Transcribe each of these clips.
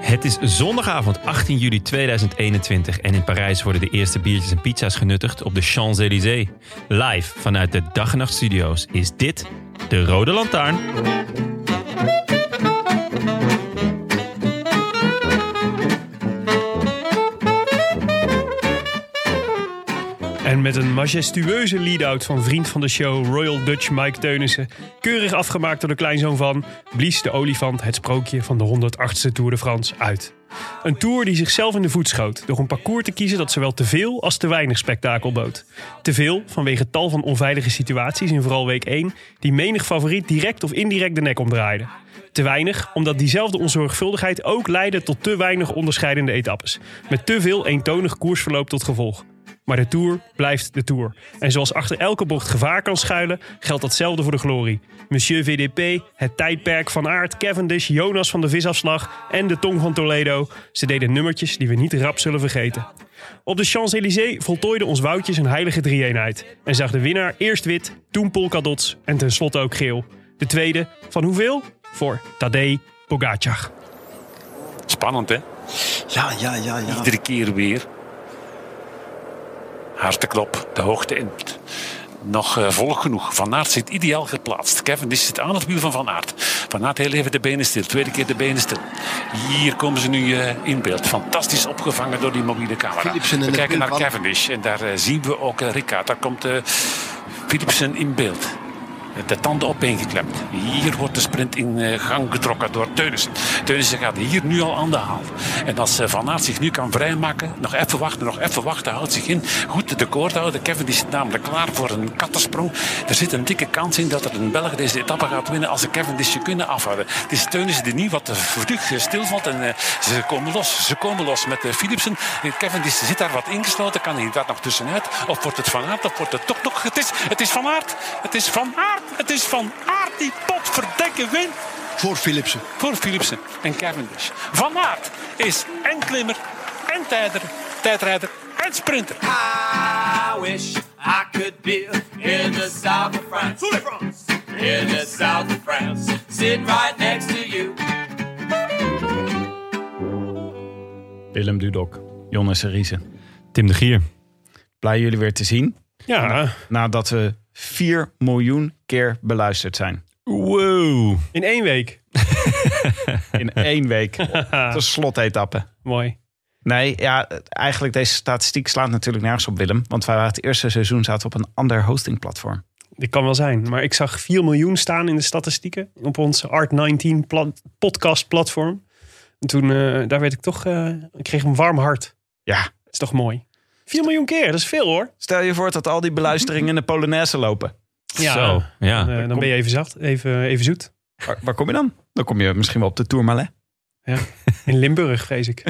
Het is zondagavond 18 juli 2021 en in Parijs worden de eerste biertjes en pizza's genuttigd op de Champs-Élysées. Live vanuit de Dag en Nacht Studio's is dit de Rode Lantaarn. En met een majestueuze lead-out van vriend van de show Royal Dutch Mike Teunissen, keurig afgemaakt door de kleinzoon van, blies de olifant het sprookje van de 108ste Tour de France uit. Een tour die zichzelf in de voet schoot door een parcours te kiezen dat zowel te veel als te weinig spektakel bood. Te veel vanwege tal van onveilige situaties in vooral week 1, die menig favoriet direct of indirect de nek omdraaiden. Te weinig omdat diezelfde onzorgvuldigheid ook leidde tot te weinig onderscheidende etappes, met te veel eentonig koersverloop tot gevolg. Maar de Tour blijft de Tour. En zoals achter elke bocht gevaar kan schuilen, geldt datzelfde voor de glorie. Monsieur VDP, het tijdperk van Aert, Cavendish, Jonas van de Visafslag en de Tong van Toledo. Ze deden nummertjes die we niet rap zullen vergeten. Op de Champs-Élysées voltooide ons Woutje zijn heilige drie-eenheid. En zag de winnaar eerst wit, toen polkadots en tenslotte ook geel. De tweede van hoeveel? Voor Tadej Pogacar. Spannend, hè? Ja, ja, ja, ja. Iedere keer weer. Hartenklop, de hoogte in. Nog eh, vol genoeg. Van Aert zit ideaal geplaatst. Kevin die zit aan het wiel van Van Aert. Van Aert heel even de benen stil. Tweede keer de benen stil. Hier komen ze nu eh, in beeld. Fantastisch opgevangen door die mobiele camera. Philipsen in We het kijken naar beeld, man. Cavendish. En daar eh, zien we ook eh, Ricard. Daar komt eh Philipsen in beeld. De tanden opeengeklemd. Hier wordt de sprint in eh, gang getrokken door Teunissen. Teunissen gaat hier nu al aan de haal. En als eh, Van Aert zich nu kan vrijmaken, nog even wachten, nog even wachten, houdt zich in. Goed de koord houden. Kevin die zit namelijk klaar voor een kattensprong. Er zit een dikke kans in dat er een Belg deze etappe gaat winnen als ze Kevin die ze kunnen afhouden. Het is Teunissen die nu wat eh, vlug eh, stilvalt en eh, ze komen los. Ze komen los met eh, Philipsen. Eh, Kevin die zit daar wat ingesloten. Kan hij daar nog tussenuit? Of wordt het Van Aert? Of wordt het toch nog? Het is, het is Van Aert. Het is Van Aert. Het is Van Aert die potverdekken wint Voor Philipsen. voor Philipsen en Cavendish. Van Aert is en klimmer en tijder, tijdrijder en sprinter. I wish I could be in the south of France. France. In the south of France. Sitting right next to you. Willem Dudok, Jonas Riese. Tim de Gier. Blij jullie weer te zien. Ja, Nadat we 4 miljoen keer beluisterd zijn. Wow. in één week. In één week. De slotetappe. Mooi. Nee, ja, eigenlijk deze statistiek slaat natuurlijk nergens op Willem. Want wij waren het eerste seizoen zaten we op een ander hostingplatform. Dit kan wel zijn. Maar ik zag 4 miljoen staan in de statistieken op ons Art19 plat- podcast platform. En toen, eh, daar werd ik toch, eh, ik kreeg een warm hart. Ja. Dat is toch mooi. 4 miljoen keer, dat is veel hoor. Stel je voor dat al die beluisteringen in de Polonaise lopen. Zo, ja. Dan, eh, dan ben je even zacht, even, even zoet. Waar, waar kom je dan? Dan kom je misschien wel op de Tourmalet. In Limburg, vrees ik.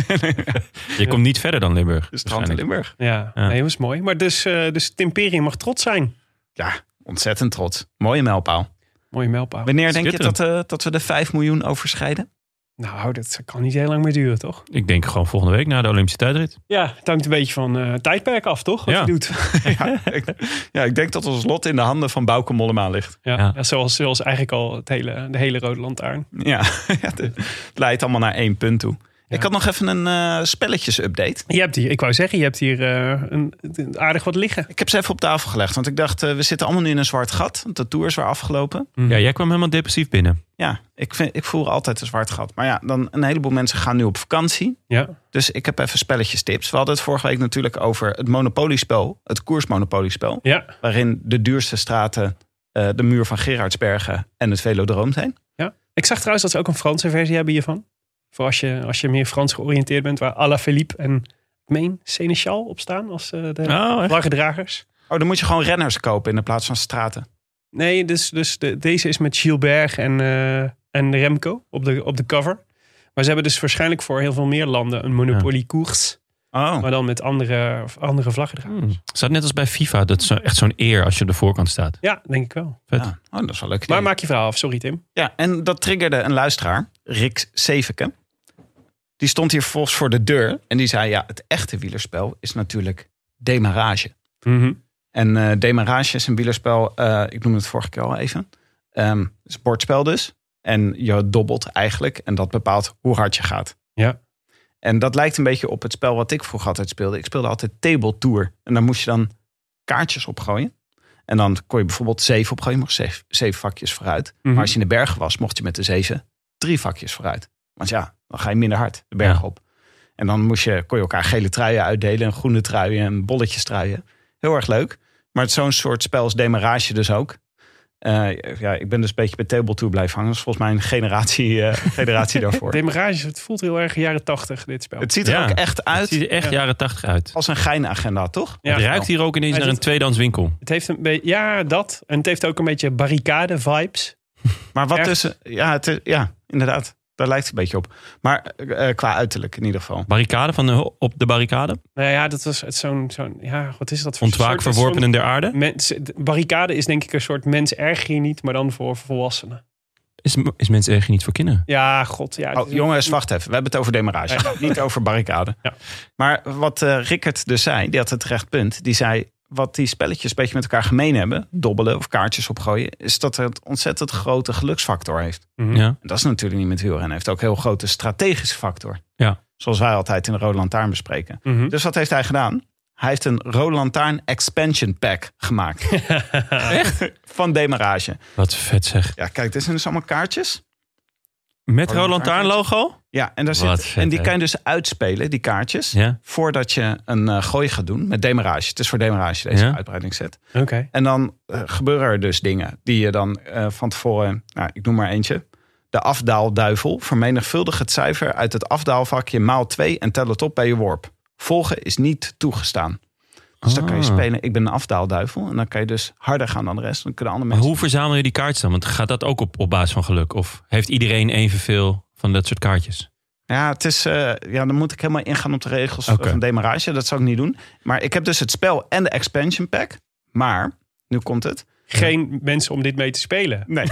Je komt niet verder dan Limburg. De strand in waarschijnlijk. Limburg. Ja, Ja. Nee, dat is mooi. Maar dus, eh dus het imperium mag trots zijn. Ja, ontzettend trots. Mooie mijlpaal. Mooie mijlpaal. Wanneer denk je Schitterend. dat, eh, dat we de 5 miljoen overschrijden? Nou, dat kan niet heel lang meer duren, toch? Ik denk gewoon volgende week na de Olympische tijdrit. Ja, het hangt een beetje van eh, tijdperk af, toch? Wat Ja. je doet. ja, ik, ja, ik denk dat ons lot in de handen van Bouke Mollema ligt. Ja, Ja. ja, zoals, zoals eigenlijk al het hele, de hele Rode Lantaarn. Ja, ja, de- het leidt allemaal naar één punt toe. Ik had nog even een eh, spelletjes-update. Je hebt hier, ik wou zeggen, je hebt hier eh, een, een- aardig wat liggen. Ik heb ze even op tafel gelegd, want ik dacht, eh, we zitten allemaal nu in een zwart gat. Want de tour is weer afgelopen. Ja, jij kwam helemaal depressief binnen. Ja, ik, vind, ik voel altijd een zwart gat. Maar ja, dan een heleboel mensen gaan nu op vakantie. Ja. Dus ik heb even spelletjes-tips. We hadden het vorige week natuurlijk over het monopoliespel, het koersmonopoliespel. Ja. Waarin de duurste straten eh, de muur van Gerardsbergen en het Velodroom zijn. ja. Ik zag trouwens dat ze ook een Franse versie hebben hiervan. Voor als je, als je meer Frans georiënteerd bent, waar Alaphilippe en ik meen Seneschal op staan als eh, de Oh, echt? vlaggedragers. Oh, dan moet je gewoon renners kopen in de plaats van straten. Nee, dus, dus de, deze is met Gilbert en, eh, en Remco op de, op de cover. Maar ze hebben dus waarschijnlijk voor heel veel meer landen een monopoliekoers. Oh, Maar dan met andere, andere vlaggedragers. Hmm. Het staat net als bij FIFA. Dat is zo- echt zo'n eer als je op de voorkant staat. Ja, denk ik wel. Vet. ja. oh dat is wel leuk. Maar idee. maak je verhaal af. Sorry Tim. Ja, en dat triggerde een luisteraar, Rick Seveke. Die stond hier volgens voor de deur en die zei: Ja, het echte wielerspel is natuurlijk demarage. Mhm. En eh demarage is een wielerspel, eh, ik noemde het vorige keer al even. Ehm, het is een bordspel dus. En je dobbelt eigenlijk en dat bepaalt hoe hard je gaat. Ja. En dat lijkt een beetje op het spel wat ik vroeger altijd speelde. Ik speelde altijd Table Tour. En daar moest je dan kaartjes opgooien. En dan kon je bijvoorbeeld zeven opgooien. Je mocht zeven, zeven vakjes vooruit. Mhm. Maar als je in de bergen was, mocht je met de zeven drie vakjes vooruit. Want ja, dan ga je minder hard de berg Ja. op. En dan moest je, kon je elkaar gele truien uitdelen. En groene truien en bolletjes truien. Heel erg leuk. Maar het is zo'n soort spel als demarage dus ook. Eh, ja, ik ben dus een beetje bij Table Tour blijven hangen. Dat is volgens mij een generatie, eh, generatie daarvoor. Demarage, het voelt heel erg jaren tachtig, dit spel. Het ziet er Ja. ook echt uit Het ziet er echt Ja. jaren tachtig uit. als een geinagenda, toch? Ja. het ruikt hier ook ineens Hij naar een zit- tweedehands winkel. Het heeft een beetje, ja, dat. En het heeft ook een beetje barricade-vibes. Maar wat Echt? tussen... Ja, het is- ja, inderdaad. Daar lijkt het een beetje op. Maar eh, qua uiterlijk in ieder geval. Barricade van de, op de barricade. Nou ja, dat was het zo'n, zo'n, ja, wat is dat voor Ontwaak soort- verworpenen der aarde. zo'n mens- de barricade is denk ik een soort mens erg je niet, maar dan voor volwassenen. Is, is mensen erg niet voor kinderen? Ja, god. Ja, het Oh, is- jongens, wacht even. We hebben het over demarage. Niet over barricade. Ja. Maar wat eh Rickert dus zei, die had het recht punt. Die zei, wat die spelletjes een beetje met elkaar gemeen hebben... dobbelen of kaartjes opgooien... is dat het een ontzettend grote geluksfactor heeft. Mhm. Ja. En dat is natuurlijk niet met wielrennen. Heeft ook een heel grote strategische factor. Ja. Zoals wij altijd in de Rode Lantaarn bespreken. Mhm. Dus wat heeft hij gedaan? Hij heeft een Rode Lantaarn Expansion Pack gemaakt. Echt? Van demarage. Wat vet zeg. Ja, kijk, dit zijn dus allemaal kaartjes. Met Roland Roland Taarn Taarn logo? Ja, en, daar Wat zit, vet, en die hè? kan je dus uitspelen, die kaartjes. Ja. Voordat je een eh, gooi gaat doen met demarage. Het is voor demarage deze Ja. uitbreidingsset. Oké. En dan eh, gebeuren er dus dingen die je dan eh, van tevoren... Nou, ik noem maar eentje. De afdaalduivel. Vermenigvuldig het cijfer uit het afdaalvakje maal 2 en tel het op bij je worp. Volgen is niet toegestaan. Dus dan kan je Ah. spelen, ik ben een afdaalduivel. En dan kan je dus harder gaan dan de rest. Dan kunnen andere Maar mensen... hoe verzamel je die kaartjes dan? Want gaat dat ook op, op basis van geluk? Of heeft iedereen evenveel van dat soort kaartjes? Ja, het is, eh, ja, dan moet ik helemaal ingaan op de regels Oké. van demarage. Dat zou ik niet doen. Maar ik heb dus het spel en de expansion pack. Maar, nu komt het. Geen mensen om dit mee te spelen. Nee.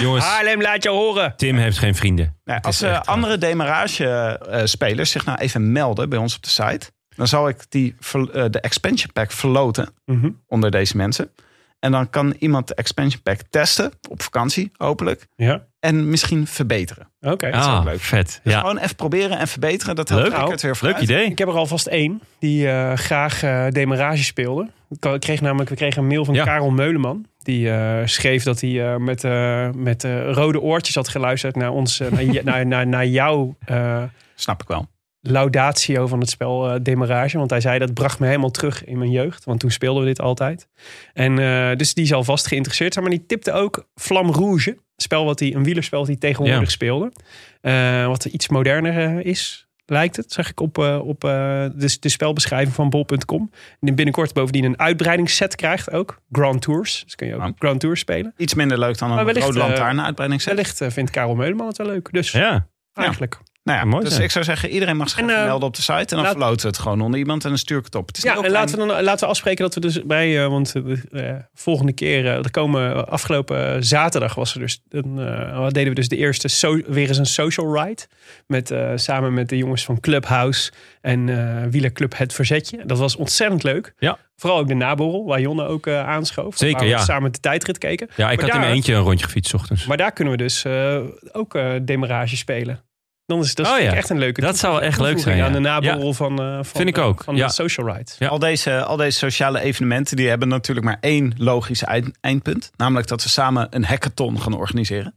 Jongens, Haarlem, laat je horen. Tim heeft geen vrienden. Nou, als is eh, echt andere demarage-spelers zich nou even melden bij ons op de site... dan zal ik die, ver- eh, de expansion pack verloten Mhm. onder deze mensen. En dan kan iemand de expansion pack testen, op vakantie hopelijk... Ja, en misschien verbeteren. oké. Ah, leuk. vet. Dus Ja. gewoon even proberen en verbeteren. Dat helpt Leuk. ik het weer Leuk vooruit. idee. Ik heb er alvast één die eh, graag eh, demarage speelde. Ik ka- ik kreeg namelijk, we kregen een mail van Ja. Karel Meuleman. Die eh, schreef dat hij eh, met, eh, met eh, rode oortjes had geluisterd naar, ons, eh, naar, je- naar, naar, naar jouw eh, Snap ik wel. laudatio van het spel eh, Demarage. Want hij zei dat bracht me helemaal terug in mijn jeugd. Want toen speelden we dit altijd. En eh, dus die zal vast geïnteresseerd zijn. Maar die tipte ook Flam Rouge. Een Spel wat hij, een wielerspel wat hij tegenwoordig Ja. speelde. Eh, wat iets moderner eh, is, lijkt het. Zeg ik op, eh, op eh, de, de spelbeschrijving van bol.com. En binnenkort bovendien een uitbreidingsset krijgt ook. Grand Tours. Dus kun je ook Ah. Ja. Grand Tours spelen. Iets minder leuk dan een Maar wellicht, rode eh, lantaarn uitbreiding. Wellicht eh, vindt Karel Meuleman het wel leuk. Dus Ja. eigenlijk. Nou ja, Mooi dus zijn. ik zou zeggen, iedereen mag zich En, even eh, melden op de site. En dan laat- verloten we het gewoon onder iemand en dan stuur ik het op. Het is Ja, niet en ook laten klein. we, dan, laten we afspreken dat we dus bij, eh, want eh, eh, volgende keer, eh, er komen eh, afgelopen zaterdag was er dus, een, eh, deden we dus de eerste, so- weer eens een social ride. Met, eh, samen met de jongens van Clubhouse en eh wielerclub Het Verzetje. Dat was ontzettend leuk. Ja. Vooral ook de naborrel, waar Jonne ook eh, aanschoof. Zeker, Waar we ja. Samen de tijdrit keken. ja, ik Maar had in daar- mijn eentje een rondje gefietst 's ochtends. Maar daar kunnen we dus eh, ook eh demarage spelen. Dan is dat Oh vind ik ja. echt een leuke Dat zou wel echt leuk toevoeging zijn. aan ja. de Ja. naborrel van, eh, van, Vind ik eh, ook, van ja. de social ride. Ja. Al, deze, al deze sociale evenementen die hebben natuurlijk maar één logisch eind- eindpunt. Namelijk dat we samen een hackathon gaan organiseren.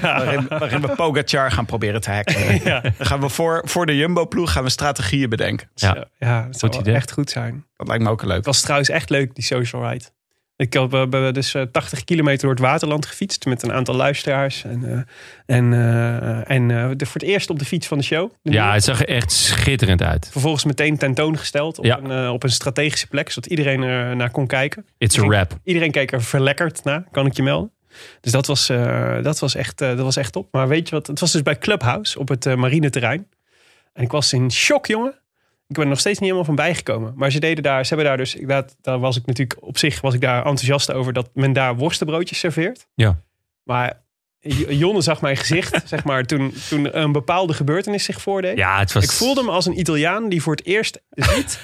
Waarin, waarin we Pogacar gaan proberen te hacken. Dan gaan we voor, voor de Jumbo-ploeg gaan we strategieën bedenken. Ja. Zo, ja dat zou wel idee. echt goed zijn. Dat lijkt me ook leuk. Het was trouwens echt leuk, die social ride. Ik heb eh, be- dus eh, 80 kilometer door het waterland gefietst met een aantal luisteraars. En, eh, en, eh, en eh, de, voor het eerst op de fiets van de show. De Ja, het zag er echt schitterend uit. Vervolgens meteen tentoongesteld op, Ja. een, eh, op een strategische plek, zodat iedereen er naar kon kijken. It's a wrap. Iedereen keek er verlekkerd naar, kan ik je melden. Dus dat was, eh, dat was, echt, eh, dat was echt top. Maar weet je wat, het was dus bij Clubhouse op het eh, marineterrein. En ik was in shock, jongen. Ik ben er nog steeds niet helemaal van bijgekomen. Maar ze deden daar, ze hebben daar dus, dat, daar was ik natuurlijk op zich was ik daar enthousiast over dat men daar worstenbroodjes serveert. Ja. Maar J- Jonne zag mijn gezicht, zeg maar, toen, toen een bepaalde gebeurtenis zich voordeed. Ja, het was... Ik voelde me als een Italiaan die voor het eerst ziet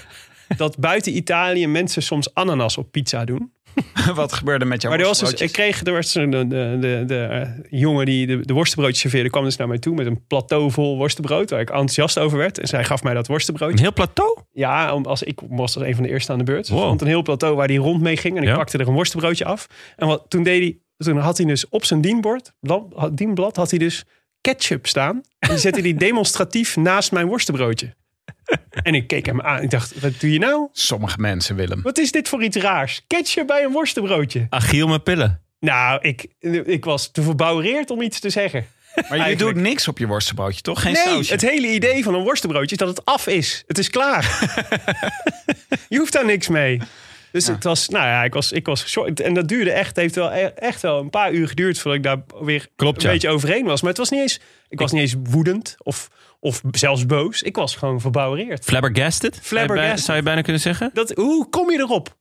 dat buiten Italië mensen soms ananas op pizza doen. Wat gebeurde met jouw maar er was dus, worstbroodjes? ik kreeg er was een- de, de, de, de eh, jongen die de, de worstenbroodjes serveerde, kwam dus naar mij toe met een plateau vol worstenbrood, waar ik enthousiast over werd. En zij gaf mij dat Een worstenbroodje. heel plateau? Ja, om- als, ik was als een van de eerste aan de beurt. Wow. Er stond een heel plateau waar hij rond mee ging en ik Ja. pakte er een worstenbroodje af. En wat, toen, deed hij, toen had hij dus op zijn dienbord, blad- had- dienblad, had hij dus ketchup staan. En die zette hij demonstratief naast mijn worstenbroodje. En ik keek hem aan. Ik dacht, wat doe je nou? Sommige mensen, Willem. Wat is dit voor iets raars? Ketchup bij een worstenbroodje. Achiel met pillen. Nou, ik, ik was te verbouwereerd om iets te zeggen. Maar je Eigenlijk. doet niks op je worstenbroodje, toch? Geen Nee, sausje? het hele idee van een worstenbroodje is dat het af is. Het is klaar. je hoeft daar niks mee. Dus het was, nou ja, ik was, ik was geschokt. En dat duurde echt, heeft wel e- echt wel een paar uur geduurd voordat ik daar weer Klopt, een ja. beetje overheen was. Maar het was niet eens, ik, was niet eens woedend of, of zelfs boos. Ik was gewoon verbouwereerd. Flabbergasted? Zou je bij- Flabbergasted. Zou je bijna kunnen zeggen? Dat, hoe kom je erop?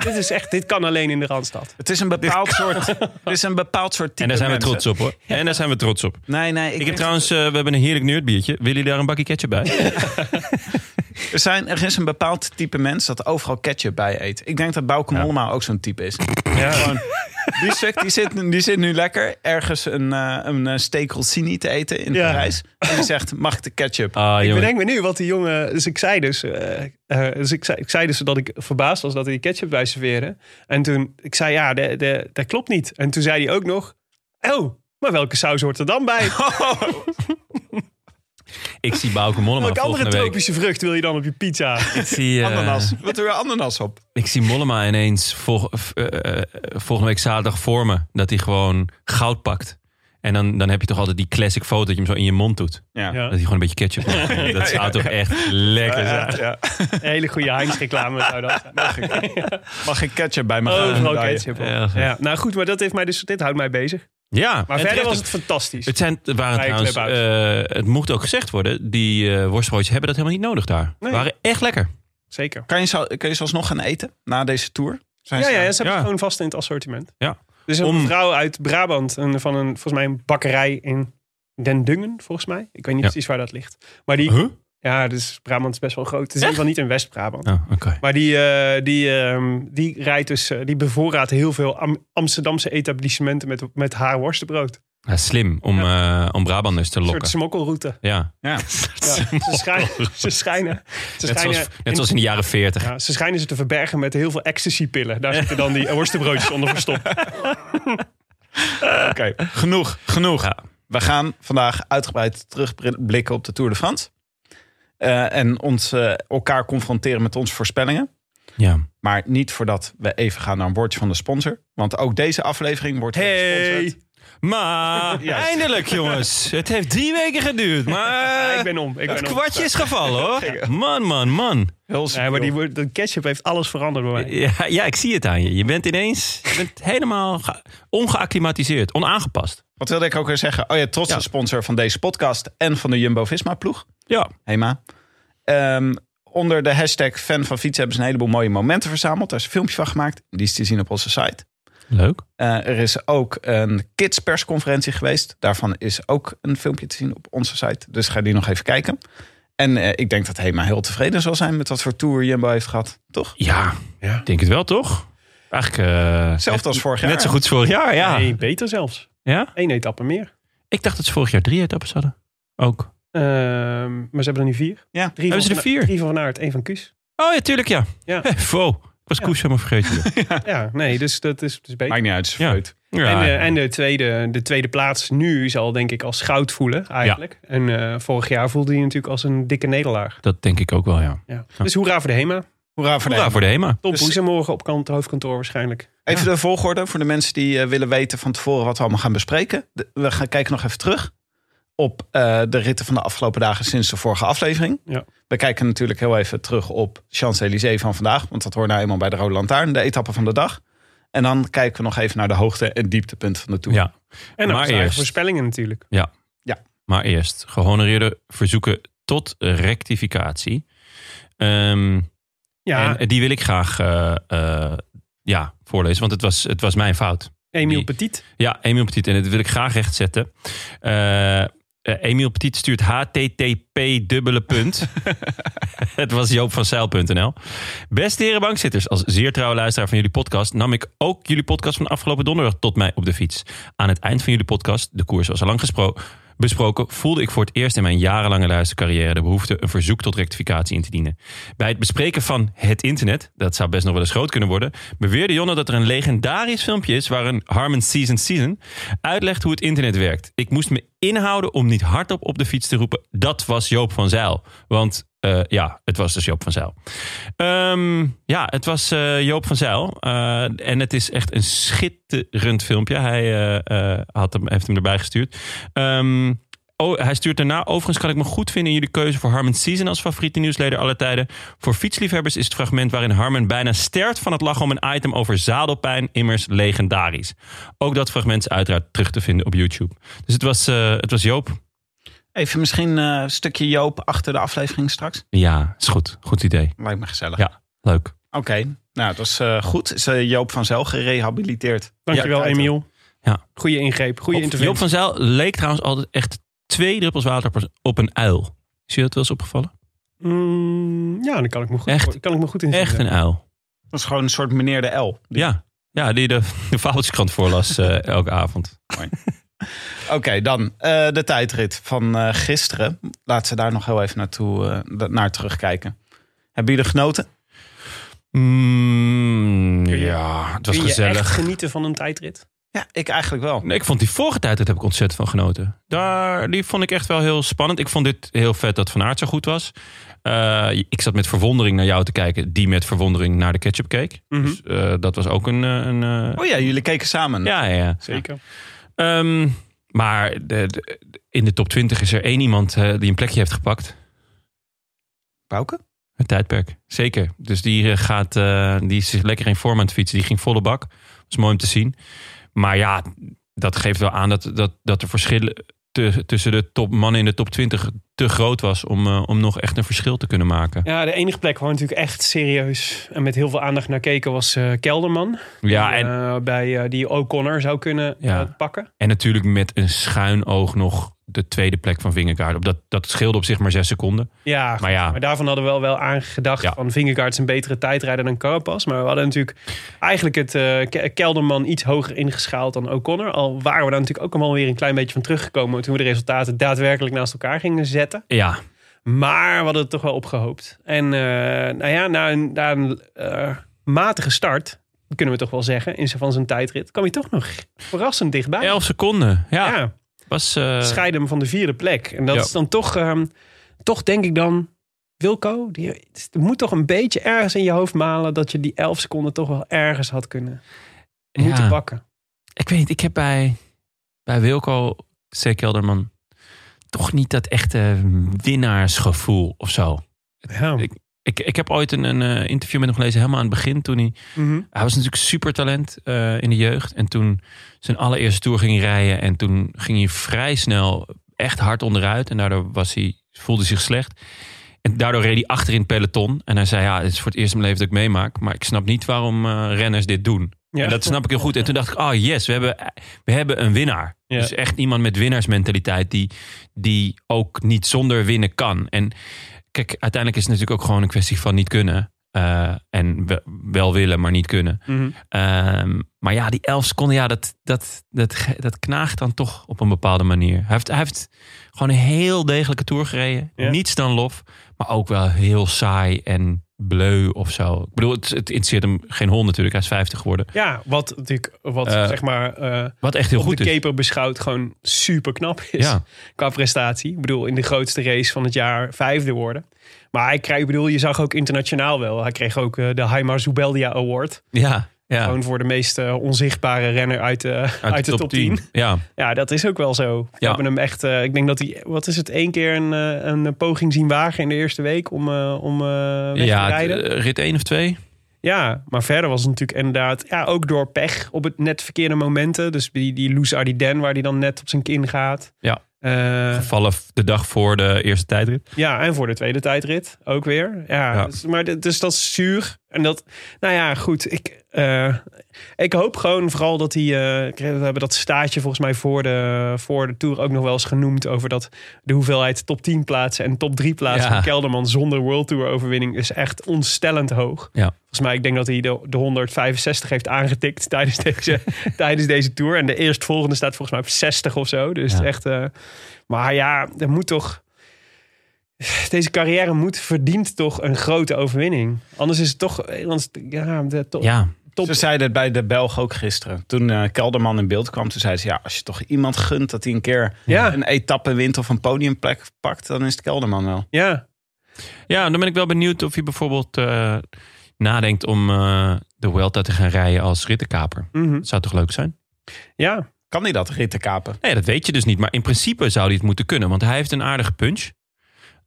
dit is echt, dit kan alleen in de Randstad. Het is een bepaald soort, het is een bepaald soort type En daar zijn we mensen. trots op hoor. En daar zijn we trots op. Nee, nee. Ik heb trouwens, eh, we hebben een heerlijk nerdbiertje. Wil je daar een bakje ketchup bij? Er, zijn, er is een bepaald type mens dat overal ketchup bij eet. Ik denk dat Bauke Ja. Mollema ook zo'n type is. Gewoon, die, stuk, die, zit, die zit nu lekker ergens een, eh een eh, steak rossini te eten in Ja. Parijs. En die zegt, mag ik de ketchup? Ah, Ik jongen. bedenk me nu wat die jongen. Dus ik zei dus. eh, eh, dus ik zei, ik zei dus dat ik verbaasd was dat hij die ketchup bij serveren. En toen. Ik zei ja, de, de, dat klopt niet. En toen zei hij ook nog. Oh, maar welke saus hoort er dan bij? Ik zie Bauke Mollema welke andere volgende week. tropische vrucht wil je dan op je pizza? Ik zie, eh, Ananas. Wat doe je ananas op? ik zie Mollema ineens vol- eh, eh, volgende week zaterdag voor me. Dat hij gewoon goud pakt. En dan, dan heb je toch altijd die classic foto dat je hem zo in je mond doet. Ja. Ja. Dat hij gewoon een beetje ketchup maakt. Dat zou toch echt lekker zijn. Ja. Een hele goede Heinz reclame zou dat zijn. Mag ik ketchup bij me? Oh, gaan? vooral Ja, ja. ketchup. op. Ja, goed. Ja, nou goed, maar dat heeft mij dus, dit houdt mij bezig. Ja, en Maar verder terecht was ook. het fantastisch. Het, zijn, het waren Bij trouwens, Clubhouse. eh, het mocht ook gezegd worden, die eh, worstbroodjes hebben dat helemaal niet nodig daar. Nee. waren echt lekker. Zeker. Kan je, zo- kun je zelfs nog gaan eten na deze tour? Zijn Ja, ze- ja, ja, ze hebben Ja. het gewoon vast in het assortiment. Ja. Dus een Om- vrouw uit Brabant een, van een, volgens mij een bakkerij in Den Dungen, volgens mij. Ik weet niet Ja. precies waar dat ligt. Maar die, ja, dus Brabant is best wel groot. Het is in ieder geval niet in West-Brabant. Oh, oké. Maar die, eh, die, ehm, die rijdt dus, eh, die bevoorraadt heel veel Am- Amsterdamse etablissementen met, met haar worstenbrood. Ja, slim om, eh om Brabanders te Een soort lokken. smokkelroute. Ja. Ja, Ja. ze schijnen, ze schijnen, ze Net, schijnen zoals, in- net zoals in de jaren 40. ja, ze schijnen ze te verbergen met heel veel ecstasy-pillen. Daar zitten dan die worstenbroodjes onder verstopt. Oké, genoeg, genoeg. We gaan vandaag uitgebreid terugblikken op de Tour de France. Eh, en ons, eh, elkaar confronteren met onze voorspellingen. Ja. Maar niet voordat we even gaan naar een woordje van de sponsor. Want ook deze aflevering wordt weer gesponsord. Maar eindelijk jongens. Het heeft drie weken geduurd. Maar Ja, ik ben om. Ik het ben om. kwartje is gevallen hoor. Man, man, man. Heel Nee, maar die, woord- dat ketchup heeft alles veranderd bij mij. Ja, ja, ik zie het aan je. Je bent ineens je bent helemaal ge- ongeacclimatiseerd, onaangepast. Wat wilde ik ook weer zeggen? Oh ja, trots Ja. de sponsor van deze podcast en van de Jumbo-Visma-ploeg. Ja. Hema. Ehm, onder de hashtag fan van fietsen hebben ze een heleboel mooie momenten verzameld. Daar is een filmpje van gemaakt. Die is te zien op onze site. Leuk. Eh, er is ook een kids persconferentie geweest. Daarvan is ook een filmpje te zien op onze site. Dus ga die nog even kijken. En eh, ik denk dat Hema heel tevreden zal zijn met wat voor tour Jumbo heeft gehad. Toch? Ja, ik denk het wel toch? Eigenlijk eh, Hetzelfde als vorig jaar. net zo goed als vorig jaar. Ja. Nee, beter zelfs. ja? Eén etappe meer. Ik dacht dat ze vorig jaar drie etappes hadden. Ook. Ehm, maar ze hebben er nu vier. Ja. Drie Hebben van ze er Van- vier? Drie van Van Aert, één van Kuus. Oh ja, tuurlijk ja. Ja. Hey, wow, ik was Ja. Koes helemaal vergeten. joh. Ja, nee, dus dat is, dat is beter. Maakt niet uit, is Ja. vreugd. Ja, En, eh, en de, tweede, de tweede plaats nu zal denk ik als goud voelen eigenlijk. En eh, vorig jaar voelde hij natuurlijk als een dikke nederlaag. dat denk ik ook wel, ja. Ja. Dus hoera voor de HEMA. Hoera voor de Hoera voor de HEMA. Tom Dus- Poes morgen op kant, hoofdkantoor waarschijnlijk. Even de volgorde voor de mensen die eh, willen weten van tevoren wat we allemaal gaan bespreken. De- we gaan kijken nog even terug op eh, de ritten van de afgelopen dagen sinds de vorige aflevering. Ja. We kijken natuurlijk heel even terug op Champs-Élysées van vandaag. Want dat hoort nou eenmaal bij de Rode Lantaarn, de etappe van de dag. En dan kijken we nog even naar de hoogte- en dieptepunten van de Tour. Ja. Maar En dan zijn eigen eerst. voorspellingen natuurlijk. Maar eerst, gehonoreerde verzoeken tot rectificatie. Ehm, Ja, En die wil ik graag eh, eh, ja, voorlezen, want het was, het was mijn fout. Emiel die- Petit. Ja, Emiel Petit, en dat wil ik graag rechtzetten. Eh eh, Emiel Petit stuurt http dubbele punt. het was Joop van Zijl.nl. Beste heren bankzitters, als zeer trouwe luisteraar van jullie podcast... nam ik ook jullie podcast van afgelopen donderdag tot mij op de fiets. Aan het eind van jullie podcast, de koers was al lang gespro- besproken... voelde ik voor het eerst in mijn jarenlange luistercarrière... de behoefte een verzoek tot rectificatie in te dienen. Bij het bespreken van het internet, dat zou best nog wel eens groot kunnen worden... beweerde Jonne dat er een legendarisch filmpje is... waarin Harmon Season Season uitlegt hoe het internet werkt. Ik moest me inhouden om niet hardop op de fiets te roepen... dat was Joop van Zijl. Want... eh, ja, het was dus Joop van Zijl. Ehm, ja, het was eh, Joop van Zijl. Eh, en het is echt een schitterend filmpje. Hij eh, eh, had hem, heeft hem erbij gestuurd. Ehm, oh, hij stuurt daarna. Overigens kan ik me goed vinden in jullie keuze voor Harman Season als favoriete nieuwslezer aller tijden. Voor fietsliefhebbers is het fragment waarin Harman bijna sterft van het lachen om een item over zadelpijn immers legendarisch. Ook dat fragment is uiteraard terug te vinden op YouTube. Dus het was, eh, het was Joop. Even misschien eh, een stukje Joop achter de aflevering straks. Ja, is goed. Goed idee. Lijkt me gezellig. Ja. Leuk. Oké, nou dat is eh, goed. Is eh, Joop van Zel gerehabiliteerd? Dankjewel Ja, kijk Emiel. Ja. Goede ingreep, goede Op- Joop interventie. van Zijl leek trouwens altijd echt twee druppels water per- op een uil. Is je dat wel eens opgevallen? Mm, ja, daar kan ik me goed, Echt- kan ik me goed in Echt vinden. een uil. Dat is gewoon een soort meneer de L. Ja, ja die de, de Fabeltjeskrant voorlas eh, elke avond. Oké, dan eh, de tijdrit van eh, gisteren. Laten we daar nog heel even naartoe, eh, da- naar terugkijken. Hebben jullie genoten? Mm, ja, het was Kun je echt gezellig. genieten van een tijdrit? Ja, ik eigenlijk wel. Nee, ik vond die vorige tijd, daar heb ik ontzettend van genoten. Daar, die vond ik echt wel heel spannend. Ik vond dit heel vet dat Van Aert zo goed was. Eh, ik zat met verwondering naar jou te kijken. Die met verwondering naar de ketchup keek. Mhm. Dus eh, dat was ook een... eh, een eh, Oh ja, jullie keken samen. ja, ja, ja. Zeker. Ehm, maar de- de- in de top 20 is er één iemand eh, die een plekje heeft gepakt. Bouke? Het tijdperk, zeker. Dus die, eh, gaat, eh, die is zich lekker in vorm aan het fietsen. Die ging volle bak. Dat is mooi om te zien. Maar ja, dat geeft wel aan dat, dat, dat de verschillen te- tussen de top, mannen in de top 20 te groot was... om, eh, om nog echt een verschil te kunnen maken. Ja, de enige plek waar natuurlijk echt serieus en met heel veel aandacht naar keken was eh, Kelderman. Ja, en, Eh, bij, eh, die O'Connor zou kunnen Ja. eh, pakken. en natuurlijk met een schuin oog nog de tweede plek van Vingegaard. Op Dat, dat scheelde op zich maar zes seconden. Ja, goed. Maar ja, maar daarvan hadden we wel, wel aangedacht Ja. van Vingegaard is een betere tijdrijder dan Carapaz. Maar we hadden natuurlijk eigenlijk het eh, Ke- Kelderman iets hoger ingeschaald dan O'Connor. Al waren we daar natuurlijk ook allemaal weer een klein beetje van teruggekomen toen we de resultaten daadwerkelijk naast elkaar gingen zetten. ja, Maar we hadden het toch wel opgehoopt. En eh, nou ja, na een, na een eh, matige start, kunnen we toch wel zeggen, in zijn- van zijn tijdrit, kwam hij toch nog verrassend dichtbij. elf seconden. Ja, ja. was... eh, scheiden hem van de vierde plek. En dat Ja. is dan toch, ehm, toch denk ik dan, Wilco, die, het moet toch een beetje ergens in je hoofd malen dat je die 11 seconden toch wel ergens had kunnen moeten ja. pakken. Ik weet niet, ik heb bij, bij Wilco C. Kelderman toch niet dat echte winnaarsgevoel of zo. Ja. Ik, ik heb ooit een, een eh, interview met hem gelezen, helemaal aan het begin. Toen hij, Mhm. hij was natuurlijk supertalent eh, in de jeugd. En toen zijn allereerste tour ging hij rijden. En toen ging hij vrij snel echt hard onderuit. En daardoor was hij, voelde hij zich slecht. En daardoor reed hij achter in het peloton. En hij zei, ja, het is voor het eerst in mijn leven dat ik meemaak. Maar ik snap niet waarom eh, renners dit doen. Ja. En dat snap ik heel goed. En toen dacht ik, oh yes, we hebben, we hebben een winnaar. Ja. Dus echt iemand met winnaarsmentaliteit die, die ook niet zonder winnen kan. En kijk, uiteindelijk is het natuurlijk ook gewoon een kwestie van niet kunnen. eh, en we- wel willen, maar niet kunnen. Mhm. Ehm, maar ja, die 11 seconden, ja, dat, dat, dat, ge- dat knaagt dan toch op een bepaalde manier. Hij heeft, hij heeft gewoon een heel degelijke tour gereden. Ja. Niets dan lof, maar ook wel heel saai en bleu of zo. Ik bedoel, het, het interesseert hem geen hond natuurlijk. Hij is 50 geworden. Ja, wat natuurlijk, wat Eh, zeg maar eh, Wat echt heel op goed de is. keper beschouwd gewoon super knap is. Ja. Qua prestatie. Ik bedoel, in de grootste race van het jaar vijfde worden. Maar hij kreeg, ik bedoel, je zag ook internationaal wel. Hij kreeg ook eh, de Haimar Zubeldia Award. Ja, ja. Gewoon voor de meest eh, onzichtbare renner uit, eh, uit, de top, 10. Ja, Ja, dat is ook wel zo. We Ja. hebben hem echt, eh, ik denk dat hij, wat is het, één keer een, eh, een poging zien wagen in de eerste week om, eh, om eh, weg te ja rijden. eh, rit 1 of 2. Ja, maar verder was het natuurlijk inderdaad... Ja, ook door pech op het net verkeerde momenten. Dus die, die Loes Ardiden waar die dan net op zijn kin gaat. Ja. Eh, Vallen de dag voor de eerste tijdrit. ja, en voor de tweede tijdrit ook weer. Ja, Ja. Dus, maar dit- dus dat is zuur. En dat, nou ja, goed. Ik, eh, ik hoop gewoon vooral dat hij... eh, we hebben dat staartje volgens mij voor de, voor de Tour ook nog wel eens genoemd... over dat de hoeveelheid top 10 plaatsen en top 3 plaatsen Ja. van Kelderman... zonder World Tour overwinning is echt ontstellend hoog. Ja. Volgens mij, ik denk dat hij de, de 165 heeft aangetikt tijdens deze, tijdens deze tour. En de eerstvolgende staat volgens mij op 60 of zo. Dus Ja. echt. eh, maar ja, er moet toch. Deze carrière moet verdient toch een grote overwinning. Anders is het toch. eh, Anders, ja, de to- Ja, top. Ze zeiden het bij de Belg ook gisteren. Toen eh, Kelderman in beeld kwam, toen zei ze... ja, als je toch iemand gunt dat hij een keer Ja. een etappe wint... of een podiumplek pakt, dan is het Kelderman wel. ja. Ja, dan ben ik wel benieuwd of je bijvoorbeeld eh, nadenkt om eh, de Welta te gaan rijden als rittenkaper. mhm. Dat zou toch leuk zijn? ja. Kan hij dat ritten kapen? Nee, dat weet je dus niet. Maar in principe zou hij het moeten kunnen, want hij heeft een aardige punch.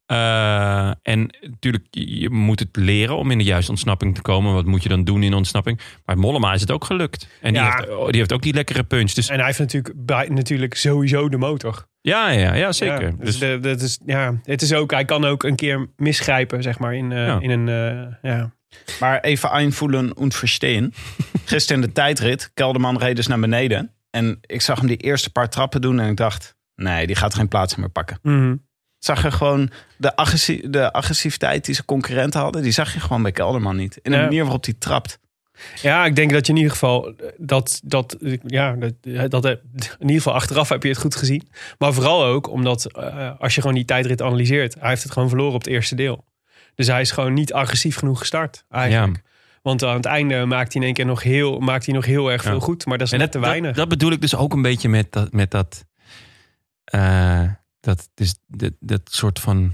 Eh, en natuurlijk, je je moet het leren om in de juiste ontsnapping te komen. Wat moet je dan doen in ontsnapping? Maar Mollema is het ook gelukt. En die, Ja. heeft, oh, die heeft ook die lekkere punch. Dus En hij heeft natuurlijk, bij, natuurlijk sowieso de motor. ja, ja, ja zeker. Ja, dus, dus de, dat is, ja, het is ook, hij kan ook een keer misgrijpen, zeg maar, in, eh, Ja. in een. eh, ja. Maar even einvoelen und verstehen. Gisteren in de tijdrit, Kelderman reed dus naar beneden. En ik zag hem die eerste paar trappen doen en ik dacht... nee, die gaat geen plaats meer pakken. Mhm. Ik zag je gewoon de, agressi- de agressiviteit die zijn concurrenten hadden... die zag je gewoon bij Kelderman niet. In de Ja. manier waarop hij trapt. Ja, ik denk dat je in ieder geval eh, dat, dat, eh, ja, dat, eh, dat eh, in ieder geval achteraf heb je het goed gezien. Maar vooral ook omdat eh, als je gewoon die tijdrit analyseert, hij heeft het gewoon verloren op het eerste deel. Dus hij is gewoon niet agressief genoeg gestart eigenlijk. Want aan het einde maakt hij in één keer nog heel, maakt hij nog heel erg Ja. veel goed. Maar dat is En net te dat- weinig. Dat, dat bedoel ik dus ook een beetje met dat. Met dat, eh, dat, dus, dat, dat soort van.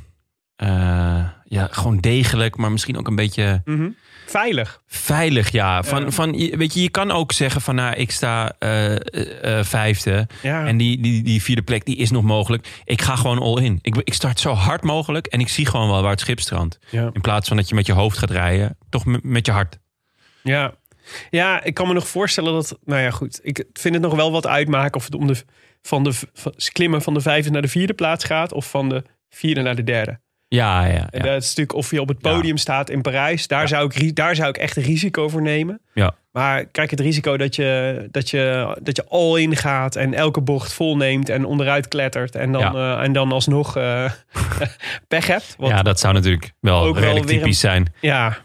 eh, ja, gewoon degelijk, maar misschien ook een beetje Mhm. Veilig. veilig. Ja, van, Ja. van je- weet je, je kan ook zeggen van nou, ik sta eh, eh, eh, vijfde. Ja. En die, die, die vierde plek die is nog mogelijk. Ik ga gewoon all in. Ik, ik start zo hard mogelijk en ik zie gewoon wel waar het schip strandt. ja. In plaats van dat je met je hoofd gaat rijden, toch m- met je hart. Ja. ja, ik kan me nog voorstellen dat. Nou ja, goed. Ik vind het nog wel wat uitmaken of het om de, van de van, klimmen van de vijfde naar de vierde plaats gaat. Of van de vierde naar de derde. Ja, ja, En ja. dat is natuurlijk of je op het Ja. podium staat in Parijs. Daar, zou ik, ri- daar zou ik echt een risico voor nemen. Ja. Maar kijk, het risico dat je, dat je, dat je al in gaat en elke bocht volneemt en onderuit klettert. En dan, eh, en dan alsnog eh, pech hebt. Want, ja, ja. dat zou natuurlijk wel Ook wel redelijk weer een- typisch zijn. Ja.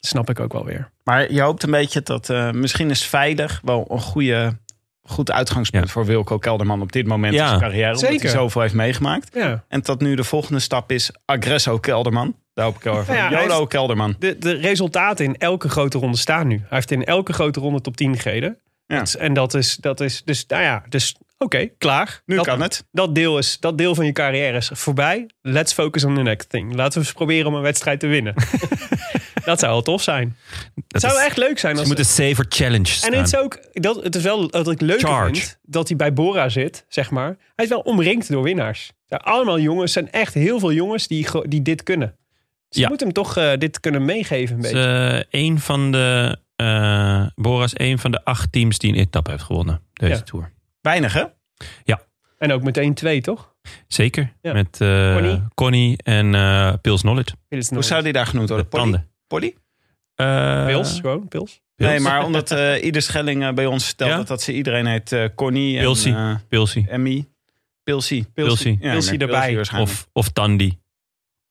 snap ik ook wel weer. Maar je hoopt een beetje dat eh, misschien is veilig wel een goede, goed uitgangspunt Ja. voor Wilco Kelderman op dit moment Ja. in zijn carrière. Omdat Zeker. hij zoveel heeft meegemaakt. Ja. En dat nu de volgende stap is Agresso Kelderman. Daar hoop ik heel erg van. Ja, hij Jolo Kelderman. de, de resultaten in elke grote ronde staan nu. Hij heeft in elke grote ronde top 10 gereden. Ja. Dat is- en dat is, dat is, dus nou ja, dus oké, klaar. Nu dat, kan het. Dat deel, is, dat deel van je carrière is voorbij. Let's focus on the next thing. Laten we eens proberen om een wedstrijd te winnen. dat zou wel tof zijn. Dat Het zou is- echt leuk zijn. Ze Als, moeten Saver Challenge staan. en het is ook, dat, het is wel dat ik leuk Charge. vind dat hij bij Bora zit, zeg maar. Hij is wel omringd door winnaars. Ja, allemaal jongens, zijn echt heel veel jongens die, ge- die dit kunnen. Dus Ja. je moet hem toch eh, dit kunnen meegeven een beetje. Het is, eh, een van de, eh Boras, een van de acht teams die een etappe heeft gewonnen. Deze Ja. Tour. Weinig hè? En ook meteen twee, toch? Zeker. Ja. Met eh, Connie. Connie en eh Pils Knowledge. Pils Hoe zou die daar genoemd worden? De tanden. Polly? Eh, Pils, gewoon, Pils. Pils? Nee, maar omdat eh, ieder Schelling eh, bij ons vertelt Ja? dat, dat ze iedereen heet eh, Connie en Pilsie. eh, Pilsie. Emmy. Pilsie. Pilsie. Ja, Pilsie maar erbij. waarschijnlijk. Of, of Tandy.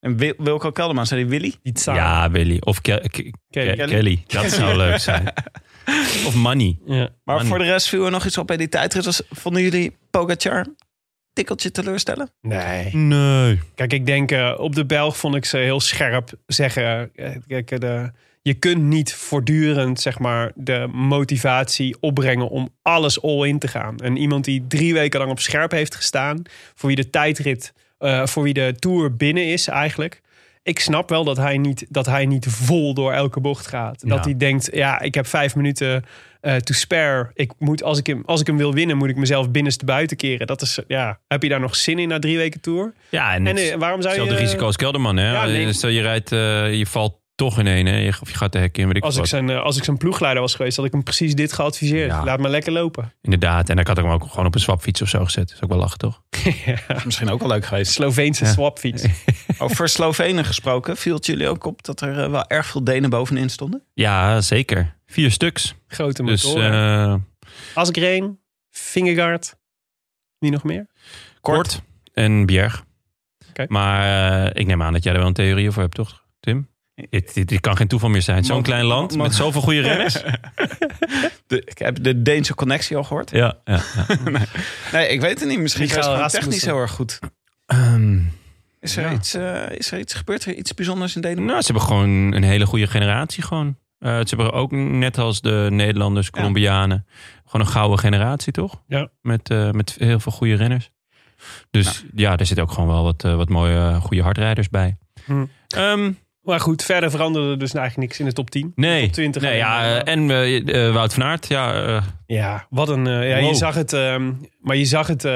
En Wil- Wilco Kelderman, zei die Willy? Die tsaar. Ja, Willy. Of Ke- Ke- Ke- Kelly. Dat zou leuk zijn. Of Money. Ja. Maar Man. voor de rest viel er nog iets op bij die tijdrit. Was- Vonden jullie Pogacar tikkeltje teleurstellen? Nee. Nee. Kijk, ik denk eh, op de Belg vond ik ze heel scherp zeggen. eh, Kijk, eh, de, je kunt niet voortdurend zeg maar, de motivatie opbrengen om alles all in te gaan. En iemand die drie weken lang op scherp heeft gestaan, voor wie de tijdrit, eh, voor wie de tour binnen is eigenlijk. Ik snap wel dat hij niet, dat hij niet vol door elke bocht gaat. Dat Ja. hij denkt, ja, ik heb vijf minuten eh, to spare. Ik moet, als, ik hem, als ik hem wil winnen, moet ik mezelf binnenste buiten keren. Dat is, ja, heb je daar nog zin in na drie weken tour? Ja, en, En het, eh, waarom zou je... hetzelfde risico als Kelderman. Hè? Ja, nee. Stel je rijdt, eh, je valt toch in één. Hè? Je, of je gaat de hek in, weet ik Als ik, wat. zijn, eh, als ik zijn ploegleider was geweest, had ik hem precies dit geadviseerd. Ja. Laat maar lekker lopen. Inderdaad. En dan had ik hem ook gewoon op een swapfiets of zo gezet. Dat is ook wel lachen, toch? Misschien ook wel leuk geweest. Sloveense Ja. swapfiets. Over Slovenen gesproken, viel het jullie ook op dat er eh, wel erg veel Denen bovenin stonden? Ja, zeker. Vier stuks. Grote Dus motoren. eh, Asgreen, Vingegaard. Wie nog meer? kort. en Bjerg. Oké. Maar eh, ik neem aan dat jij er wel een theorie over hebt, toch? Tim? Dit, dit, dit kan geen toeval meer zijn. Zo'n Mo- klein land mo- met zoveel goede renners. De, ik heb de Deense connectie al gehoord. Ja, ja. Nee, ik weet het niet. Misschien Michael gaat het Rasmussen. gewoon technisch heel erg goed. Ehm, Is er, Ja. iets, eh, is er iets gebeurd? Er Iets bijzonders in Denemarken? nou, ze hebben gewoon een hele goede generatie. Gewoon. Eh, ze hebben ook net als de Nederlanders, Colombianen, gewoon een gouden generatie, toch? Ja. Nou. Met, eh, met heel veel goede renners. Dus ja, er zitten ook gewoon wel wat, eh, wat mooie, eh, goede hardrijders bij. Hm. Ehm, Maar goed, verder veranderde er dus eigenlijk niks in de top 10. nee. Top 20 nee alleen maar. ja, eh, en eh, eh, Wout van Aert. Ja, eh, Ja, wat een. eh, ja, Wow. Je zag het. ehm, maar je zag het. eh,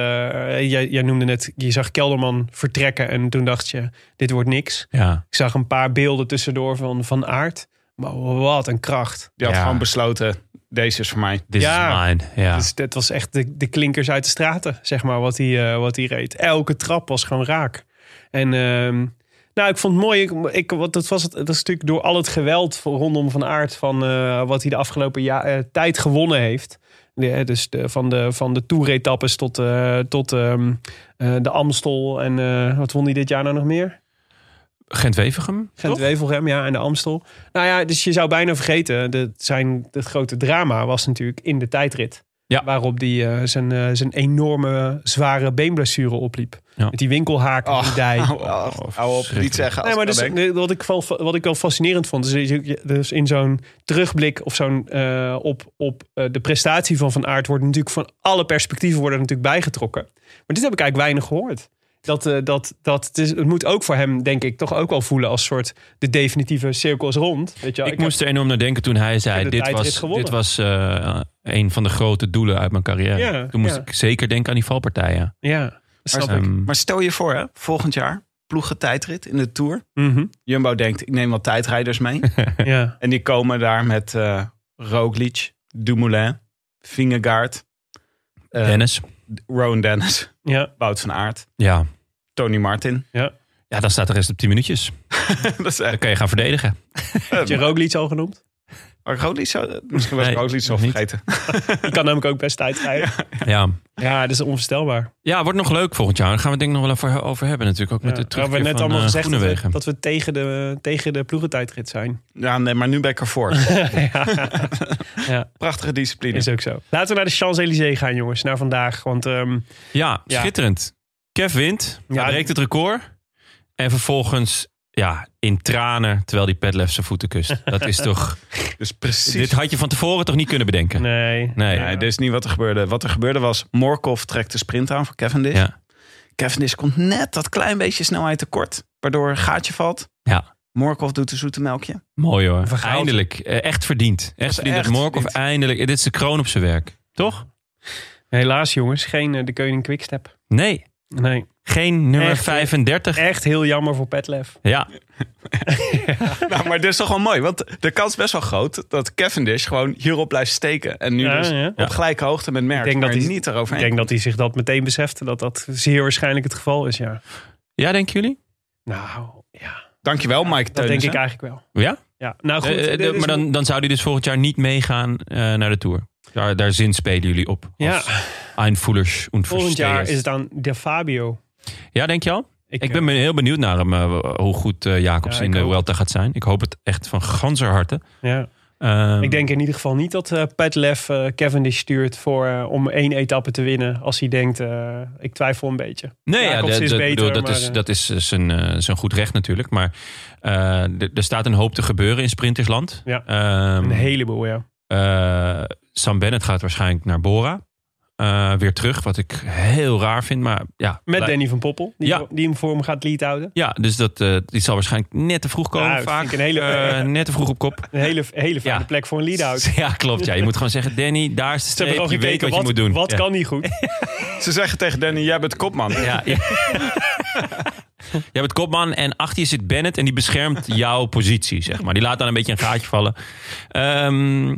jij, jij noemde net. Je zag Kelderman vertrekken. En toen dacht je: dit wordt niks. ja. Ik zag een paar beelden tussendoor van Van Aert. Maar wat een kracht. Die had Ja. gewoon besloten, deze is voor mij. This Ja. is mine. Ja. Dus dat was echt de, de klinkers uit de straten, zeg maar, wat hij, eh, wat hij reed. Elke trap was gewoon raak. En ehm, nou, ik vond het mooi. Ik, ik, wat, dat, was het, dat is natuurlijk door al het geweld voor- rondom Van Aert... van eh, wat hij de afgelopen ja, eh, tijd gewonnen heeft. Ja, dus de, van de, van de toeretappes tot, eh, tot ehm, eh, de Amstel. En eh, wat won hij dit jaar nou nog meer? Gent-Wevergem. toch? Gent-Wevelgem, ja, en de Amstel. Nou ja, dus je zou bijna vergeten, dat zijn, het grote drama was natuurlijk in de tijdrit. Ja. Waarop hij eh, zijn, eh, zijn enorme eh, zware beenblessure opliep. Ja. Oh, Met die winkelhaak en die dij. Hou hou op, niet zeggen. Nee, Als maar ik dus, dat denk. eh, wat, ik wel, wat ik wel fascinerend vond, is dat je- dus in zo'n terugblik of zo'n eh, op, op eh, de prestatie van Van Aert wordt natuurlijk van alle perspectieven worden er natuurlijk bijgetrokken. Maar dit heb ik eigenlijk weinig gehoord. Dat, eh, dat, dat, het, is- het moet ook voor hem, denk ik, toch ook wel voelen als soort de definitieve cirkel is rond. Weet je, wel. ik heb- moest er enorm naar denken toen hij heb zei: de Dit tijdrit was, gewonnen. dit was eh, een van de grote doelen uit mijn carrière. Ja, toen moest ja. ik zeker denken aan die valpartijen. ja, dat snap ik. Ehm, Maar stel je voor, hè, volgend jaar ploegen tijdrit in de Tour. Mhm, Jumbo denkt, ik neem wat tijdrijders mee. ja. en die komen daar met eh Roglic, Dumoulin, Vingegaard, eh, Dennis. Rowan Dennis, Ja, Wout van Aert, Ja. Tony Martin. ja, dan staat de rest op 10 minuutjes. dat is Dan echt... kan je gaan verdedigen. eh, heb je Roglic al genoemd? maar Roglic zou- misschien was Nee, ik Roglic zo nog niet. vergeten. Die kan namelijk ook best tijd rijden. Ja. Ja, dat is onvoorstelbaar. ja, wordt nog leuk volgend jaar. Daar gaan we het denk ik nog wel over, over hebben. Natuurlijk ook met Ja. de We hebben terugkeer net van allemaal eh, gezegd dat we, Groenewegen. dat we tegen de, tegen de ploegentijdrit zijn. Ja, nee, maar nu ben ik ervoor. ja. Prachtige discipline. Is ook zo. Laten we naar de Champs-Élysées gaan, jongens. Naar vandaag. Want ehm, Ja, Ja. schitterend. Kev wint. Ja, hij breekt het record. En vervolgens ja, in tranen terwijl die Petlef zijn voeten kust. Dat is toch... Dus precies. Dit had je van tevoren toch niet kunnen bedenken? nee. dus- Nee. Nee, dit is niet wat er gebeurde. Wat er gebeurde was, Morkov trekt de sprint aan voor Cavendish. Ja. Cavendish komt net dat klein beetje snelheid tekort, waardoor een gaatje valt. Ja. Morkov doet een zoete melkje. Mooi hoor. Vergaald. Eindelijk. Eh, Echt verdiend. Echt verdiend. Dat echt Morkov verdiend. eindelijk... eh, Dit is de kroon op zijn werk. Toch? Helaas, jongens. Geen eh, de Koning Quickstep. Nee. Nee. Geen nummer Echt, eh, 35. Echt heel jammer voor Petlev. Ja. nou, maar dit is toch wel mooi, want de kans is best wel groot dat Cavendish gewoon hierop blijft steken. En nu Ja, dus ja. op gelijke hoogte met Merck, Ik denk dat maar hij- niet Ik eroverheen. denk dat hij zich dat meteen beseft. Dat dat zeer waarschijnlijk het geval is, ja. Ja, denken jullie? Nou, ja. Dankjewel, Mike Dat denk ik Teunissen. eigenlijk wel. Ja? Ja, nou goed. Eh, eh, dit de- is- maar dan, dan zou hij dus volgend jaar niet meegaan eh, naar de Tour. Daar, daar spelen jullie op. Ja. Als Einvoelers en Volgend jaar Verstehers. is het aan De Fabio. Ja, denk je al? Ik ben heel benieuwd naar hem, eh, hoe goed eh, Jacobs Ja, in ik de ook. Welta gaat zijn. Ik hoop het echt van ganser harte. ja. Ehm, Ik denk in ieder geval niet dat eh Petlev eh, Cavendish stuurt voor, eh, om één etappe te winnen. Als hij denkt, eh, ik twijfel een beetje. Nee, ja, Jacobs dat, is dat- beter, bedoel, dat, maar, is, eh. dat is eh, zijn, eh, zijn goed recht natuurlijk. Maar eh, d- er staat een hoop te gebeuren in Sprintersland. Ja. Ehm, Een heleboel, ja. eh, Sam Bennett gaat waarschijnlijk naar Bora. Eh, weer terug, wat ik heel raar vind. Maar ja, Met blij- Danny van Poppel, die, Ja. die hem voor hem gaat lead houden. Ja, dus dat, eh, die zal waarschijnlijk net te vroeg komen. Ja, dat vaak. vind ik een hele- Eh, net te vroeg op kop. Een hele, hele fijne Ja. plek voor een lead out. Ja, klopt. Ja. Je moet gewoon zeggen, Danny, daar is de Ze hebben streep. gewoon Je weet gekeken wat, je wat, moet doen. wat Ja. kan niet goed. Ze zeggen tegen Danny, jij bent kopman. Ja, ja. Jij bent kopman en achter je zit Bennett en die beschermt jouw positie, zeg maar. Die laat dan een beetje een gaatje vallen. Ehm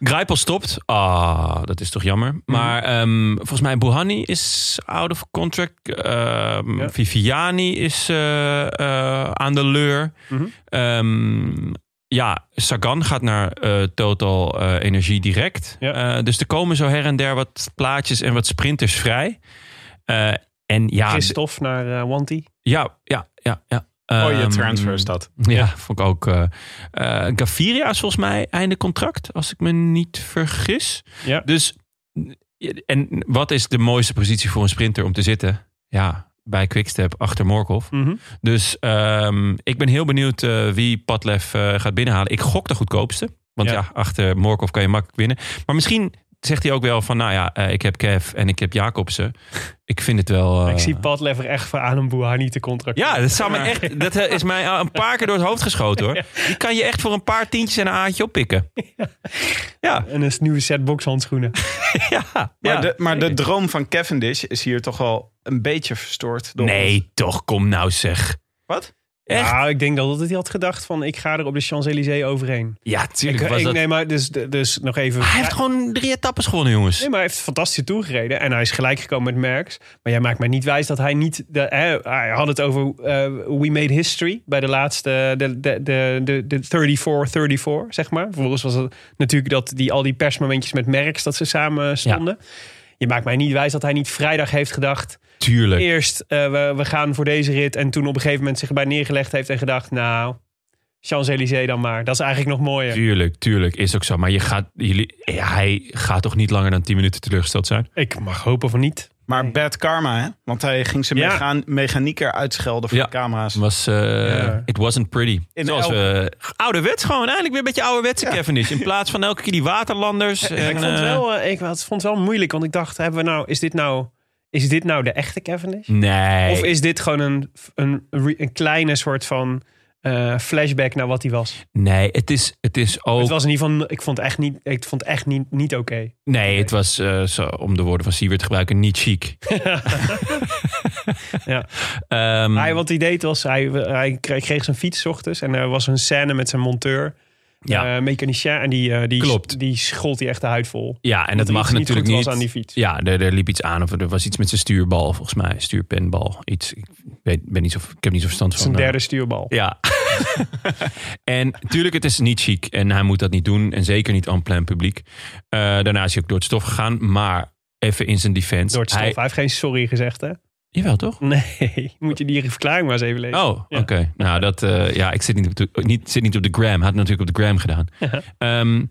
Grijpel stopt. Ah, dat is toch jammer. Mhm. Maar ehm, volgens mij Buhani is out of contract. Ehm, Ja. Viviani is eh, eh, aan de leur. Mhm. Ehm, ja, Sagan gaat naar eh, Total eh, Energie direct. Ja. Eh, dus er komen zo her en der wat plaatjes en wat sprinters vrij. Eh, en ja, d- Christophe naar eh, Wanty. ja, ja, ja. ja. Mooie Oh, Ehm, transfer is dat. Ja, vond ik ook. eh eh, Gaviria is volgens mij einde contract, als ik me niet vergis. Ja. Dus, en wat is de mooiste positie voor een sprinter om te zitten? Ja, bij Quickstep achter Morkov. Mhm. Dus ehm, ik ben heel benieuwd eh, wie Padlef eh, gaat binnenhalen. Ik gok de goedkoopste. Want ja. Ja. achter Morkov kan je makkelijk winnen. Maar misschien zegt hij ook wel van... nou ja, eh, ik heb Kev en ik heb Jacobsen. Ik vind het wel... eh, Ik zie Pat Lever echt voor aan een niet te contracteren. ja, dat, zou me echt, dat eh, is mij al een paar keer door het hoofd geschoten hoor. Die kan je echt voor een paar tientjes en een aantje oppikken. Ja, En een nieuwe set bokshandschoenen. ja. Maar, ja. de, maar de droom van Cavendish is hier toch wel een beetje verstoord. Door ons. Nee, toch, kom nou zeg. Wat? Echt? Nou, ik denk dat hij had gedacht van ik ga er op de Champs-Élysées overheen. Ja, Ik, tuurlijk was ik dat... neem maar dus, dus nog even. Hij heeft gewoon drie etappes gewonnen, jongens. Nee, maar hij heeft fantastisch toegereden. En hij is gelijk gekomen met Merckx. Maar jij maakt mij niet wijs dat hij niet... De, hè, hij had het over eh, We Made History. Bij de laatste... De, de, de, de, de 34-34, zeg maar. Vervolgens was het natuurlijk dat die, al die persmomentjes met Merckx... dat ze samen stonden. Je maakt mij niet wijs dat hij niet vrijdag heeft gedacht... Tuurlijk. Eerst, eh, we, we gaan voor deze rit. En toen op een gegeven moment zich erbij neergelegd heeft en gedacht... Nou, Champs-Élysées dan maar. Dat is eigenlijk nog mooier. Tuurlijk, tuurlijk. Is ook zo. Maar je gaat, jullie, hij gaat toch niet langer dan 10 minuten teleurgesteld zijn? Ik mag hopen van niet. Maar bad karma, hè? Want hij ging zijn Ja. mechaan- mechanieker uitschelden voor Ja. de camera's. Was, eh, Ja. It wasn't pretty. In Zoals elk- we ouderwets gewoon. Eigenlijk weer een beetje ouderwetse Cavendish. In plaats van elke keer die waterlanders. en, ik, vond het eh, wel, eh, ik het vond het wel moeilijk, want ik dacht, hebben we nou, is, dit nou, is dit nou de echte Cavendish? Nee. Of is dit gewoon een, een, re- een kleine soort van eh, flashback naar wat hij was? Nee, het is, het is ook. Het was in ieder geval, ik vond het echt niet, ik vond het echt niet, niet oké. nee, het was, eh, zo, om de woorden van Siewert te gebruiken, niet chic. Ja. Ehm, Hij, wat hij deed was, hij, hij kreeg, kreeg zijn fiets 's ochtends en er was een scène met zijn monteur, ja, eh, mechanicien, en die, eh, die, Klopt. die schold hij echt de huid vol. ja, en dat er mag iets niet natuurlijk goed niet. was aan die fiets. Ja, er, er liep iets aan of er was iets met zijn stuurbal, volgens mij. Stuurpenbal. Iets. Ik, weet, ben niet zo, ik heb niet zo verstand van. Zijn eh, derde stuurbal. Ja. en tuurlijk, het is niet chic. En hij moet dat niet doen. En zeker niet aan plein publiek. Eh, daarna is hij ook door het stof gegaan. Maar even in zijn defense. Door het stof. Hij, Hij heeft geen sorry gezegd, hè? jawel, toch? Nee, moet je die verklaring maar eens even lezen. Oh, Ja. oké. Nou, dat, eh, ja, ik zit niet, op de, niet, zit niet op de gram. Had het natuurlijk op de gram gedaan. Ehm,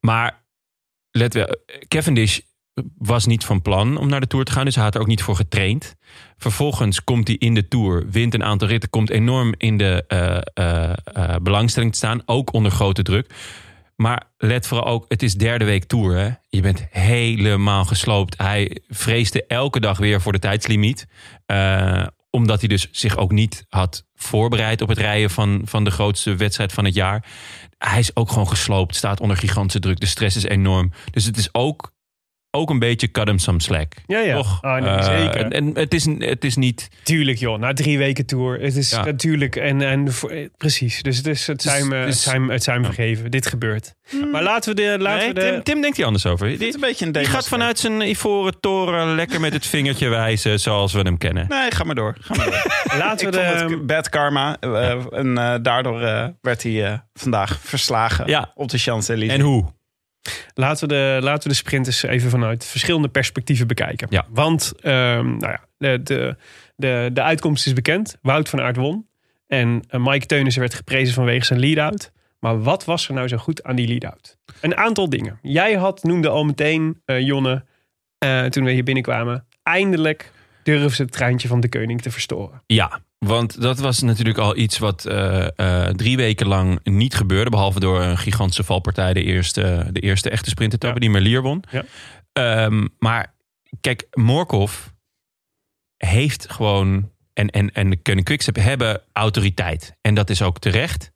maar let wel, Cavendish was niet van plan om naar de Tour te gaan. Dus hij had er ook niet voor getraind. Vervolgens komt hij in de Tour, wint een aantal ritten. Komt enorm in de eh, eh, eh, belangstelling te staan. Ook onder grote druk. Maar let vooral ook, het is derde week Tour. Hè? Je bent helemaal gesloopt. Hij vreesde elke dag weer voor de tijdslimiet. Eh, omdat hij dus zich ook niet had voorbereid op het rijden van, van de grootste wedstrijd van het jaar. Hij is ook gewoon gesloopt, staat onder gigantische druk. De stress is enorm. Dus het is ook, ook een beetje cut him some slack. Ja, ja. Toch? Ah, nee, Eh, zeker. En, en het, is, het is niet... Tuurlijk joh, na drie weken tour. Het is Ja. natuurlijk, en, en voor- eh, precies. Dus het, is, het, Dus- zijn, me- het, dus- zijn, het zijn me vergeven. Dit gebeurt. Maar laten we de... Laten Nee, we de Tim, Tim denkt hier anders over. Dit Die, is een beetje een die gaat demonstratie. vanuit zijn ivoren toren lekker met het vingertje wijzen zoals we hem kennen. Nee, ga maar door. Ga maar door. laten we Ik de vond het bad karma. eh, eh, en eh, daardoor eh, werd hij eh, vandaag verslagen Ja. op de Champs-Élysées. En hoe? Laten we de, laten we de sprinters even vanuit verschillende perspectieven bekijken. Ja. Want ehm, nou ja, de, de, De, de uitkomst is bekend. Wout van Aert won. En eh, Mike Teunissen werd geprezen vanwege zijn lead-out. Maar wat was er nou zo goed aan die lead-out? Een aantal dingen. Jij had, noemde al meteen, eh, Jonne, eh, toen we hier binnenkwamen... eindelijk durven ze het treintje van de koning te verstoren. Ja, want dat was natuurlijk al iets wat eh, eh, drie weken lang niet gebeurde. Behalve door een gigantische valpartij, de eerste, de eerste echte sprintetappe Ja. die Merlier won. Ja. Ehm, maar kijk, Morkov heeft gewoon, en, en, en de Koning Quickstep hebben autoriteit. En dat is ook terecht.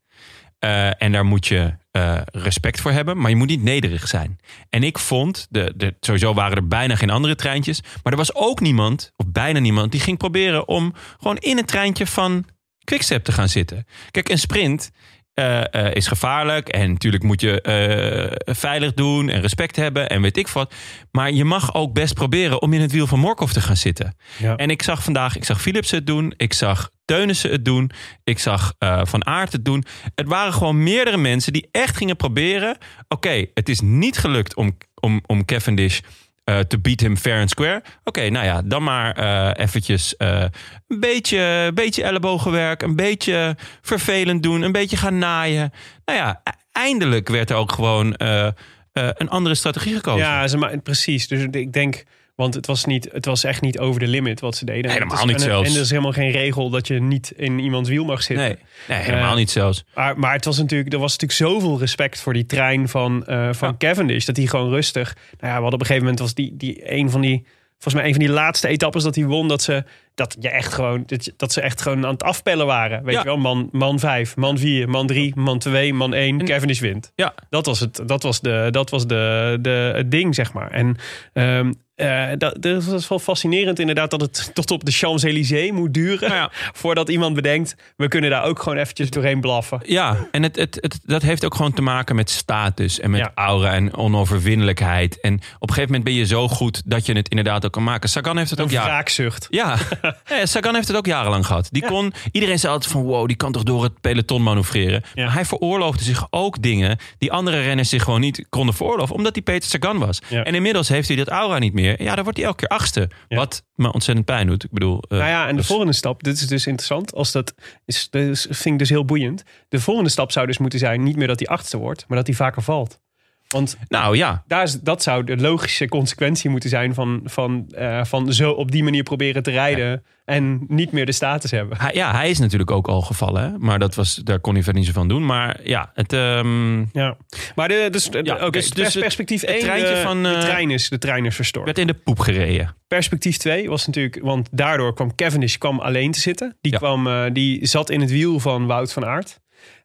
Eh, en daar moet je eh, respect voor hebben, maar je moet niet nederig zijn. En ik vond, de, de, sowieso waren er bijna geen andere treintjes, maar er was ook niemand, of bijna niemand, die ging proberen om gewoon in het treintje van Quickstep te gaan zitten. Kijk, een sprint eh, eh, is gevaarlijk en natuurlijk moet je eh, veilig doen en respect hebben en weet ik wat. Maar je mag ook best proberen om in het wiel van Morkov te gaan zitten. Ja. En ik zag vandaag, ik zag Philips het doen. Ik zag Teunissen het doen. Ik zag eh, Van Aert het doen. Het waren gewoon meerdere mensen die echt gingen proberen. Oké, het is niet gelukt om, om, om Cavendish eh, te beat him fair and square. Oké, nou ja, dan maar eh, eventjes eh, een beetje, beetje ellebogenwerk. Een beetje vervelend doen. Een beetje gaan naaien. Nou ja, e- eindelijk werd er ook gewoon eh, eh, een andere strategie gekozen. Ja, ze ma- precies. Dus ik denk, want het was, niet, het was echt niet over de limit wat ze deden. Helemaal Het is- niet en, zelfs. En er is helemaal geen regel dat je niet in iemands wiel mag zitten. Nee, nee, helemaal Eh, niet zelfs. Maar, maar het was natuurlijk, er was natuurlijk zoveel respect voor die trein van, eh, van Cavendish. Dat hij gewoon rustig. Nou ja, we hadden op een gegeven moment was die, die een van die. Volgens mij een van die laatste etappes dat hij won. Dat ze, dat je echt, gewoon, dat, je- dat ze echt gewoon aan het afpellen waren. Weet Ja. je wel, man, man 5, man 4, man 3, man 2, man 1. En- Cavendish wint. Ja. Dat was, het, dat was, de, dat was de, de, het ding, zeg maar. En ehm, eh, dat, dat is wel fascinerend inderdaad dat het tot op de Champs-Élysées moet duren. Nou ja. Voordat iemand bedenkt, we kunnen daar ook gewoon eventjes doorheen blaffen. Ja, en het, het, het, dat heeft ook gewoon te maken met status en met Ja. aura en onoverwinnelijkheid. En op een gegeven moment ben je zo goed dat je het inderdaad ook kan maken. Sagan heeft het ook Een jaren. wraakzucht. Ja, Nee, Sagan heeft het ook jarenlang gehad. Die kon, iedereen zei altijd van wow, die kan toch door het peloton manoeuvreren. Ja. Maar hij veroorloofde zich ook dingen die andere renners zich gewoon niet konden veroorloven. Omdat hij Peter Sagan was. Ja. En inmiddels heeft hij dat aura niet meer. Ja, dan wordt hij elke keer achtste. Ja. Wat me ontzettend pijn doet. Ik bedoel, eh, Nou ja, en de dus- volgende stap, dit is dus interessant, als dat is, dus, vind ik dus heel boeiend. De volgende stap zou dus moeten zijn, niet meer dat hij achtste wordt, maar dat hij vaker valt. Want nou ja, daar is, dat zou de logische consequentie moeten zijn van, van, eh, van zo op die manier proberen te rijden en niet meer de status hebben. Hij- ja, hij is natuurlijk ook al gevallen. Hè? Maar dat was, daar kon hij verder niet zo van doen. Maar ja, het, ehm, Ja, maar de, dus, de- Ja, oké, dus- pers- dus het- perspectief het 1, treintje de, van, eh, de, trein is, de trein is verstoord. werd in de poep gereden. Perspectief 2 was natuurlijk, want daardoor kwam Cavendish kwam alleen te zitten. Die, Ja. kwam, eh, die zat in het wiel van Wout van Aert.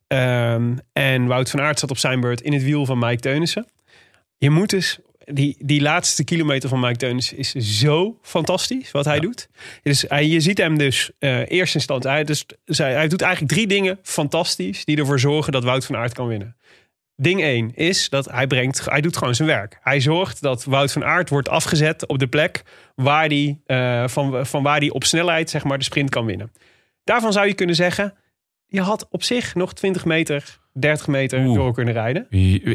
Ehm, en Wout van Aert zat op zijn beurt in het wiel van Mike Teunissen. Je moet dus, die, die laatste kilometer van Mike Teunissen is zo fantastisch wat hij doet. Dus hij, je ziet hem dus eh eerst instantie, hij, dus, zij- hij doet eigenlijk drie dingen fantastisch die ervoor zorgen dat Wout van Aert kan winnen. Ding 1 is dat hij brengt, hij doet gewoon zijn werk. Hij zorgt dat Wout van Aert wordt afgezet op de plek waar die, eh, van, van waar hij op snelheid zeg maar, de sprint kan winnen. Daarvan zou je kunnen zeggen, je had op zich nog 20 meter, 30 meter Oeh. door kunnen rijden.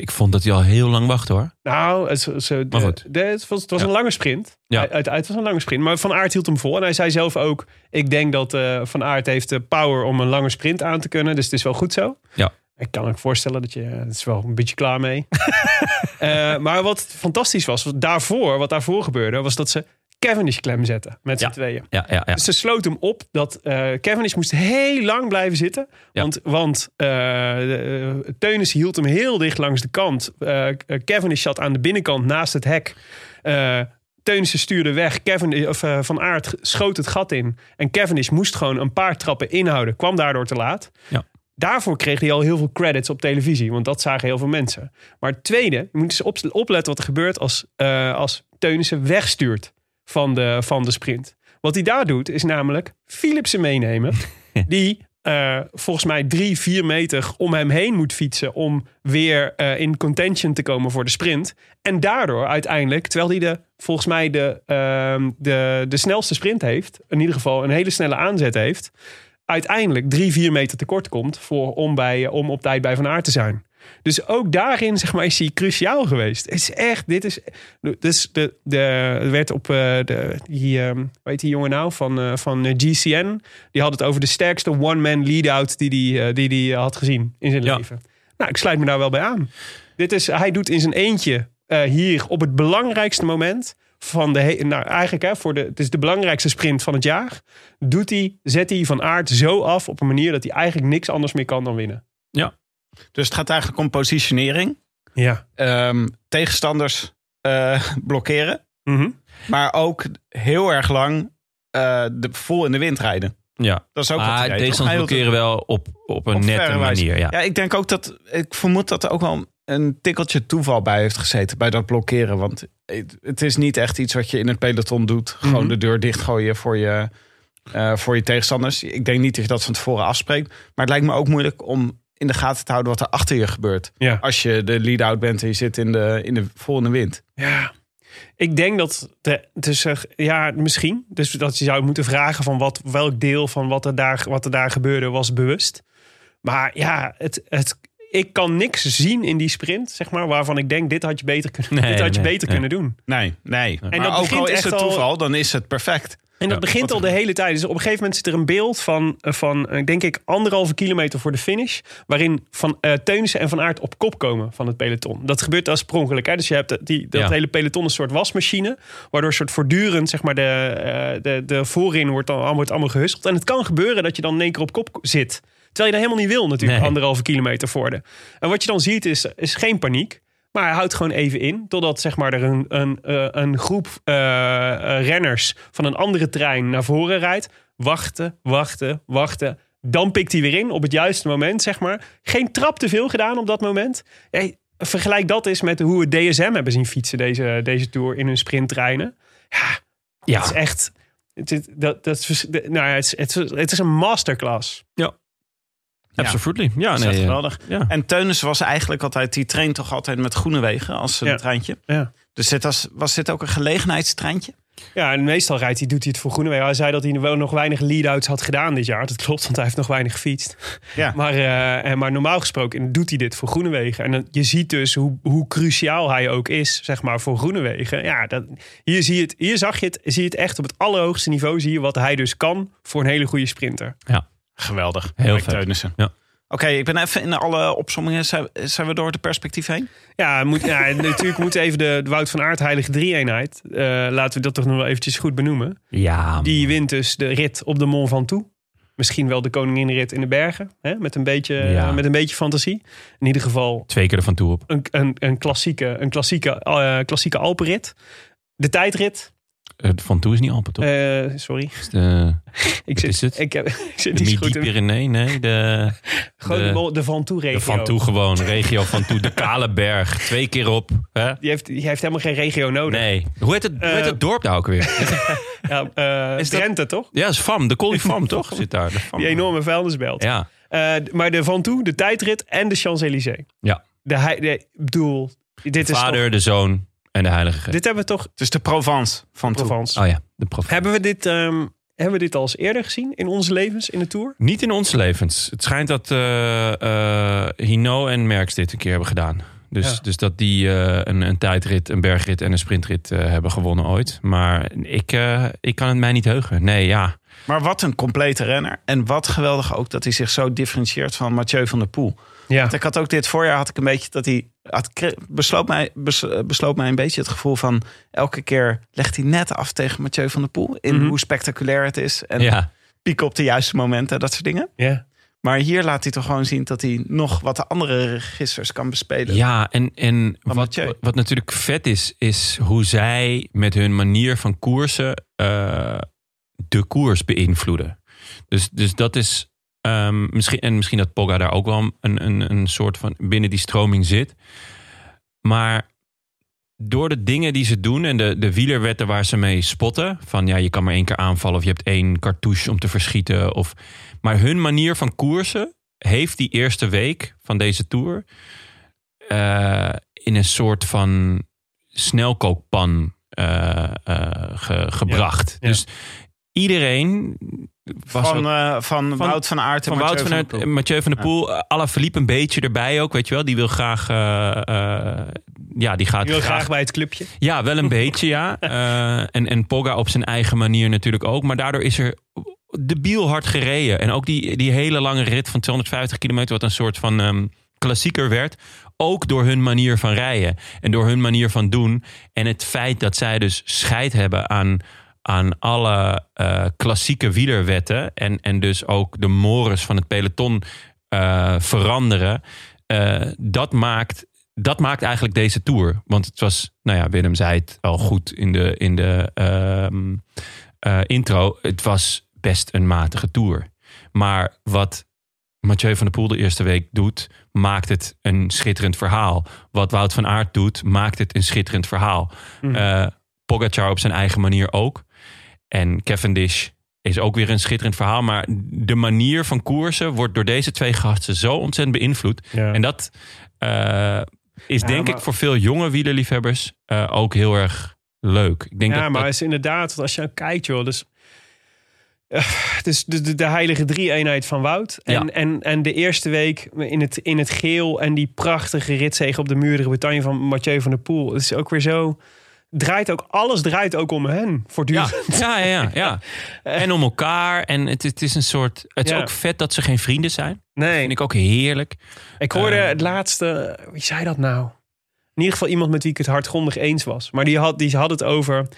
Ik vond dat hij al heel lang wachtte hoor. Nou, het, het- het- Maar goed. de- het was, het was Ja. een lange sprint. Ja. Uit, uit- het was een lange sprint, maar Van Aert hield hem vol. En hij zei zelf ook, ik denk dat eh, Van Aert heeft de power om een lange sprint aan te kunnen. Dus het is wel goed zo. Ja. Ik kan me ook voorstellen dat je eh, het is wel een beetje klaar mee. Eh, maar wat fantastisch was, wat daarvoor, wat daarvoor gebeurde, was dat ze Cavendish klem zetten met z'n Ja. tweeën. Ja, ja, ja. Dus ze sloot hem op dat eh Cavendish moest heel lang blijven zitten. Ja. Want, want eh de- eh, Teunis hield hem heel dicht langs de kant. Eh Cavendish zat aan de binnenkant naast het hek. Eh Teunissen stuurde weg. Kevin, of, eh, van Aert schoot het gat in. En Cavendish moest gewoon een paar trappen inhouden. Kwam daardoor te laat. Ja. Daarvoor kreeg hij al heel veel credits op televisie. Want dat zagen heel veel mensen. Maar het tweede, je moet eens op- opletten wat er gebeurt als, eh als Teunissen wegstuurt van de, van de sprint. Wat hij daar doet, is namelijk Philipsen meenemen. die eh, volgens mij drie, vier meter om hem heen moet fietsen. om weer eh, in contention te komen voor de sprint. En daardoor uiteindelijk, terwijl hij de, volgens mij de, ehm, de, de snelste sprint heeft. in ieder geval een hele snelle aanzet heeft. uiteindelijk drie, vier meter tekort komt voor, om, bij, eh, om op tijd bij Van Aert te zijn. Dus ook daarin zeg maar, is hij cruciaal geweest. Het is echt, dit is. Dus de, de, er werd op. eh, de, die, ehm, hoe heet die jongen nou? Van, eh, van eh, GCN. Die had het over de sterkste one-man lead-out die, die hij die, die had gezien in zijn Ja. leven. Nou, ik sluit me daar wel bij aan. Dit is, hij doet in zijn eentje eh, hier op het belangrijkste moment. Van de he- nou, eigenlijk, hè, voor de, het is de belangrijkste sprint van het jaar. Doet hij, zet hij van aard zo af op een manier dat hij eigenlijk niks anders meer kan dan winnen. Dus het gaat eigenlijk om positionering. Ja. Ehm, tegenstanders eh, blokkeren. Mhm. Maar ook heel erg lang eh, de, vol in de wind rijden. Ja. Dat is ook wat hij Maar deed, deze toch? Hij hield het- blokkeren wel op, op een Op nette verre wijze. manier. Ja. Ja, ik denk ook dat. Ik vermoed dat er ook wel een tikkeltje toeval bij heeft gezeten. Bij dat blokkeren. Want het, het is niet echt iets wat je in het peloton doet. Gewoon Mhm. de deur dichtgooien voor je, eh, voor je tegenstanders. Ik denk niet dat je dat van tevoren afspreekt. Maar het lijkt me ook moeilijk om in de gaten te houden wat er achter je gebeurt. Ja. Als je de lead-out bent en je zit in de, in de volgende wind. Ja. Ik denk dat, de, dus, eh, ja, misschien. Dus dat je zou moeten vragen van wat, welk deel van wat er daar, wat er daar gebeurde was bewust. Maar ja, het, het, ik kan niks zien in die sprint, zeg maar, waarvan ik denk, dit had je beter, kunnen, Nee, dit had je nee, beter nee. kunnen doen. Nee, nee. En dat maar ook begint al is echt het al- toeval, dan is het perfect. En dat Ja, begint wat- al de hele tijd. Dus op een gegeven moment zit er een beeld van, eh, van eh, denk ik, anderhalve kilometer voor de finish. Waarin van eh, Teunissen en Van Aert op kop komen van het peloton. Dat gebeurt als per ongeluk. Hè? Dus je hebt die, dat Ja. hele peloton een soort wasmachine. Waardoor soort voortdurend, zeg maar, de, eh, de, de voorin wordt, dan, wordt allemaal gehusteld. En het kan gebeuren dat je dan in één keer op kop zit. Terwijl je dat helemaal niet wil natuurlijk, Nee. anderhalve kilometer voor de. En wat je dan ziet is, is geen paniek. Maar hij houdt gewoon even in. Totdat zeg maar, er een, een, eh, een groep eh, eh, renners van een andere trein naar voren rijdt. Wachten, wachten, wachten. Dan pikt hij weer in op het juiste moment. Zeg maar. Geen trap te veel gedaan op dat moment. Hey, vergelijk dat eens met hoe we DSM hebben zien fietsen deze, deze tour in hun sprinttreinen. Ja, Ja. het is echt. Het, is- dat, dat, is vers- de- nou, ja, het, is- het, is- het is een masterclass. Absolutely. Ja, Dat is echt nee, eh, geweldig. ja. En Teunissen was eigenlijk altijd, die traint toch altijd met groene wegen als een Ja. treintje. Ja. Dus dit was, was dit ook een gelegenheidstreintje? Ja, en meestal rijdt hij, doet hij het voor Groenewegen. Hij zei dat hij wel nog weinig lead-outs had gedaan dit jaar. Dat klopt, want hij heeft nog weinig gefietst. Ja. Maar, eh, en- maar normaal gesproken doet hij dit voor Groenewegen. En dan, je ziet dus hoe, hoe cruciaal hij ook is, zeg maar, voor Groenewegen. Ja, dat, hier, zie je het, hier zag je het, zie je het echt op het allerhoogste niveau. Zie je wat hij dus kan voor een hele goede sprinter. Geweldig. Heel Mike vet. Teunissen. Ja. Oké, ik ben even in alle opzommingen. Zijn, zijn we door het perspectief heen? Ja, moet, ja en natuurlijk moet even de, de Wout van Aert heilige drie-eenheid. eh, laten we dat toch nog wel eventjes goed benoemen. ja, Die wint dus de rit op de Mont Ventoux. Misschien wel de koninginrit in de bergen. Hè? Met, een beetje, Ja. eh, met een beetje fantasie. In ieder geval twee keer ervan toe op. een, een, een klassieke, een klassieke, eh, klassieke Alpenrit. De tijdrit. Eh, Van toe is niet Alpen, toch? eh, sorry. Is de, Ik wat is het? Ik, heb, ik zit de niet zo goed in. Midi-Pyrenee? Nee, de, Gewoon de, de- Mol- de Van de Toe-regio. Van toe gewoon. Regio Van toe, de Kale Berg. Twee keer op. Hè? Die heeft, die heeft helemaal geen regio nodig. Nee. Hoe heet, het, hoe heet het dorp nou ook weer? Ja, eh, Is dat- Drenthe, toch? Ja, is Fam. De Colifam, toch? Zit daar. de Fam. Die enorme vuilnisbelt. Ja. Eh, d- maar de Van Toe, de tijdrit en de Champs-Élysées. Ja. De, hei- de, ik bedoel, dit, is Vader, toch, de Zoon en de Heilige Geest. dit hebben we toch Dus de Provence van toe. Provence. Oh ja, de prof. Hebben we dit, ehm, hebben we dit al eens eerder gezien in onze levens in de Tour? Niet in ons levens. Het schijnt dat eh, eh, Hino en Merckx dit een keer hebben gedaan. Dus, Ja. dus dat die eh, een, een tijdrit, een bergrit en een sprintrit eh, hebben gewonnen ooit. Maar ik, eh, ik kan het mij niet heugen. Nee, ja. Maar wat een complete renner. En wat geweldig ook dat hij zich zo differentieert van Mathieu van der Poel. Ja. Want ik had ook dit voorjaar had ik een beetje dat hij... Had, kre- besloot, mij, bes- eh, besloot mij een beetje het gevoel van... elke keer legt hij net af tegen Mathieu van der Poel... in Mhm. hoe spectaculair het is. En ja. pieken op de juiste momenten, dat soort dingen. ja. Maar hier laat hij toch gewoon zien dat hij nog wat de andere registers kan bespelen. Ja, en, en Van wat, Mathieu. wat natuurlijk vet is, is hoe zij met hun manier van koersen eh, de koers beïnvloeden. Dus, dus dat is ehm, misschien, en misschien dat Pogga daar ook wel een, een, een soort van binnen die stroming zit. Maar door de dingen die ze doen en de, de wielerwetten waar ze mee spotten, van ja, je kan maar één keer aanvallen of je hebt één cartouche om te verschieten. Of, maar hun manier van koersen heeft die eerste week van deze tour eh, in een soort van snelkookpan eh, eh, ge- gebracht. ja. Dus iedereen was ook- Van, eh, van, Wout van Aert en van Wout Mathieu van Aert, der Poel. Mathieu van der Ja. Poel, eh, Alain Philippe een beetje erbij ook, weet je wel. Die wil graag, eh, eh, ja, die gaat Je wil graag, graag bij het clubje. Ja, wel een beetje, ja. Eh, en, en Pogga op zijn eigen manier natuurlijk ook. Maar daardoor is er debiel hard gereden. En ook die, die hele lange rit van 250 kilometer, wat een soort van ehm, klassieker werd. Ook door hun manier van rijden en door hun manier van doen. En het feit dat zij dus scheid hebben aan, aan alle eh, klassieke wielerwetten. En, en dus ook de mores van het peloton eh, veranderen. eh, dat, maakt, dat maakt eigenlijk deze tour. Want het was, nou ja, Willem zei het al goed in de, in de ehm, eh, intro. Het was best een matige tour. Maar wat Mathieu van der Poel de eerste week doet, maakt het een schitterend verhaal. Wat Wout van Aert doet, maakt het een schitterend verhaal. Eh, Pogacar op zijn eigen manier ook. En Cavendish is ook weer een schitterend verhaal. Maar de manier van koersen wordt door deze twee gasten zo ontzettend beïnvloed. Ja. En dat eh, is denk ik voor veel jonge wielerliefhebbers eh, ook heel erg leuk. Ik denk ja, dat, maar dat- het is inderdaad, want als je nou kijkt, joh, dus. Eh, Het is de, de, de heilige drie-eenheid van Wout. En, Ja. en, en de eerste week in het, in het geel en die prachtige ritzege op de muur de Bretagne van Mathieu van der Poel. Het is ook weer zo. Draait ook, alles draait ook om hen ja, voortdurend. ja, ja, ja, ja. En om elkaar. En het, het is een soort. Het is Ja. ook vet dat ze geen vrienden zijn. Nee, Vind ik ook heerlijk. Ik hoorde Eh. het laatste. Wie zei dat nou? In ieder geval iemand met wie ik het hardgrondig eens was. Maar die had, die had het over.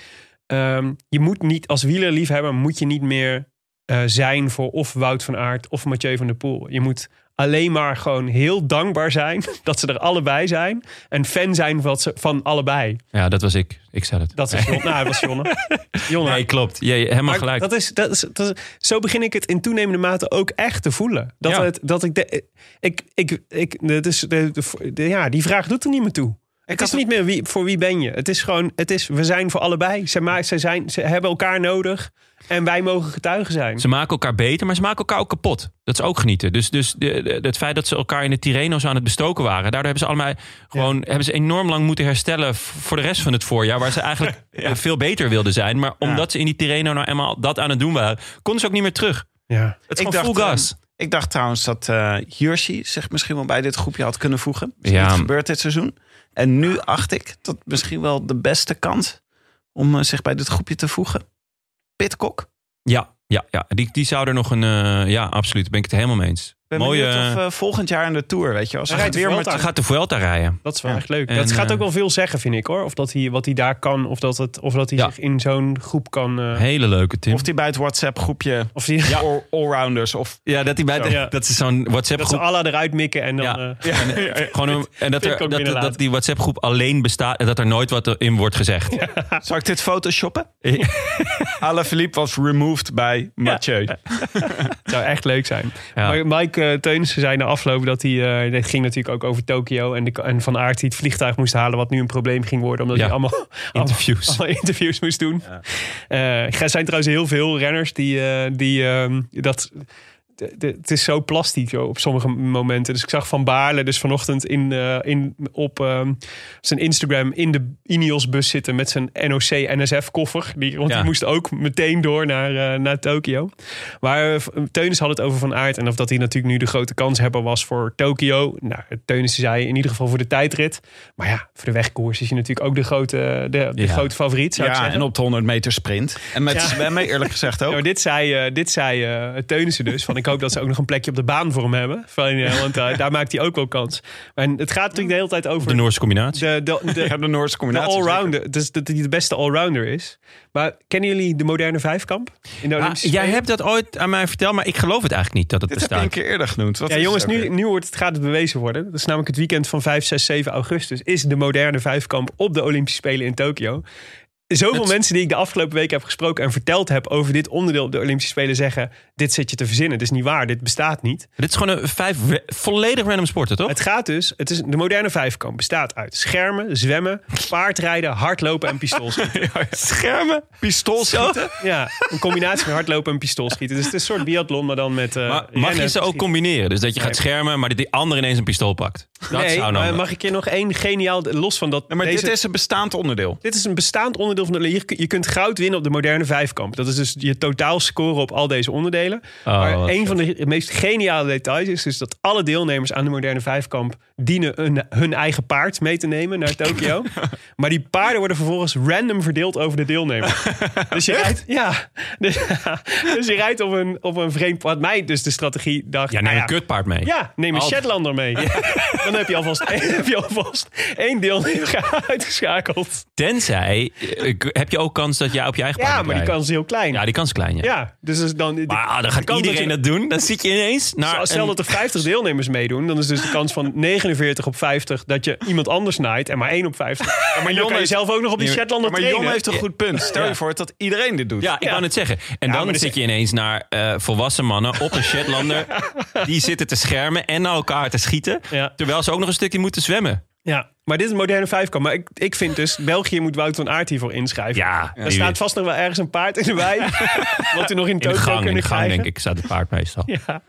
ehm, je moet niet als wielerliefhebber moet je niet meer eh, zijn voor of Wout van Aert of Mathieu van der Poel. Je moet alleen maar gewoon heel dankbaar zijn dat ze er allebei zijn. En fan zijn van, ze, van allebei. Ja, dat was ik. Ik zei het. Dat is Jonne. Nou, dat was Jonne. Jonne. Nee, klopt. Je, je- helemaal Maar gelijk. Dat is, dat is, dat is- zo begin ik het in toenemende mate ook echt te voelen. Dat, Ja. het, dat ik, de, ik, ik, ik dat is, de, de- de- ja, die vraag doet er niet meer toe. Het is niet meer wie, voor wie ben je. Het is gewoon, het is, we zijn voor allebei. Ze, ma- ze, zijn, ze hebben elkaar nodig en wij mogen getuigen zijn. Ze maken elkaar beter, maar ze maken elkaar ook kapot. Dat is ook genieten. Dus, dus de, de- het feit dat ze elkaar in de Tirreno's aan het bestoken waren, daardoor hebben ze allemaal gewoon hebben ze enorm lang moeten herstellen v- voor de rest van het voorjaar, waar ze eigenlijk eh, veel beter wilden zijn. Maar omdat ze in die Tirreno nou eenmaal dat aan het doen waren, konden ze ook niet meer terug. Ja. Het is Ik gewoon full dacht, gas. Ik dacht trouwens dat eh Hirschi zich misschien wel bij dit groepje had kunnen voegen. Is Ja. niet gebeurd dit seizoen. En nu acht ik dat misschien wel de beste kans om eh, zich bij dit groepje te voegen. Pitcock. Ja, ja, ja. Die, die zou er nog een. eh, ja, absoluut. Ben ik het helemaal mee eens. Ik ben Mooie. benieuwd of eh, volgend jaar in de Tour, weet je. Als Hij rijdt het weer de met Vuelta. Hij gaat de Vuelta rijden. Dat is wel Ja. echt leuk. En, dat gaat eh, ook wel veel zeggen, vind ik hoor. Of dat hij, wat hij daar kan, of dat, het, of dat hij Ja. zich in zo'n groep kan. eh, Hele leuke Tim. Of die bij het WhatsApp groepje of die, all- allrounders of ja, dat, hij bij de- Ja. dat ze zo'n WhatsApp dat ze groep. Allah eruit mikken en dan. Ja. eh, Gewoon een- en dat, Dit er, kan dat, ik binnenlaten. dat die WhatsApp groep alleen bestaat en dat er nooit wat in wordt gezegd. Eh, Zal ik dit photoshoppen? Alain Philippe was removed bij Mathieu. zou echt leuk zijn. Ja. Maar Mike eh, Teunissen zei na afloop dat hij... eh, het ging natuurlijk ook over Tokio. En, de, en Van Aert die het vliegtuig moest halen... wat nu een probleem ging worden. Omdat Ja. hij allemaal, allemaal, Interviews. allemaal interviews moest doen. Eh, er zijn trouwens heel veel renners die... eh, die ehm, dat, de- de- het is zo plastiek joh, op sommige momenten. Dus ik zag Van Baarle dus vanochtend in, eh, in, op ehm, zijn Instagram... in de Ineos-bus zitten met zijn NOC-NSF-koffer. Die, want Ja. die moest ook meteen door naar, eh, naar Tokio. Maar eh, Teunis had het over Van Aert. En of dat hij natuurlijk nu de grote kanshebber was voor Tokio. Nou, Teunis zei in ieder geval voor de tijdrit. Maar ja, voor de wegkoers is hij natuurlijk ook de grote, de, de Ja. grote favoriet, zou ik Ja, zeggen. en op de 100 meter sprint. En met Ja. zwemmen, eerlijk gezegd ook. Nou, dit zei, eh, dit zei eh, Teunissen dus. Van ik hoop dat ze ook nog een plekje op de baan voor hem hebben. Van, eh, want eh, daar maakt hij ook wel kans. En het gaat natuurlijk de hele tijd over De Noorse combinatie. de, de, de, Ja, de Noorse de combinatie. allrounder. Dus dat hij de beste allrounder is. Maar kennen jullie de moderne vijfkamp? In de Ah, Olympische jij Spelen? hebt dat ooit aan mij verteld, maar ik geloof het eigenlijk niet dat het Dit heb ik bestaat. een keer eerder genoemd. Wat Ja, is jongens, het ook nu, weer? nu wordt het, gaat het bewezen worden. Dat is namelijk het weekend van 5, 6, 7 augustus. Is de moderne vijfkamp op de Olympische Spelen in Tokio. Zoveel mensen die ik de afgelopen weken heb gesproken en verteld heb over dit onderdeel op de Olympische Spelen zeggen: Dit zit je te verzinnen. Dit is niet waar. Dit bestaat niet. Dit is gewoon een vijf ra- volledig random sporten, toch? Het gaat dus, het is, de moderne vijfkamp bestaat uit schermen, zwemmen, paardrijden, hardlopen en pistoolschieten. Schermen, pistool schieten. Ja, een combinatie van hardlopen en pistoolschieten. Dus het is een soort biathlon, maar dan met. eh, Maar mag je rennen, ze ook schieten. combineren? Dus dat je gaat schermen, maar dat die ander ineens een pistool pakt. Dat nee, zou nou maar mag ik je nog één geniaal... Los van dat... Ja, maar deze- dit is een bestaand onderdeel. Dit is een bestaand onderdeel van de. Je, je kunt goud winnen op de moderne vijfkamp. Dat is dus je totaalscore op al deze onderdelen. Oh, maar wat een vet. van de meest geniale details is dus dat alle deelnemers aan de moderne vijfkamp dienen een, hun eigen paard mee te nemen naar Tokio. maar die paarden worden vervolgens random verdeeld over de deelnemers. dus je rijdt, ja, dus, dus je rijdt op een, op een vreemd. Wat mij dus de strategie dacht. Ja, neem nou een kutpaard mee. ja, neem een Al- Shetlander mee. Dan heb je alvast, heb je alvast één deelnemer uitgeschakeld. Tenzij, eh, ik- heb je ook kans dat jij op je eigen Ja, paard maar die kans is heel klein. Ja, Ja, die kans is klein, ja. dus is dan... die- Maar ah, dan de gaat kans iedereen dat, dat doen. Dan zit je ineens je- naar Stel een- dat er 50 deelnemers meedoen, dan is dus de kans van 49 op 50 dat je iemand anders naait en maar 1 op 50. maar Jon Jon kan je heeft- zelf ook nog op die Shetlander maar trainen. Jon heeft een goed punt. Stel je voor dat iedereen dit doet. Ja, ik wou net zeggen. En dan maar dat zit je ineens naar eh, volwassen mannen op een Shetlander. die zitten te schermen en naar elkaar te schieten. Ja. Terwijl ze ook nog een stukje moeten zwemmen. Ja, maar dit is een moderne vijfkamp. Maar ik, ik vind dus, België moet Wout van Aert hiervoor inschrijven. Ja, Er staat vast nog wel ergens een paard in de wei. wat we nog in in de Tokio gang, in kunnen de gang krijgen. denk ik, staat het paard meestal. Ja.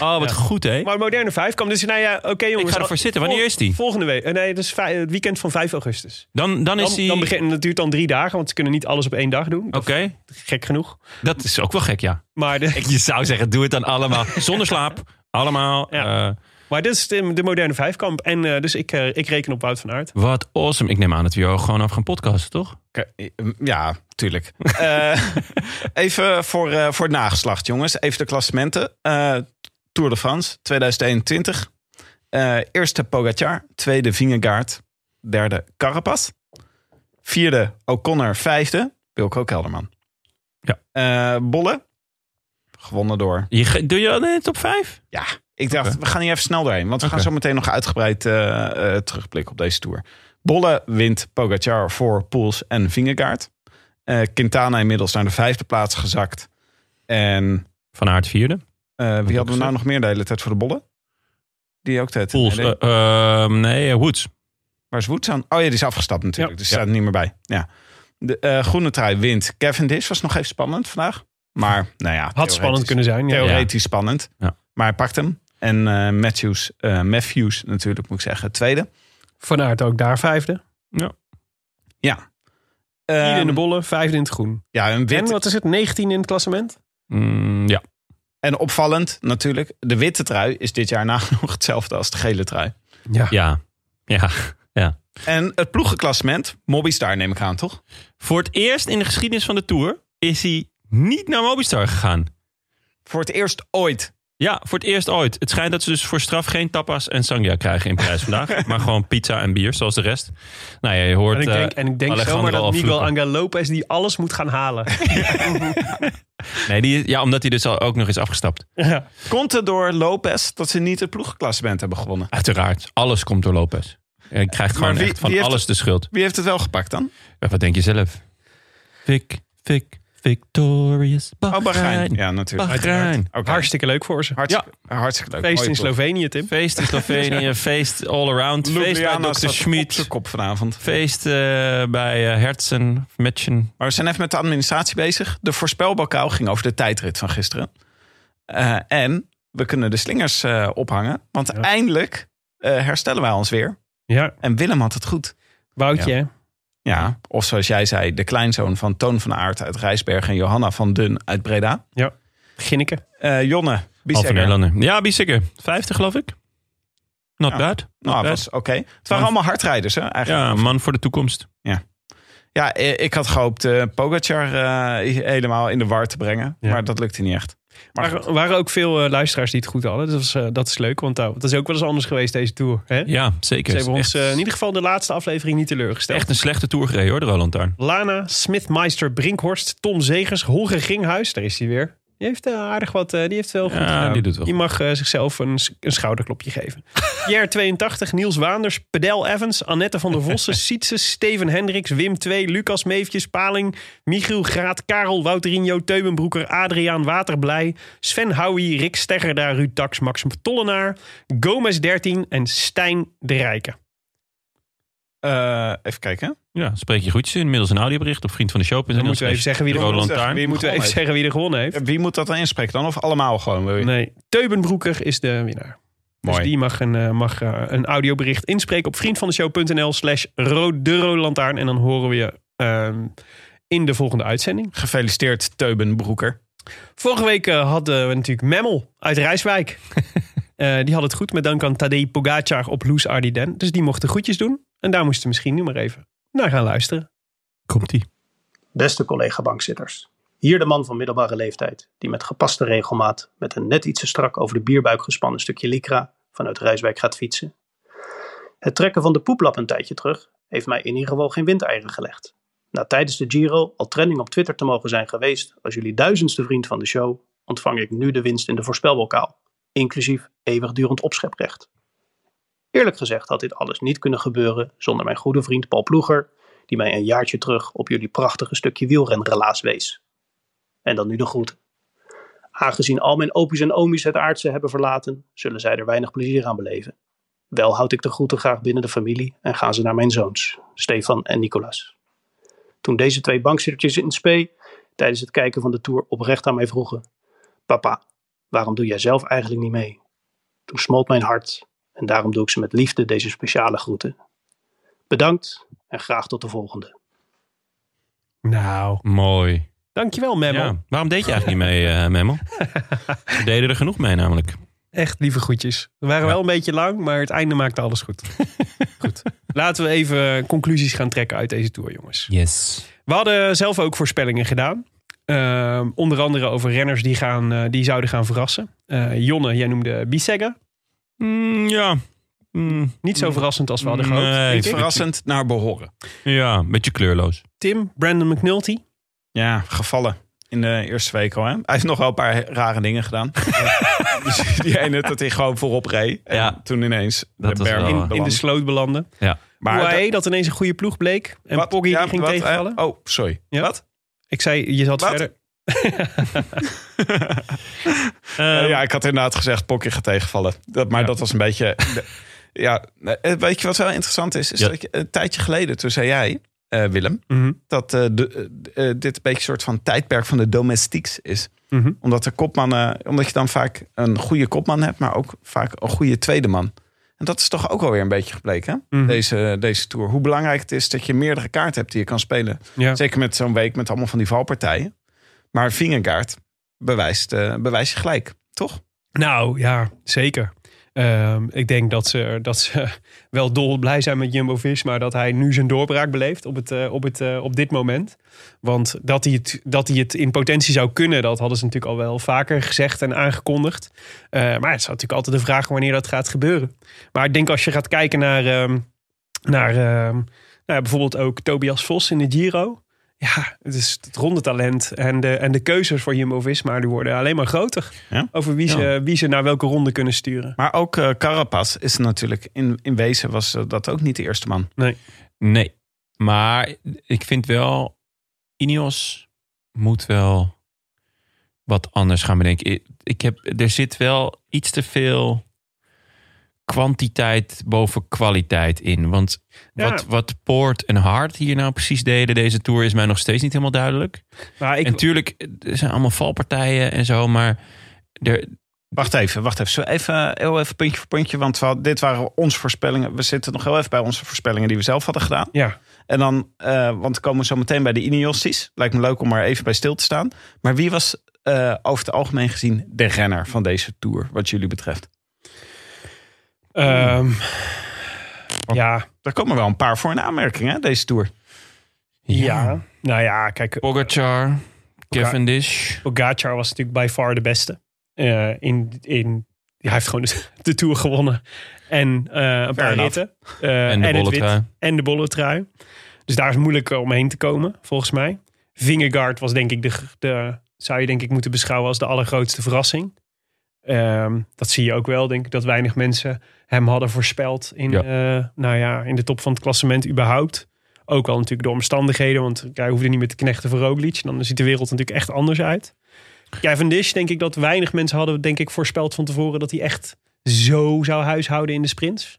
Oh, wat goed hè. Maar moderne vijfkamp. Dus nou ja, oké jongens. ga ervoor wel- zitten. Wanneer vol- is die? Volgende week. Eh, Nee, dat is vij- het weekend van 5 augustus. Dan, dan is Dan, dan hij... Oké, begin, en dat duurt dan drie dagen, want ze kunnen niet alles op één dag doen. Dat is gek genoeg. dat is ook wel gek, ja. Maar, de, Ik, je zou zeggen, doe het dan allemaal. Zonder slaap. Allemaal. Ja. eh, maar dit is de, de moderne vijfkamp. En eh, dus ik, eh, ik reken op Wout van Aert. wat awesome. Ik neem aan dat we hier gewoon af gaan podcasten, toch? Ja, tuurlijk. Eh, even voor, eh, voor het nageslacht, jongens. Even de klassementen. Eh, Tour de France 2021. Eh, eerste Pogacar. Tweede Vingegaard. Derde Carapaz. Vierde O'Connor. Vijfde Wilco Kelderman. Ja. Eh, Bolle. Gewonnen door. Je, ge- doe je dat in de top 5? Ja, ik dacht, we gaan hier even snel doorheen. Want we gaan Oké. zo meteen nog uitgebreid eh, eh, terugblikken op deze Tour. Bolle wint Pogacar voor Poels en Vingegaard. Eh, Quintana inmiddels naar de vijfde plaats gezakt. En Van Aert vierde. eh, wie hadden we gezegd? nou nog meer de hele tijd voor de Bolle? Die ook de hele tijd. Poels. Nee, eh, ehm, nee, eh, Woods. Waar is Woods aan? Oh ja, die is afgestapt natuurlijk. Ja. Dus die staat er niet meer bij. Ja. De eh, groene trui wint Cavendish. Was nog even spannend vandaag. Maar nou ja. Had spannend kunnen zijn. Ja. Theoretisch spannend. Ja. Maar hij pakt hem. En eh, Matthews, eh, Matthews natuurlijk moet ik zeggen. Tweede. Van Aert ook daar vijfde. Ja. Ieder in de Ehm, bolle, vijfde in het groen. Ja, een wit. En En, wat is het, 19 in het klassement? Mm, ja. opvallend natuurlijk. De witte trui is dit jaar nagenoeg hetzelfde als de gele trui. Ja. Ja. En het ploegenklassement. Mobbystar neem ik aan, toch? Voor het eerst in de geschiedenis van de Tour is hij niet naar Mobistar gegaan. Voor het eerst ooit. Ja, voor het eerst ooit. Het schijnt dat ze dus voor straf geen tapas en sangria krijgen in prijs vandaag. maar gewoon pizza en bier, zoals de rest. Nou ja, je hoort En ik denk, eh, en ik denk Alejandro zomaar al dat Miguel vloeken. Angel Lopez die alles moet gaan halen. Nee, die, ja, omdat hij dus al ook nog is afgestapt. ja. Komt het door Lopez dat ze niet het ploegenklassement hebben gewonnen? Uiteraard. Alles komt door Lopez. Hij krijgt gewoon wie- echt van wie heeft- alles de schuld. Wie heeft het wel gepakt dan? Ja, wat denk je zelf? Vic, Vic, Victorious Oh, Bahrein. Eh, Bahrein. Ja, natuurlijk. Bahrein. Oké. Hartstikke leuk voor ze. Hartstikke, hartstikke leuk. Feest Mooie in ploeg. Slovenië, Tim. Feest in Slovenië, feest all around. Feest bij Ljubljana Dr. staat op Schmid. zijn kop vanavond. Feest eh, bij eh, Hertzen, Metchen. Maar we zijn even met de administratie bezig. De voorspelbokaal ging over de tijdrit van gisteren. Eh, en we kunnen de slingers eh, ophangen. Want eindelijk eh, herstellen wij ons weer. Ja, En Willem had het goed. Woutje. hè? Ja, of zoals jij zei, de kleinzoon van Toon van Aert uit Rijsberg... en Johanna van Dun uit Breda. Ginneke. Eh, Jonne, Halve Biesegger. Nederlander. Ja, Biesikker. 50 geloof ik. Not Ja. bad. Nou, Best. was oké. Het waren allemaal hardrijders, hè, eigenlijk. Ja, een man voor de toekomst. Ja, eh, ik had gehoopt eh Pogacar eh, helemaal in de war te brengen. Ja. Maar dat lukte niet echt. Maar Maar er waren ook veel eh, luisteraars die het goed hadden. Dus dat is, eh, dat is leuk, want daar- dat is ook wel eens anders geweest deze tour. Hè? Ja, Ze zeker. hebben ons echt, eh, in ieder geval de laatste aflevering niet teleurgesteld. echt een slechte tour gereden hoor, de Roland Tarn. Lana, Smithmeister, Brinkhorst, Tom Zegers, Holger Gringhuis. Daar is hij weer. Die heeft eh, aardig wat, eh, die heeft wel goed Ja, gedaan. die doet wel Die mag eh, zichzelf een, s- een schouderklopje geven. Jer 82, Niels Waanders, Pedel Evans, Annette van der Vossen, Sietse, Steven Hendricks, Wim 2, Lucas Meefjes, Paling, Michiel Graat, Karel Wouterino, Teubenbroeker, Adriaan Waterblij, Sven Houwie, Rick Steggerda, Ruud Tax, Max Tollenaar, Gomez 13 en Stijn de Rijke. eh, even kijken. Ja, spreek je groetjes in. Middels een audiobericht op vriend van de show. Dan moeten we even zeggen wie de er Roland gewonnen Tarn. Zeggen wie Moeten we even zeggen wie er gewonnen heeft? Wie moet dat dan inspreken dan? Of allemaal gewoon? Wil je? Nee, Teubenbroeker is de winnaar. Mooi. Dus die mag een, eh, mag, eh, een audiobericht inspreken op vriendvandeshow.nl slash ro- de rode lantaarn. En dan horen we je ehm, in de volgende uitzending. Gefeliciteerd, Teuben Broeker. Vorige week eh, hadden we natuurlijk Memmel uit Rijswijk. Eh, die had het goed met dank aan Tadej Pogacar op Loes Ardiden. Dus die mocht de groetjes doen. En daar moesten we misschien nu maar even naar gaan luisteren. Komt-ie. Beste collega-bankzitters. Hier de man van middelbare leeftijd, die met gepaste regelmaat met een net iets te strak over de bierbuik gespannen stukje Lycra vanuit Rijswijk gaat fietsen. Het trekken van de poeplap een tijdje terug heeft mij in ieder geval geen windeieren gelegd. Na tijdens de Giro al trending op Twitter te mogen zijn geweest als jullie duizendste vriend van de show, ontvang ik nu de winst in de voorspelbokaal, inclusief eeuwigdurend opscheprecht. Eerlijk gezegd had dit alles niet kunnen gebeuren zonder mijn goede vriend Paul Ploeger, die mij een jaartje terug op jullie prachtige stukje wielrenrelaas wees. En dan nu de groet. Aangezien al mijn opies en omies het aardse hebben verlaten, zullen zij er weinig plezier aan beleven. Wel houd ik de groeten graag binnen de familie en gaan ze naar mijn zoons, Stefan en Nicolas. Toen deze twee bankzittertjes in spe tijdens het kijken van de tour oprecht aan mij vroegen: Papa, waarom doe jij zelf eigenlijk niet mee? Toen smolt mijn hart en daarom doe ik ze met liefde deze speciale groeten. Bedankt en graag tot de volgende. Nou, Mooi. dankjewel Memmel. Ja. Waarom deed je eigenlijk niet mee, eh Memmel? We deden er genoeg mee namelijk. Echt lieve groetjes. We waren Ja. wel een beetje lang, maar het einde maakte alles goed. goed. Laten we even eh, conclusies gaan trekken uit deze tour, jongens. Yes. We hadden zelf ook voorspellingen gedaan. Ehm, onder andere over renners die, gaan, eh, die zouden gaan verrassen. Eh, Jonne, jij noemde Bissegger. Mm, ja. Mm, Niet zo verrassend als we hadden gehoopt. Nee, denk ik. Verrassend naar behoren. ja, een beetje kleurloos. Tim, Brandon McNulty. Ja, gevallen in de eerste week al. Hè? Hij heeft nog wel een paar rare dingen gedaan. dus die ene dat hij gewoon voorop reed. En Ja. toen ineens Dat de was berm wel, eh, in, In de sloot belanden. Ja. Maar UAE, dat- dat, ineens een goede ploeg bleek. En Wat? Poggi die Ja, ging wat, hè? tegenvallen. Oh, sorry. Ja. Wat? Ik zei, je zat Wat? verder. Ehm. Eh, ja. ja, ik had inderdaad gezegd, Pokje gaat tegenvallen. Dat, maar dat was een beetje... ja, eh, weet je wat wel interessant is? is Ja. dat je- een tijdje geleden, toen zei jij, eh, Willem... Mhm. dat eh, de, eh, eh, dit een beetje een soort van tijdperk van de domestieks is. Mhm. Omdat de kopmannen, omdat je dan vaak een goede kopman hebt, maar ook vaak een goede tweede man. En dat is toch ook alweer een beetje gebleken, hè? Mhm. deze, deze tour. Hoe belangrijk het is dat je meerdere kaarten hebt die je kan spelen. Ja. Zeker met zo'n week met allemaal van die valpartijen. Maar Vingegaard bewijst, eh bewijst je gelijk, toch? Nou ja, zeker. Ehm, ik denk dat ze, dat ze wel dolblij zijn met Jumbo Visma dat hij nu zijn doorbraak beleeft op, het, eh, op, het, eh, op dit moment. Want dat hij, het, dat hij het in potentie zou kunnen, dat hadden ze natuurlijk al wel vaker gezegd en aangekondigd. Eh, maar het is natuurlijk altijd de vraag wanneer dat gaat gebeuren. Maar ik denk als je gaat kijken naar, ehm, naar ehm, nou ja, bijvoorbeeld ook Tobias Vos in de Giro. Ja, het is het rondetalent en de, en de keuzes voor Jumbo-Visma die worden alleen maar groter. Ja. Over wie ze, wie ze naar welke ronde kunnen sturen. Maar ook eh Carapaz is natuurlijk, in, in wezen was eh, dat ook niet de eerste man. Nee. Maar ik vind wel, Ineos moet wel wat anders gaan bedenken. Ik- Ik heb, er zit wel iets te veel kwantiteit boven kwaliteit in. Want Ja. wat, wat Poort en Hart hier nou precies deden deze tour is mij nog steeds niet helemaal duidelijk. Maar ik, en tuurlijk, er zijn allemaal valpartijen en zo, maar er, Wacht even, wacht even. Zullen we even, heel even puntje voor puntje? Want we had- dit waren onze voorspellingen. We zitten nog heel even bij onze voorspellingen die we zelf hadden gedaan. ja, En dan, eh, want we komen zo meteen bij de Ineosties. Lijkt me leuk om maar even bij stil te staan. Maar wie was eh, over het algemeen gezien de renner van deze Tour, wat jullie betreft? ehm, Oh. ja, Daar komen wel een paar voor in aanmerking, hè, deze Tour. ja, Nou ja, kijk, Pogacar, Cavendish. Pogacar was natuurlijk by far de beste. Eh, in, in, hij heeft gewoon de, de Tour gewonnen. En eh, een paar enough. ritten. Eh, En de het bolletrui. wit. En de bolletrui. Dus daar is moeilijk omheen te komen, volgens mij. Vingegaard was denk ik de, gr- de... Zou je denk ik moeten beschouwen als de allergrootste verrassing. Ehm, dat zie je ook wel, denk ik. Dat weinig mensen hem hadden voorspeld in, Ja. eh, nou ja, in de top van het klassement überhaupt. Ook wel natuurlijk de omstandigheden, want hij hoefde niet meer te knechten voor Roglic. Dan ziet de wereld natuurlijk echt anders uit. Kevin Dish, denk ik dat weinig mensen hadden denk ik, voorspeld van tevoren... dat hij echt zo zou huishouden in de sprints.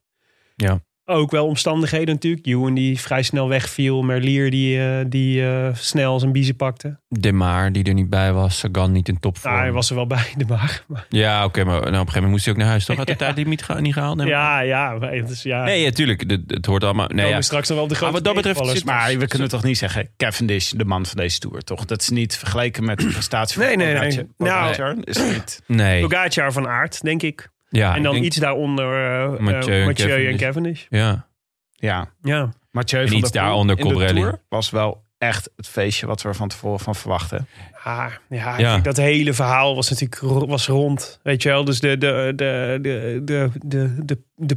Ja. Ook wel omstandigheden natuurlijk. Juwen die vrij snel wegviel. Merlier die, eh, die eh, snel zijn biezen pakte. De Maar, die er niet bij was. Sagan niet in topvorm. Nou, hij was er wel bij, de maar. maar- Ja, oké, maar nou, op een gegeven moment moest hij ook naar huis. Toch had hij tijd niet, ge- niet gehaald? Nee, Ja, ja. maar het is, ja nee ja, tuurlijk. Het, het hoort allemaal... Nee, komen ja. straks nog wel op de grote Maar wat dat betreft tegenvallers. zit- Maar we kunnen toch niet zeggen, Cavendish, de man van deze Tour, toch? Dat is niet vergelijken met de prestatie van Nee, nee, nee. Pogacar. Nou, Pogacar is niet... Nee. Pogacar van aard, denk ik. Ja, en ik dan denk- iets daaronder eh, eh, Mathieu en Mathieu, en Cavendish. Cavendish. Ja. Ja, Ja. Mathieu En van iets der Poel daaronder in de Colbrelli. Tour was wel echt het feestje wat we er van tevoren van verwachten. Ah, ja, ik Ja. denk dat hele verhaal was natuurlijk ro- was rond. Weet je wel, dus de, de, de, de, de, de, de, de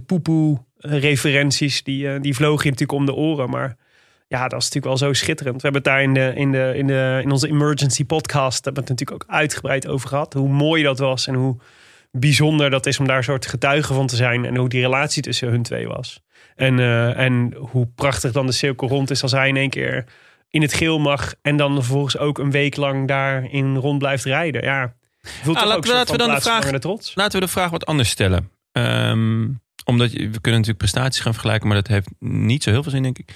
poepoe-referenties, die, eh, die vlogen je natuurlijk om de oren. Maar ja, dat is natuurlijk wel zo schitterend. We hebben het daar in, de, in, de, in, de, in onze emergency podcast hebben we het natuurlijk ook uitgebreid over gehad. Hoe mooi dat was en hoe bijzonder dat is om daar soort getuige van te zijn. En hoe die relatie tussen hun twee was. En, eh, en hoe prachtig dan de cirkel rond is als hij in één keer in het geel mag. En dan vervolgens ook een week lang daarin rond blijft rijden. Ja, voelt Ah, laten toch we- ook een soort laten we van dan de vraag- plaatsvervangende trots. Laten we de vraag wat anders stellen. Ehm, omdat je- we kunnen natuurlijk prestaties gaan vergelijken, maar dat heeft niet zo heel veel zin, denk ik.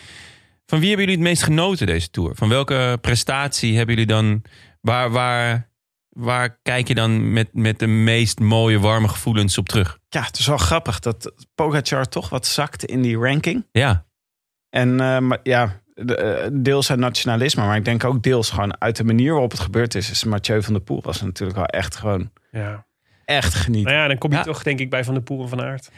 Van wie hebben jullie het meest genoten deze tour? Van welke prestatie hebben jullie dan? Waar, waar, waar kijk je dan met, met de meest mooie, warme gevoelens op terug? Ja, het is wel grappig dat Pogacar toch wat zakte in die ranking. Ja, En eh, maar ja, de- eh, deels uit nationalisme, maar ik denk ook deels gewoon uit de manier waarop het gebeurd is. Dus Mathieu van der Poel was natuurlijk wel echt gewoon Ja. echt genieten. Nou ja, dan kom je Ja. toch denk ik bij Van der Poel en Van Aert.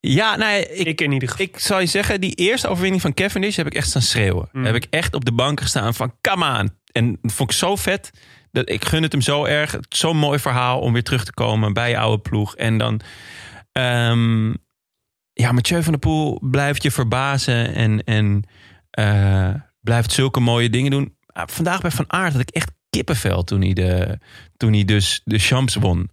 ja nou, ja, Ik, ik, in ieder geval. ik zal je zeggen, die eerste overwinning van Cavendish heb ik echt staan schreeuwen. Mm. Heb ik echt op de bank gestaan van, come on. En dat vond ik zo vet. Dat, ik gun het hem zo erg. Het is Zo'n mooi verhaal om weer terug te komen bij je oude ploeg. En dan... ehm, ja, Mathieu van der Poel blijft je verbazen. En, en eh, blijft zulke mooie dingen doen. Ah, vandaag bij Van Aert had ik echt kippenvel toen hij, de, toen hij dus de Champs won.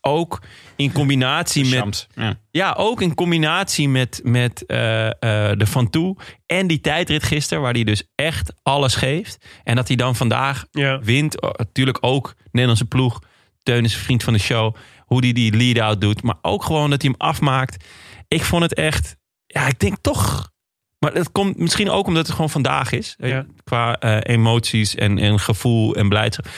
Ook in combinatie met... Champs. Ja. Ja, ook in combinatie met, met eh, eh, de Van Toe en die tijdrit gisteren, waar hij dus echt alles geeft. En dat hij dan vandaag Ja. wint. Oh, Natuurlijk ook Nederlandse ploeg. Teun is een vriend van de show. Hoe hij die lead-out doet. Maar ook gewoon dat hij hem afmaakt. Ik vond het echt... Ja, ik denk toch... Maar dat komt misschien ook omdat het gewoon vandaag is. eh, Ja. Qua eh, emoties en, en gevoel en blijdschap. Ik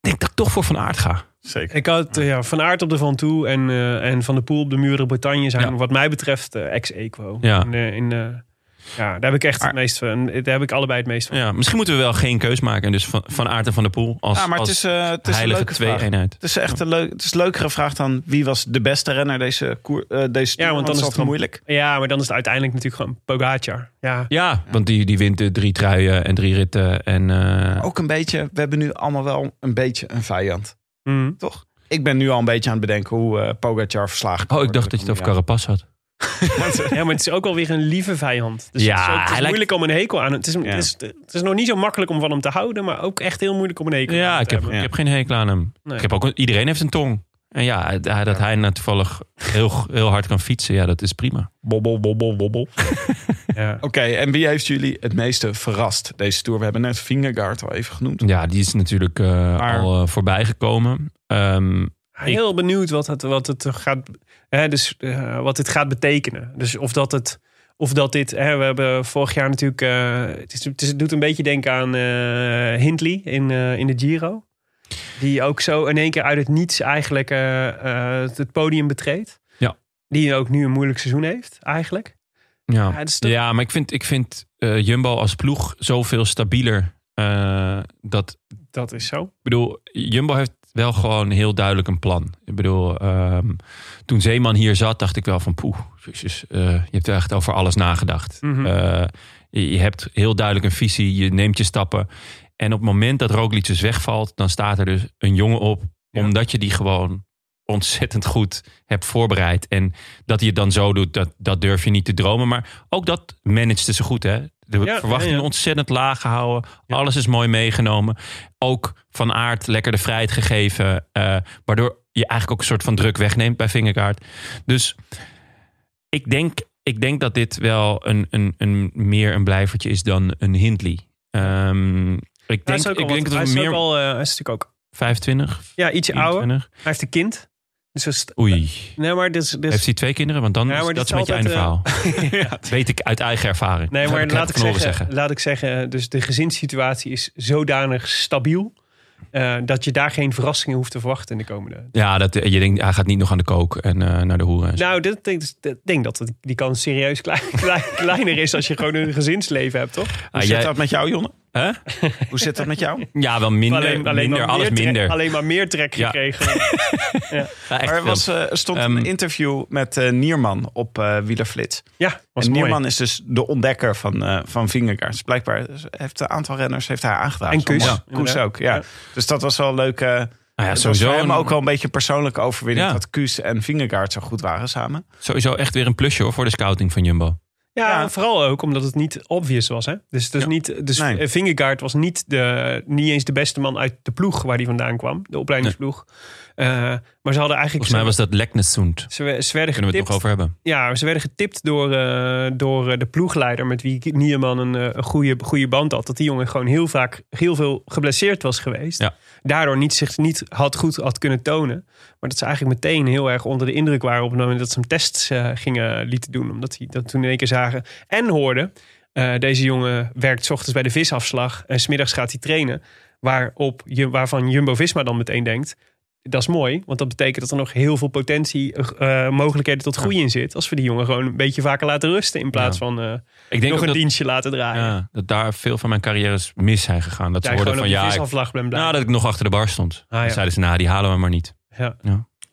denk dat ik toch voor Van Aert ga. Zeker. Ik had eh, ja, Van Aert op de Van Toe en, eh, en Van de Poel op de Muren Bretagne zijn Ja. wat mij betreft eh, ex-equo. Ja. In, eh, in, eh, ja, daar heb ik echt het meest van. Daar heb ik allebei het meest van. Ja, misschien moeten we wel geen keus maken. En dus Van, van Aert en Van der Poel als, Ja, maar het als is, eh, het is een heilige leuke vraag. twee-eenheid. Het is echt een, leuk, het is een leukere vraag dan wie was de beste renner deze, koer, eh, deze tour, want dan is dat het wel dan- moeilijk. Ja, maar dan is het uiteindelijk natuurlijk gewoon Pogacar. Ja. Ja, want die, die wint de drie truien en drie ritten. En, eh, Ook een beetje, we hebben nu allemaal wel een beetje een vijand, Mhm. toch? Ik ben nu al een beetje aan het bedenken hoe eh, Pogacar verslagen kan oh, ik worden dacht dat je het de over Carapaz had. ja, maar het is ook wel weer een lieve vijand. Dus Ja, het is, ook, het is hij lijkt- moeilijk om een hekel aan hem- het is, Ja. het, is, het is nog niet zo makkelijk om van hem te houden, maar ook echt heel moeilijk om een hekel aan Ja, hem ik te heb, hebben. ik heb geen hekel aan hem. Nee. Ik heb ook, een- iedereen heeft een tong. En ja, hij- dat hij nou toevallig heel, heel hard kan fietsen, ja, dat is prima. Bobbel, bobbel, bobbel. Ja. Oké, en wie heeft jullie het meeste verrast deze tour? We hebben net Vingegaard al even genoemd. Ja, die is natuurlijk eh, Maar- al eh, voorbijgekomen. Ehm, Heel benieuwd wat het, wat het gaat, hè, dus, eh, wat dit gaat betekenen. Dus of dat het. Of dat dit, hè, we hebben vorig jaar natuurlijk. eh, het, is, het, is- het doet een beetje denken aan eh, Hindley in, eh, in de Giro. Die ook zo in één keer uit het niets eigenlijk eh, eh, het podium betreedt. Ja. Die ook nu een moeilijk seizoen heeft, eigenlijk. ja. Ja, Ja, het dus is toch- maar ik vind, ik vind eh, Jumbo als ploeg zoveel stabieler. eh, dat Dat is zo. Ik bedoel, Jumbo heeft wel gewoon heel duidelijk een plan. Ik bedoel, ehm, toen Zeeman hier zat, dacht ik wel van poeh, jezus, eh, je hebt echt over alles nagedacht. Mhm. Eh, je, je hebt heel duidelijk een visie, je neemt je stappen. En op het moment dat Roglic dus wegvalt, dan staat er dus een jongen op, Ja. omdat je die gewoon ontzettend goed hebt voorbereid. En dat hij het dan zo doet, dat, dat durf je niet te dromen. Maar ook dat manageden ze goed, hè? De ja, verwachtingen ja. ontzettend laag gehouden. Alles is mooi meegenomen ook van aard lekker de vrijheid gegeven. eh, waardoor je eigenlijk ook een soort van druk wegneemt bij Vingerkaart. Dus ik denk, ik denk dat dit wel een, een, een meer een blijvertje is dan een Hindley. Ehm, ik Hij denk, is ook ik al wat- denk hij dat is we meer ook al, eh, hij is natuurlijk ook 25, ja, ietsje ouder. 24. Hij heeft een kind. Dus is, Oei. nee, maar dit is, dit is- Heeft hij twee kinderen? Want dan Ja, is, maar dat is dit een is beetje einde verhaal. altijd, eh, ja. Weet ik uit eigen ervaring. Nee, Dat maar heb laat ik, net van zeggen, horen laat ik zeggen, dus de gezinssituatie is zodanig stabiel eh, dat je daar geen verrassingen hoeft te verwachten in de komende. Ja, dat, je denkt, hij gaat niet nog aan de kook en eh, naar de hoeren. en zo. Nou, dit- dit- dit- ik denk dat het- die kans serieus klein- klein- kleiner is als je gewoon een gezinsleven hebt, toch? Ah, zit jij- dat met jou, Jonne? Hè? Hoe zit dat met jou? Ja, wel minder. minder, maar alles meer trek- minder. alleen maar meer trek Ja. gekregen. Ja, echt Maar er, wel. was, eh, er stond Ehm, een interview met eh, Nierman op eh Wielerflits. Ja, was en mooi. Nierman is dus de ontdekker van, eh van Vingegaard. Dus blijkbaar heeft een aantal renners heeft hij aangedaan. En Zo Koes. mooi. Ja, Koes inderdaad. ook, ja. Ja. Dus dat was wel leuk. eh Nou ja, het was sowieso, voor hem een- ook wel een beetje een persoonlijke overwinning... Ja. dat Koes en Vingegaard zo goed waren samen. sowieso echt weer een plusje hoor, voor de scouting van Jumbo. Ja, Ja. en vooral ook omdat het niet obvious was. Hè? Dus, dus, niet, dus Nee. eh, Vingegaard was niet, de, niet eens de beste man uit de ploeg waar hij vandaan kwam. De opleidingsploeg. Eh, maar ze hadden eigenlijk... Volgens mij was dat Leknessund. ze, we- ze werden Kunnen we het getipt, nog over hebben? ja, ze werden getipt door, eh, door eh, de ploegleider... met wie Nierman een, eh, een goede, goede band had. Dat die jongen gewoon heel vaak heel veel geblesseerd was geweest. Ja. Daardoor niet, zich niet had goed had kunnen tonen. Maar dat ze eigenlijk meteen heel erg onder de indruk waren... op het moment dat ze hem tests eh, gingen lieten doen. Omdat die dat toen in één keer zagen en hoorden... eh, deze jongen werkt 's ochtends bij de visafslag... en 's middags gaat hij trainen. Waarop, Ju- waarvan Jumbo-Visma dan meteen denkt... dat is mooi, want dat betekent dat er nog heel veel potentie... eh, mogelijkheden tot groei in zit... als we die jongen gewoon een beetje vaker laten rusten... in plaats Ja. van eh, Ik denk nog ook een dat, dienstje laten draaien. ja, dat daar veel van mijn carrières mis zijn gegaan. Dat Dat ze jij hoorden gewoon van op die ja, ik- visafslag bent nou, dat ik nog achter de bar stond. ja. Dan zeiden ze, nou die halen we maar niet.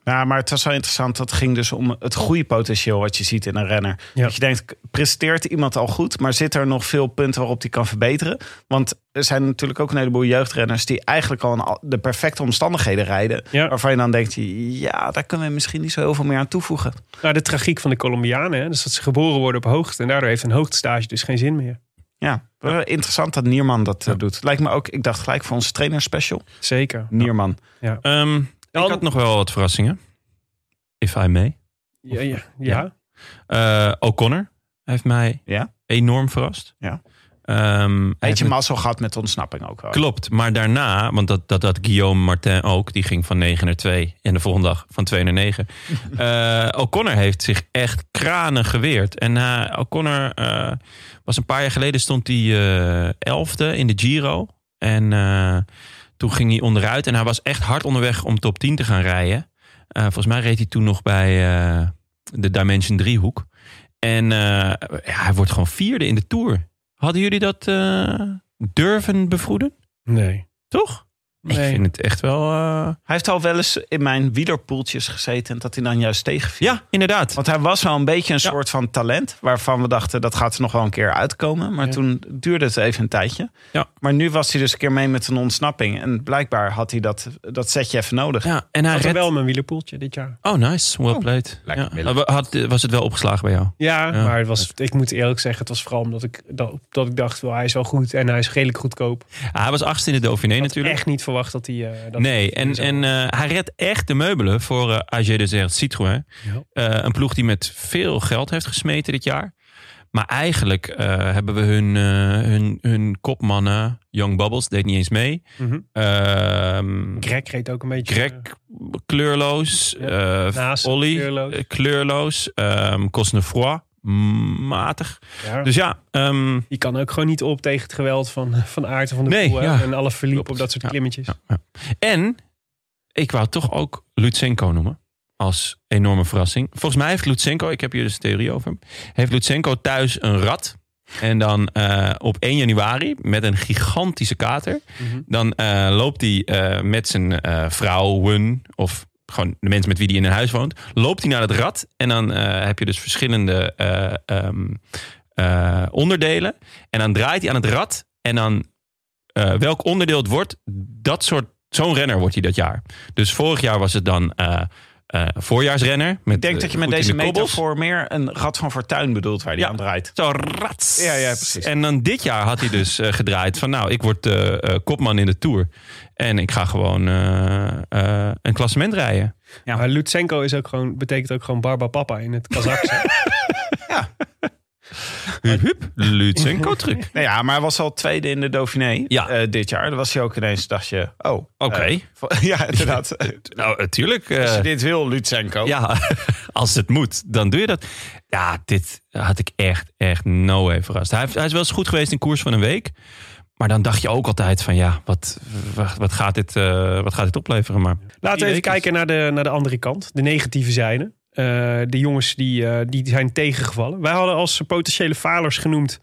Ja, maar het was wel interessant. Dat ging dus om het groeipotentieel wat je ziet in een renner. Ja. Dat je denkt, presteert iemand al goed, maar zit er nog veel punten waarop die kan verbeteren? Want er zijn natuurlijk ook een heleboel jeugdrenners die eigenlijk al in al de perfecte omstandigheden rijden. Ja. Waarvan je dan denkt, ja, daar kunnen we misschien niet zo heel veel meer aan toevoegen. Nou, de tragiek van de Colombianen. Hè? Dus dat ze geboren worden op hoogte. En daardoor heeft een hoogtestage dus geen zin meer. Ja, wel interessant dat Nierman dat eh, doet. Lijkt me ook, ik dacht gelijk voor onze trainerspecial. Zeker. Nierman. Ehm, ik Dan- had nog wel wat verrassingen. If I may. Ja, ja, ja. Eh, O'Connor heeft mij Ja. enorm verrast. Ja. Ehm, hij heeft Beetje me- mazzel gehad met de ontsnapping ook wel. Klopt, maar daarna, want dat, dat, dat Guillaume Martin ook, die ging van 9 naar 2 en de volgende dag van 2 naar 9. Eh, O'Connor heeft zich echt kranen geweerd. En eh, O'Connor eh, was een paar jaar geleden, stond hij eh, 11e in de Giro. En eh, toen ging hij onderuit en hij was echt hard onderweg om top 10 te gaan rijden. Eh, volgens mij reed hij toen nog bij eh, de Dimension driehoek. En eh, ja, hij wordt gewoon vierde in de Tour. Hadden jullie dat eh, durven bevroeden? Nee. Toch? Nee. Ik vind het echt wel. eh, Hij heeft al wel eens in mijn wielerpoeltjes gezeten en dat hij dan juist tegenviel. Ja, inderdaad. Want hij was wel een beetje een Ja. soort van talent. Waarvan we dachten dat gaat er nog wel een keer uitkomen. Maar Ja. toen duurde het even een tijdje. Ja. Maar nu was hij dus een keer mee met een ontsnapping. En blijkbaar had hij dat, dat setje even nodig. Ja, en hij Had redt... wel mijn wielerpoeltje dit jaar. Oh, nice. Well played. lekker Ja. middel. Had- Had, was het wel opgeslagen bij jou? Ja, Ja. maar het was, ik moet eerlijk zeggen, het was vooral omdat ik, dat, dat ik dacht, wel, hij is wel goed en hij is redelijk goedkoop. Ik Ah, hij was achtste in de Dauphiné had natuurlijk. echt niet verwacht dat hij... eh, dat Nee, en, Zo. en eh, hij redt echt de meubelen voor eh AG Desert Citroën. Eh, een ploeg die met veel geld heeft gesmeten dit jaar. Maar eigenlijk eh, hebben we hun, eh, hun, hun kopmannen, Young Bubbles, deed niet eens mee. Mhm. Ehm, Greg reed ook een beetje... Greg, eh, kleurloos. Ja. eh, Naast, Olly, kleurloos. eh, kleurloos. ehm Cosnefroid, mm, matig. eh, ja. Dus ja, ehm, die kan ook gewoon niet op tegen het geweld van, eh, van Aert en van de Nee, Poel, hè, ja. en alle verliep Klopt. op dat soort Ja. klimmetjes. Ja. en ik wou toch ook Lutsenko noemen. Als enorme verrassing. Volgens mij heeft Lutsenko, ik heb hier dus een theorie over hem. Heeft Lutsenko thuis een rat. En dan eh, op 1 januari met een gigantische kater. Mhm. Dan eh, loopt hij eh, met zijn eh, vrouwen of gewoon de mensen met wie hij in een huis woont. Loopt hij naar het rad en dan eh, heb je dus verschillende eh, ehm, eh, onderdelen. En dan draait hij aan het rad en dan eh, welk onderdeel het wordt, dat soort, zo'n renner wordt hij dat jaar. Dus vorig jaar was het dan eh, eh, voorjaarsrenner. Met, Ik denk dat je met deze metafoor meer een rat van fortuin bedoelt waar hij Ja. aan draait. zo rats. Ja, ja, precies. En dan dit jaar had hij dus eh, gedraaid van nou, ik word eh, eh, kopman in de Tour. En ik ga gewoon eh, eh, een klassement rijden. Ja. Maar Lutsenko is ook gewoon, betekent ook gewoon Barba Papa in het Kazakse. Hup, hup, Lutsenko truc. Nou ja, maar hij was al tweede in de Dauphiné Ja. eh, dit jaar. Dan was hij ook ineens, dacht je, oh. Oké. Oké. ja, inderdaad. Nou, natuurlijk. Als je dit wil, Lutsenko. ja, als het moet, dan doe je dat. Ja, dit had ik echt, echt no way verrast. Hij, heeft- hij is wel eens goed geweest in koers van een week. Maar dan dacht je ook altijd van ja, wat, wat, wat gaat, dit, eh, wat gaat dit opleveren? Maar Laten we even Iedereen kijken naar de, naar de andere kant. De negatieve zijde. Eh, de jongens die, eh, die zijn tegengevallen. Wij hadden als potentiële falers genoemd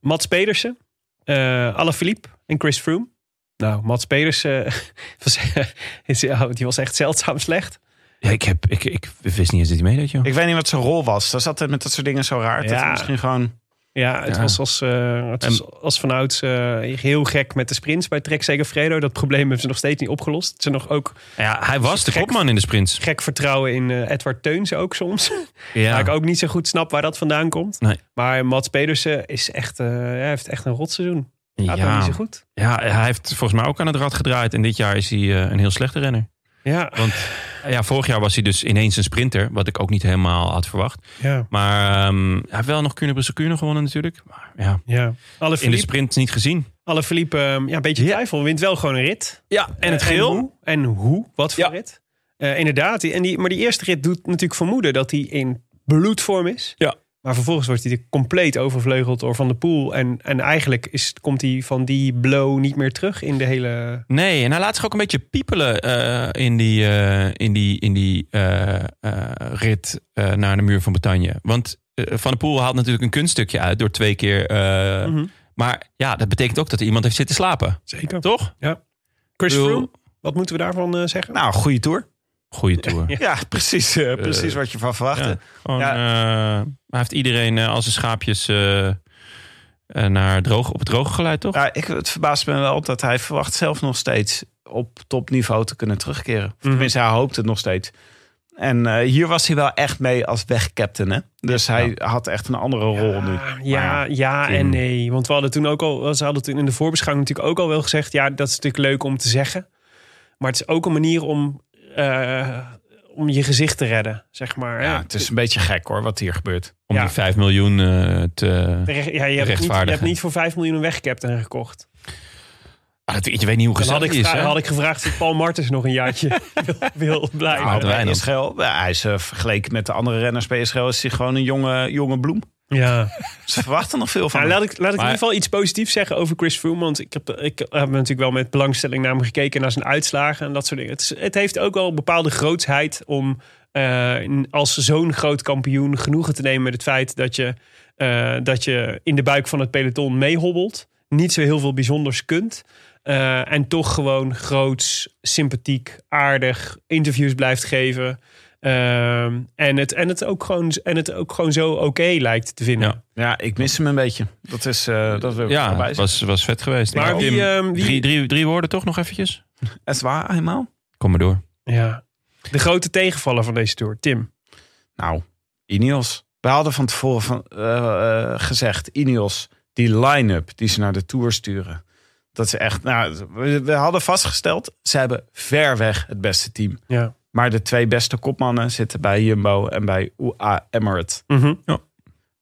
Mats Pedersen, eh Alaphilippe en Chris Froome. Nou, Mats Pedersen was, is- ja, die was echt zeldzaam slecht. Ja, ik, heb, ik, ik wist niet eens dat hij meedeed, joh. Ik weet niet wat zijn rol was. Dat is altijd met dat soort dingen zo raar. Dat Ja. hij misschien gewoon... Ja, het Ja. was als, eh het was als vanouds eh, heel gek met de sprints bij Trek Segafredo. Dat probleem hebben ze nog steeds niet opgelost. Ze nog ook Ja, hij was de Gek. kopman in de sprints. gek vertrouwen in eh, Edward Teuns ook soms. Ja. Waar ik ook niet zo goed snap waar dat vandaan komt. Nee. Maar Mats Pedersen is echt, eh, hij heeft echt een rotseizoen. Gaat nog niet Ja. zo goed. ja, hij heeft volgens mij ook aan het rad gedraaid. En dit jaar is hij eh, een heel slechte renner. Ja, Want ja, vorig jaar was hij dus ineens een sprinter. Wat ik ook niet helemaal had verwacht. ja, Maar ehm, hij heeft wel nog Kuurne-Brussel-Kuurne gewonnen natuurlijk. Maar ja, ja. Alle in de Philippe, sprint niet gezien. alle Philippe ja, een beetje twijfel. Wint wel gewoon een rit. Ja, en het Eh, geel. hoe? En hoe? Wat voor Ja. rit? Eh, inderdaad. die- En die, maar die eerste rit doet natuurlijk vermoeden dat hij in bloedvorm is. Ja. Maar vervolgens wordt hij er compleet overvleugeld door Van der Poel. En, en eigenlijk is, komt hij van die blow niet meer terug in de hele... Nee, en hij laat zich ook een beetje piepelen eh, in die, eh, in die, in die eh, eh, rit eh, naar de muur van Bretagne. Want eh, Van der Poel haalt natuurlijk een kunststukje uit door twee keer... eh, Mhm. Maar ja, dat betekent ook dat er iemand heeft zitten slapen. Zeker. Toch? Chris Ik bedoel- Froome, wat moeten we daarvan eh, zeggen? Nou, goede tour. Goeie tour. Ja, precies, eh, precies wat je van verwachtte. Ja. Gewoon, Ja. eh, hij heeft iedereen eh, als een schaapjes eh, eh, naar droog, op het droge geleid, toch? Ja, ik, het verbaast me wel dat hij verwacht zelf nog steeds op topniveau te kunnen terugkeren. Of Mhm. Tenminste, hij hoopt het nog steeds. En eh, hier was hij wel echt mee als wegcaptain. Hè? Dus hij had echt een andere rol nu. Ah, mm. Ja, ja en toen- nee. Want we hadden toen ook al, ze hadden toen in de voorbeschouwing natuurlijk ook al wel gezegd, ja, dat is natuurlijk leuk om te zeggen. Maar het is ook een manier om, eh, om je gezicht te redden, zeg maar. hè. Ja, het is een beetje gek hoor, wat hier gebeurt. Om Ja. die 5 miljoen eh, te... De re- ja, je, hebt niet, je rechtvaardigen. hebt niet voor 5 miljoen weggecapt en gekocht. Ah, dat, je weet niet hoe Dan gezellig had het ik, is, gevra- hè? had ik gevraagd of Paul Martens nog een jaartje wil, wil blijven. Ja, hadden wij Bij dan. Israël, ja, hij is eh, vergeleken met de andere renners bij Israël, is hij gewoon een jonge, jonge bloem. ja. Ze verwachten nog veel van Nou, hem. laat ik, laat ik Maar- in ieder geval iets positiefs zeggen over Chris Froome. Want ik heb, ik heb eh, natuurlijk wel met belangstelling naar hem gekeken. Naar zijn uitslagen en dat soort dingen. Het, is- het heeft ook wel een bepaalde grootsheid om eh, in- als zo'n groot kampioen genoegen te nemen met het feit dat je, eh, dat je in de buik van het peloton meehobbelt. Niet zo heel veel bijzonders kunt. eh, en toch gewoon groots, sympathiek, aardig interviews blijft geven. Ehm, en, het, en, het ook gewoon, en het ook gewoon zo oké lijkt te vinden. Ja. Ja, ik mis hem een beetje. Dat is, eh, dat wil ik Ja, erbij het zeggen. was, was vet geweest. Maar Nou, wie, Tim, ehm, wie- drie, drie, drie woorden toch nog eventjes? Is waar, helemaal? Kom maar door. Ja. De grote tegenvaller van deze tour, Tim. Nou, Ineos. We hadden van tevoren van, eh, eh, gezegd, Ineos, die line-up die ze naar de Tour sturen. Dat is echt, nou, we, we hadden vastgesteld, ze hebben ver weg het beste team. Ja. Maar de twee beste kopmannen zitten bij Jumbo en bij UAE Emirates. Mhm.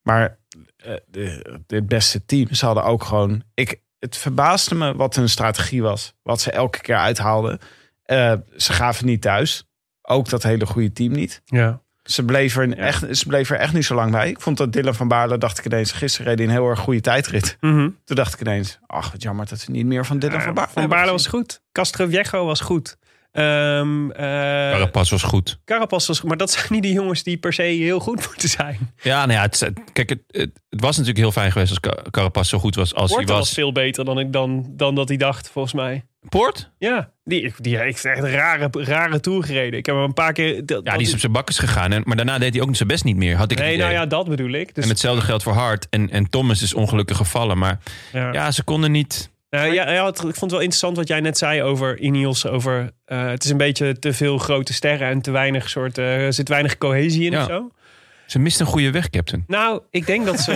Maar eh, de- dit beste team, ze hadden ook gewoon... Ik, het verbaasde me wat hun strategie was. Wat ze elke keer uithaalden. Eh, ze gaven niet thuis. Ook dat hele goede team niet. ja. Ze bleef, er echt, ze bleef er echt niet zo lang bij. Ik vond dat Dylan van Baarle, dacht ik ineens... Gisteren reed hij een heel erg goede tijdrit. Toen dacht ik ineens... Ach, wat jammer dat ze niet meer van Dylan Mhm. van Baarle Van hebben Baarle was gezien. goed. Castro Viejo was goed. Ehm eh, Carapaz was goed. Carapaz was goed. Maar dat zijn niet de jongens die per se heel goed moeten zijn. Ja, nou ja, het, het- kijk, het, het, het was natuurlijk heel fijn geweest als Ca- Carapaz zo goed was als Porto hij was... was. veel beter dan, ik, dan, dan dat hij dacht, volgens mij. Poort? Ja, die, die heeft echt een rare, rare tour gereden. Ik heb hem een paar keer... dat- Ja, dat- die is op zijn bakkes gegaan. En, maar daarna deed hij ook zijn best niet meer. Had ik het Oh, Nee, idee. nou ja, dat bedoel ik. Dus, En hetzelfde geldt voor Hart. En, en Thomas is ongelukkig gevallen. Maar ja. ja, ze konden niet. Nou ja, ja, het- ik vond het wel interessant wat jij net zei over Ineos. Over, eh, het is een beetje te veel grote sterren en te weinig soort... eh, er zit weinig cohesie in Ja. of zo. Ze misten een goede weg, Captain. Nou, ik denk dat ze...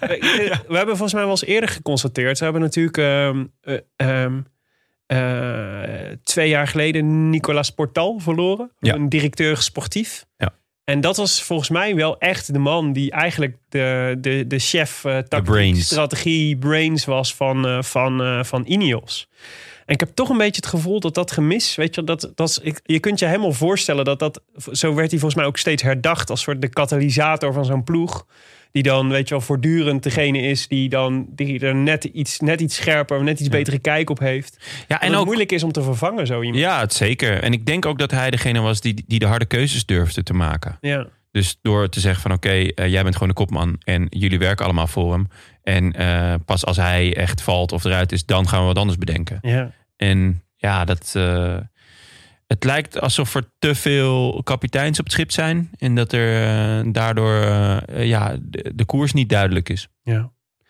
we, we hebben volgens mij wel eens eerder geconstateerd. Ze hebben natuurlijk ehm, eh, ehm, eh, twee jaar geleden Nicolas Portal verloren. Ja. Een directeur sportief. Ja. En dat was volgens mij wel echt de man die eigenlijk de, de, de chef eh tactiek, brains. strategie, brains was van, eh, van, eh, van Ineos. En ik heb toch een beetje het gevoel dat dat gemis, weet je, dat, dat is, ik- je kunt je helemaal voorstellen dat dat, zo werd hij volgens mij ook steeds herdacht als soort de katalysator van zo'n ploeg. Die dan, weet je wel, voortdurend degene is die dan die er net iets, net iets scherper, net iets betere kijk op heeft. Ja, En en het ook, moeilijk is om te vervangen, zo iemand. ja, het zeker. En ik denk ook dat hij degene was die, die de harde keuzes durfde te maken. Ja. Dus door te zeggen van oké, eh, jij bent gewoon de kopman en jullie werken allemaal voor hem. En eh, pas als hij echt valt of eruit is, dan gaan we wat anders bedenken. ja. En ja, dat, eh, het lijkt alsof er te veel kapiteins op het schip zijn. En dat er eh, daardoor eh, ja, de, de koers niet duidelijk is.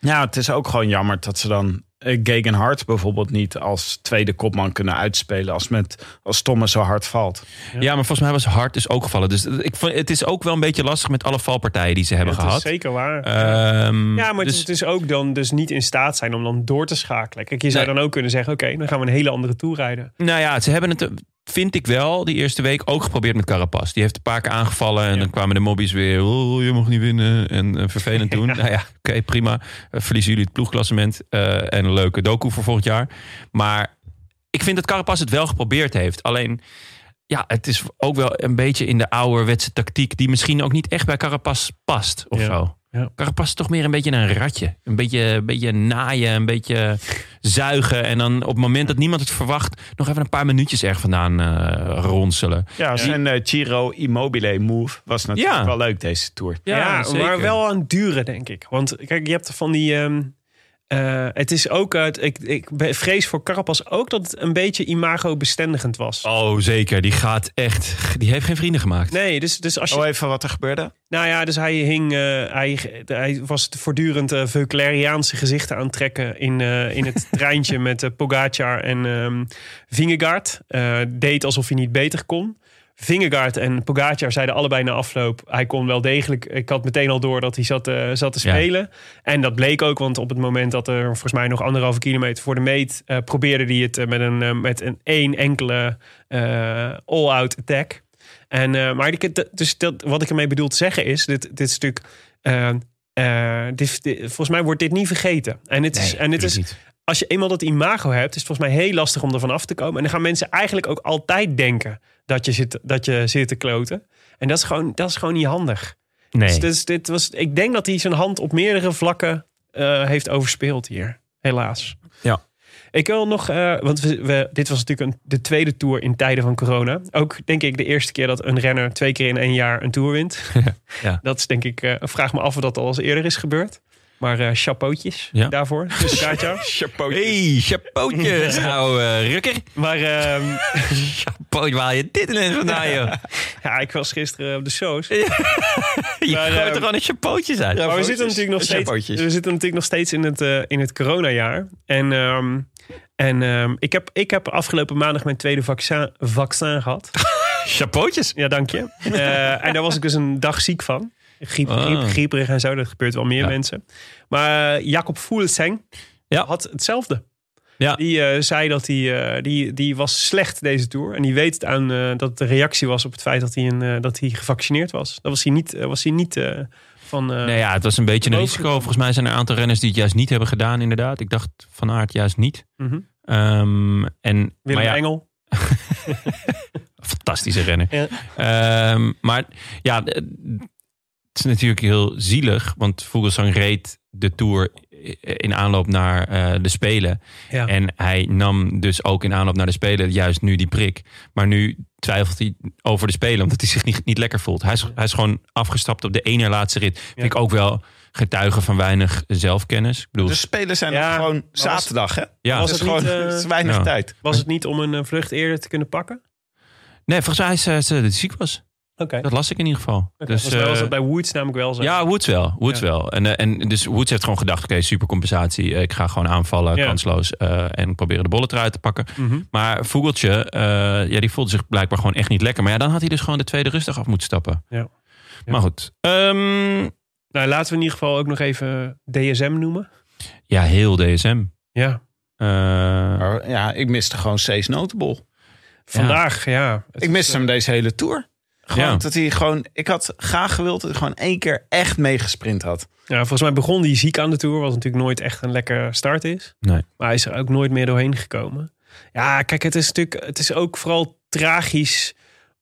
Ja, het is ook gewoon jammer dat ze dan eh, Gegen Hart bijvoorbeeld niet als tweede kopman kunnen uitspelen als, met, als Thomas zo hard valt. Ja, maar volgens mij was Hart dus ook gevallen. Dus ik vond, het is ook wel een beetje lastig met alle valpartijen die ze hebben dat gehad. is zeker waar. Ehm, ja, maar het dus- is dus ook dan dus niet in staat zijn om dan door te schakelen. Kijk, je zou Nee. dan ook kunnen zeggen, oké, dan gaan we een hele andere toer rijden. Nou ja, ze hebben het, vind ik wel, die eerste week ook geprobeerd met Carapaz. Die heeft een paar keer aangevallen en dan kwamen de mobbies weer. Oh, je mag niet winnen. En eh, vervelend doen. Nou ja, oké, prima. Eh, verliezen jullie het ploegklassement. eh, en een leuke doku voor volgend jaar. Maar ik vind dat Carapaz het wel geprobeerd heeft. Alleen, ja, het is ook wel een beetje in de ouderwetse tactiek... die misschien ook niet echt bij Carapaz past of Ja. zo. Ja. Carapaz is toch meer een beetje een ratje. Een beetje, een beetje naaien, een beetje zuigen. En dan op het moment dat niemand het verwacht, nog even een paar minuutjes erg vandaan eh, ronselen. Ja, zijn eh, Giro Immobile move was natuurlijk Ja. wel leuk deze Tour. Ja, maar wel aan het duren, denk ik. Want kijk, je hebt van die... ehm, eh, het is ook... uit ik, ik be- vrees voor Carapas ook dat het een beetje imago-bestendigend was. Oh, zeker. Die gaat echt. Die heeft geen vrienden gemaakt. Nee, dus, dus als je... Oh, even wat er gebeurde. Nou ja, dus hij hing... eh, hij, hij was voortdurend eh Veucleriaanse gezichten aantrekken... in, eh, in het treintje met eh, Pogacar en ehm Vingegaard. Eh, deed alsof hij niet beter kon. Vingegaard en Pogacar zeiden allebei na afloop... hij kon wel degelijk... Ik had meteen al door dat hij zat, eh, zat te Ja. spelen. En dat bleek ook, want op het moment dat er... volgens mij nog anderhalve kilometer voor de meet... eh, probeerde hij het eh, met, een, eh, met een één enkele eh, all-out attack. En, eh, maar die- dat- dus dat, wat ik ermee bedoel te zeggen is... dit, dit is natuurlijk... eh, eh, dit, dit- volgens mij wordt dit niet vergeten. En het is, en het is als je eenmaal dat imago hebt, is het volgens mij heel lastig om ervan af te komen. En dan gaan mensen eigenlijk ook altijd denken dat je zit, dat je zit te kloten. En dat is gewoon, dat is gewoon niet handig. Dus, dus dit was, ik denk dat hij zijn hand op meerdere vlakken eh, heeft overspeeld hier. Helaas. Ja. Ik wil nog, eh, want we, we- dit was natuurlijk een, de tweede tour in tijden van corona. Ook denk ik de eerste keer dat een renner twee keer in één jaar een tour wint. Ja. Dat is denk ik, eh, vraag me af of dat al eens eerder is gebeurd. Maar eh chapeautjes Ja. daarvoor. Dus Katja. Hey, chapeautjes. Nou, eh Rukker. Maar ehm, Chapeau, waar haal je dit ineens vandaan, joh? ja, ik was gisteren op de shows. Je Maar, gooit ehm, er gewoon een chapeautjes uit. maar we zitten, natuurlijk nog steeds, we Chapeautjes. zitten natuurlijk nog steeds in het, eh, in het coronajaar. En, ehm, en ehm, ik, heb, ik heb afgelopen maandag mijn tweede vaccin, vaccin gehad. Chapeautjes. Ja, dank je. Eh, en daar was ik dus een dag ziek van. Griep, Ah. griep, grieperig en zo, dat gebeurt wel meer Ja. mensen. Maar eh, Jacob Fuglsang Ja. had hetzelfde. Ja. Die eh, zei dat hij, eh, die, die was slecht deze tour. En die weet het aan eh, dat het de reactie was op het feit dat hij, een, eh, dat hij gevaccineerd was. Dat was hij niet, eh, was hij niet eh, van... eh, Nou ja, het was een beetje een risico. Volgens mij zijn er een aantal renners die het juist niet hebben gedaan, inderdaad. Ik dacht van aard juist niet. mhm. Ehm, en, Willem maar ja, Engel. fantastische renner. Ja. Ehm, maar ja, eh, het is natuurlijk heel zielig. Want Vogelsang reed de Tour in aanloop naar eh, de Spelen. Ja. En hij nam dus ook in aanloop naar de Spelen juist nu die prik. Maar nu twijfelt hij over de Spelen, omdat hij zich niet, niet lekker voelt. Hij is, hij is gewoon afgestapt op de ene laatste rit. Vind ik ook wel getuige van weinig zelfkennis. Ik bedoel, De spelen zijn Ja, nog gewoon maar was- zaterdag, hè? ja, Dus was Het is het niet, gewoon eh, het is weinig Ja. tijd. Was het niet om een eh, vlucht eerder te kunnen pakken? nee, volgens mij is eh, ze dat hij ziek was. Oké. Dat las ik in ieder geval. Dus, was, wel- eh, was dat bij Woods namelijk wel zo. Ja, Woods wel. Woods Ja. wel. En, eh, en dus Woods heeft gewoon gedacht: oké, supercompensatie. eh, Ik ga gewoon aanvallen, Ja. kansloos. eh, en proberen de bollen eruit te pakken. Mhm. Maar Vogeltje, eh, ja, die voelde zich blijkbaar gewoon echt niet lekker. Maar ja, dan had hij dus gewoon de tweede rustig af moeten stappen. Ja. Ja. Maar goed. Ehm, Nou, laten we in ieder geval ook nog even DSM noemen. ja, heel DSM. Ja. Eh, Maar ja, ik miste gewoon Cees Notable. Vandaag, ja. eh, Ik miste hem deze hele tour. Gewoon Ja. dat hij gewoon, ik had graag gewild dat hij gewoon één keer echt meegesprint had. Ja, volgens mij begon hij ziek aan de Tour, wat natuurlijk nooit echt een lekker start is. Nee. Maar hij is er ook nooit meer doorheen gekomen. Ja, kijk, het is natuurlijk, het is ook vooral tragisch.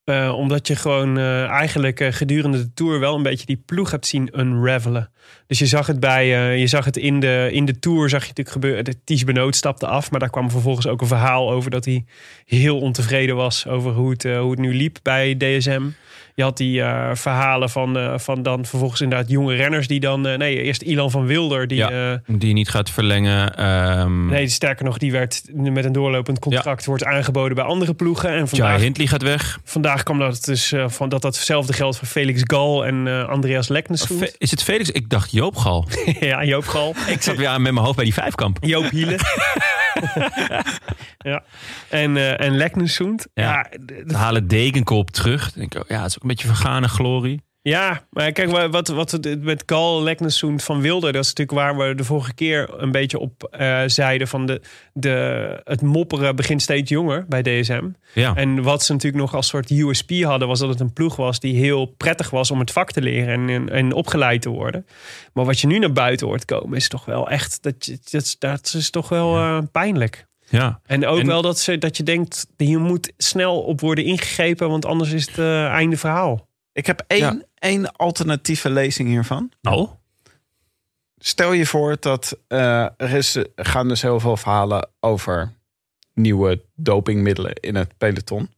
eh, omdat je gewoon eh, eigenlijk eh, gedurende de Tour wel een beetje die ploeg hebt zien unravelen. Dus je zag het, bij, eh, je zag het in, de, in de Tour, zag je natuurlijk gebeuren. De Ties Benoot stapte af, maar daar kwam vervolgens ook een verhaal over dat hij heel ontevreden was over hoe het, eh, hoe het nu liep bij DSM. Je had die eh, verhalen van, eh, van dan vervolgens inderdaad jonge renners die dan... eh, nee, eerst Ilan van Wilder die... Ja. eh, Die niet gaat verlengen. ehm Nee, sterker nog, die werd met een doorlopend contract wordt aangeboden bij andere ploegen. En Jai vandaag, Hindley gaat weg. vandaag kwam dat het dus eh, van dat datzelfde geldt voor Felix Gal en eh, Andreas Leknes. Fe- Is het Felix? Ik dacht Joop Gal. ja, Joop Gal. ik zat weer aan met mijn hoofd bij die vijfkamp. Joop Hielen. ja. En, eh en Leknesund. Ja. Ja. d- d- Ze halen Dekenkop terug. Dan Denk ik, oh, ja, het is ook een beetje vergane glorie. ja, maar kijk, wa- wat, wat het met Gal, Leknesund van Wilder, dat is natuurlijk waar we de vorige keer een beetje op eh, zeiden van de, de, het mopperen begint steeds jonger bij DSM. Ja. En wat ze natuurlijk nog als soort USP hadden, was dat het een ploeg was die heel prettig was om het vak te leren en, en, en opgeleid te worden. Maar wat je nu naar buiten hoort komen, is toch wel echt, dat, je- dat, is- dat is toch wel eh, pijnlijk. ja. En ook En- wel dat, ze, dat je denkt, hier moet snel op worden ingegrepen, want anders is het eh, einde verhaal. Ik heb één, één alternatieve lezing hiervan. Oh? Stel je voor dat eh, er is, er gaan dus heel veel verhalen over nieuwe dopingmiddelen in het peloton.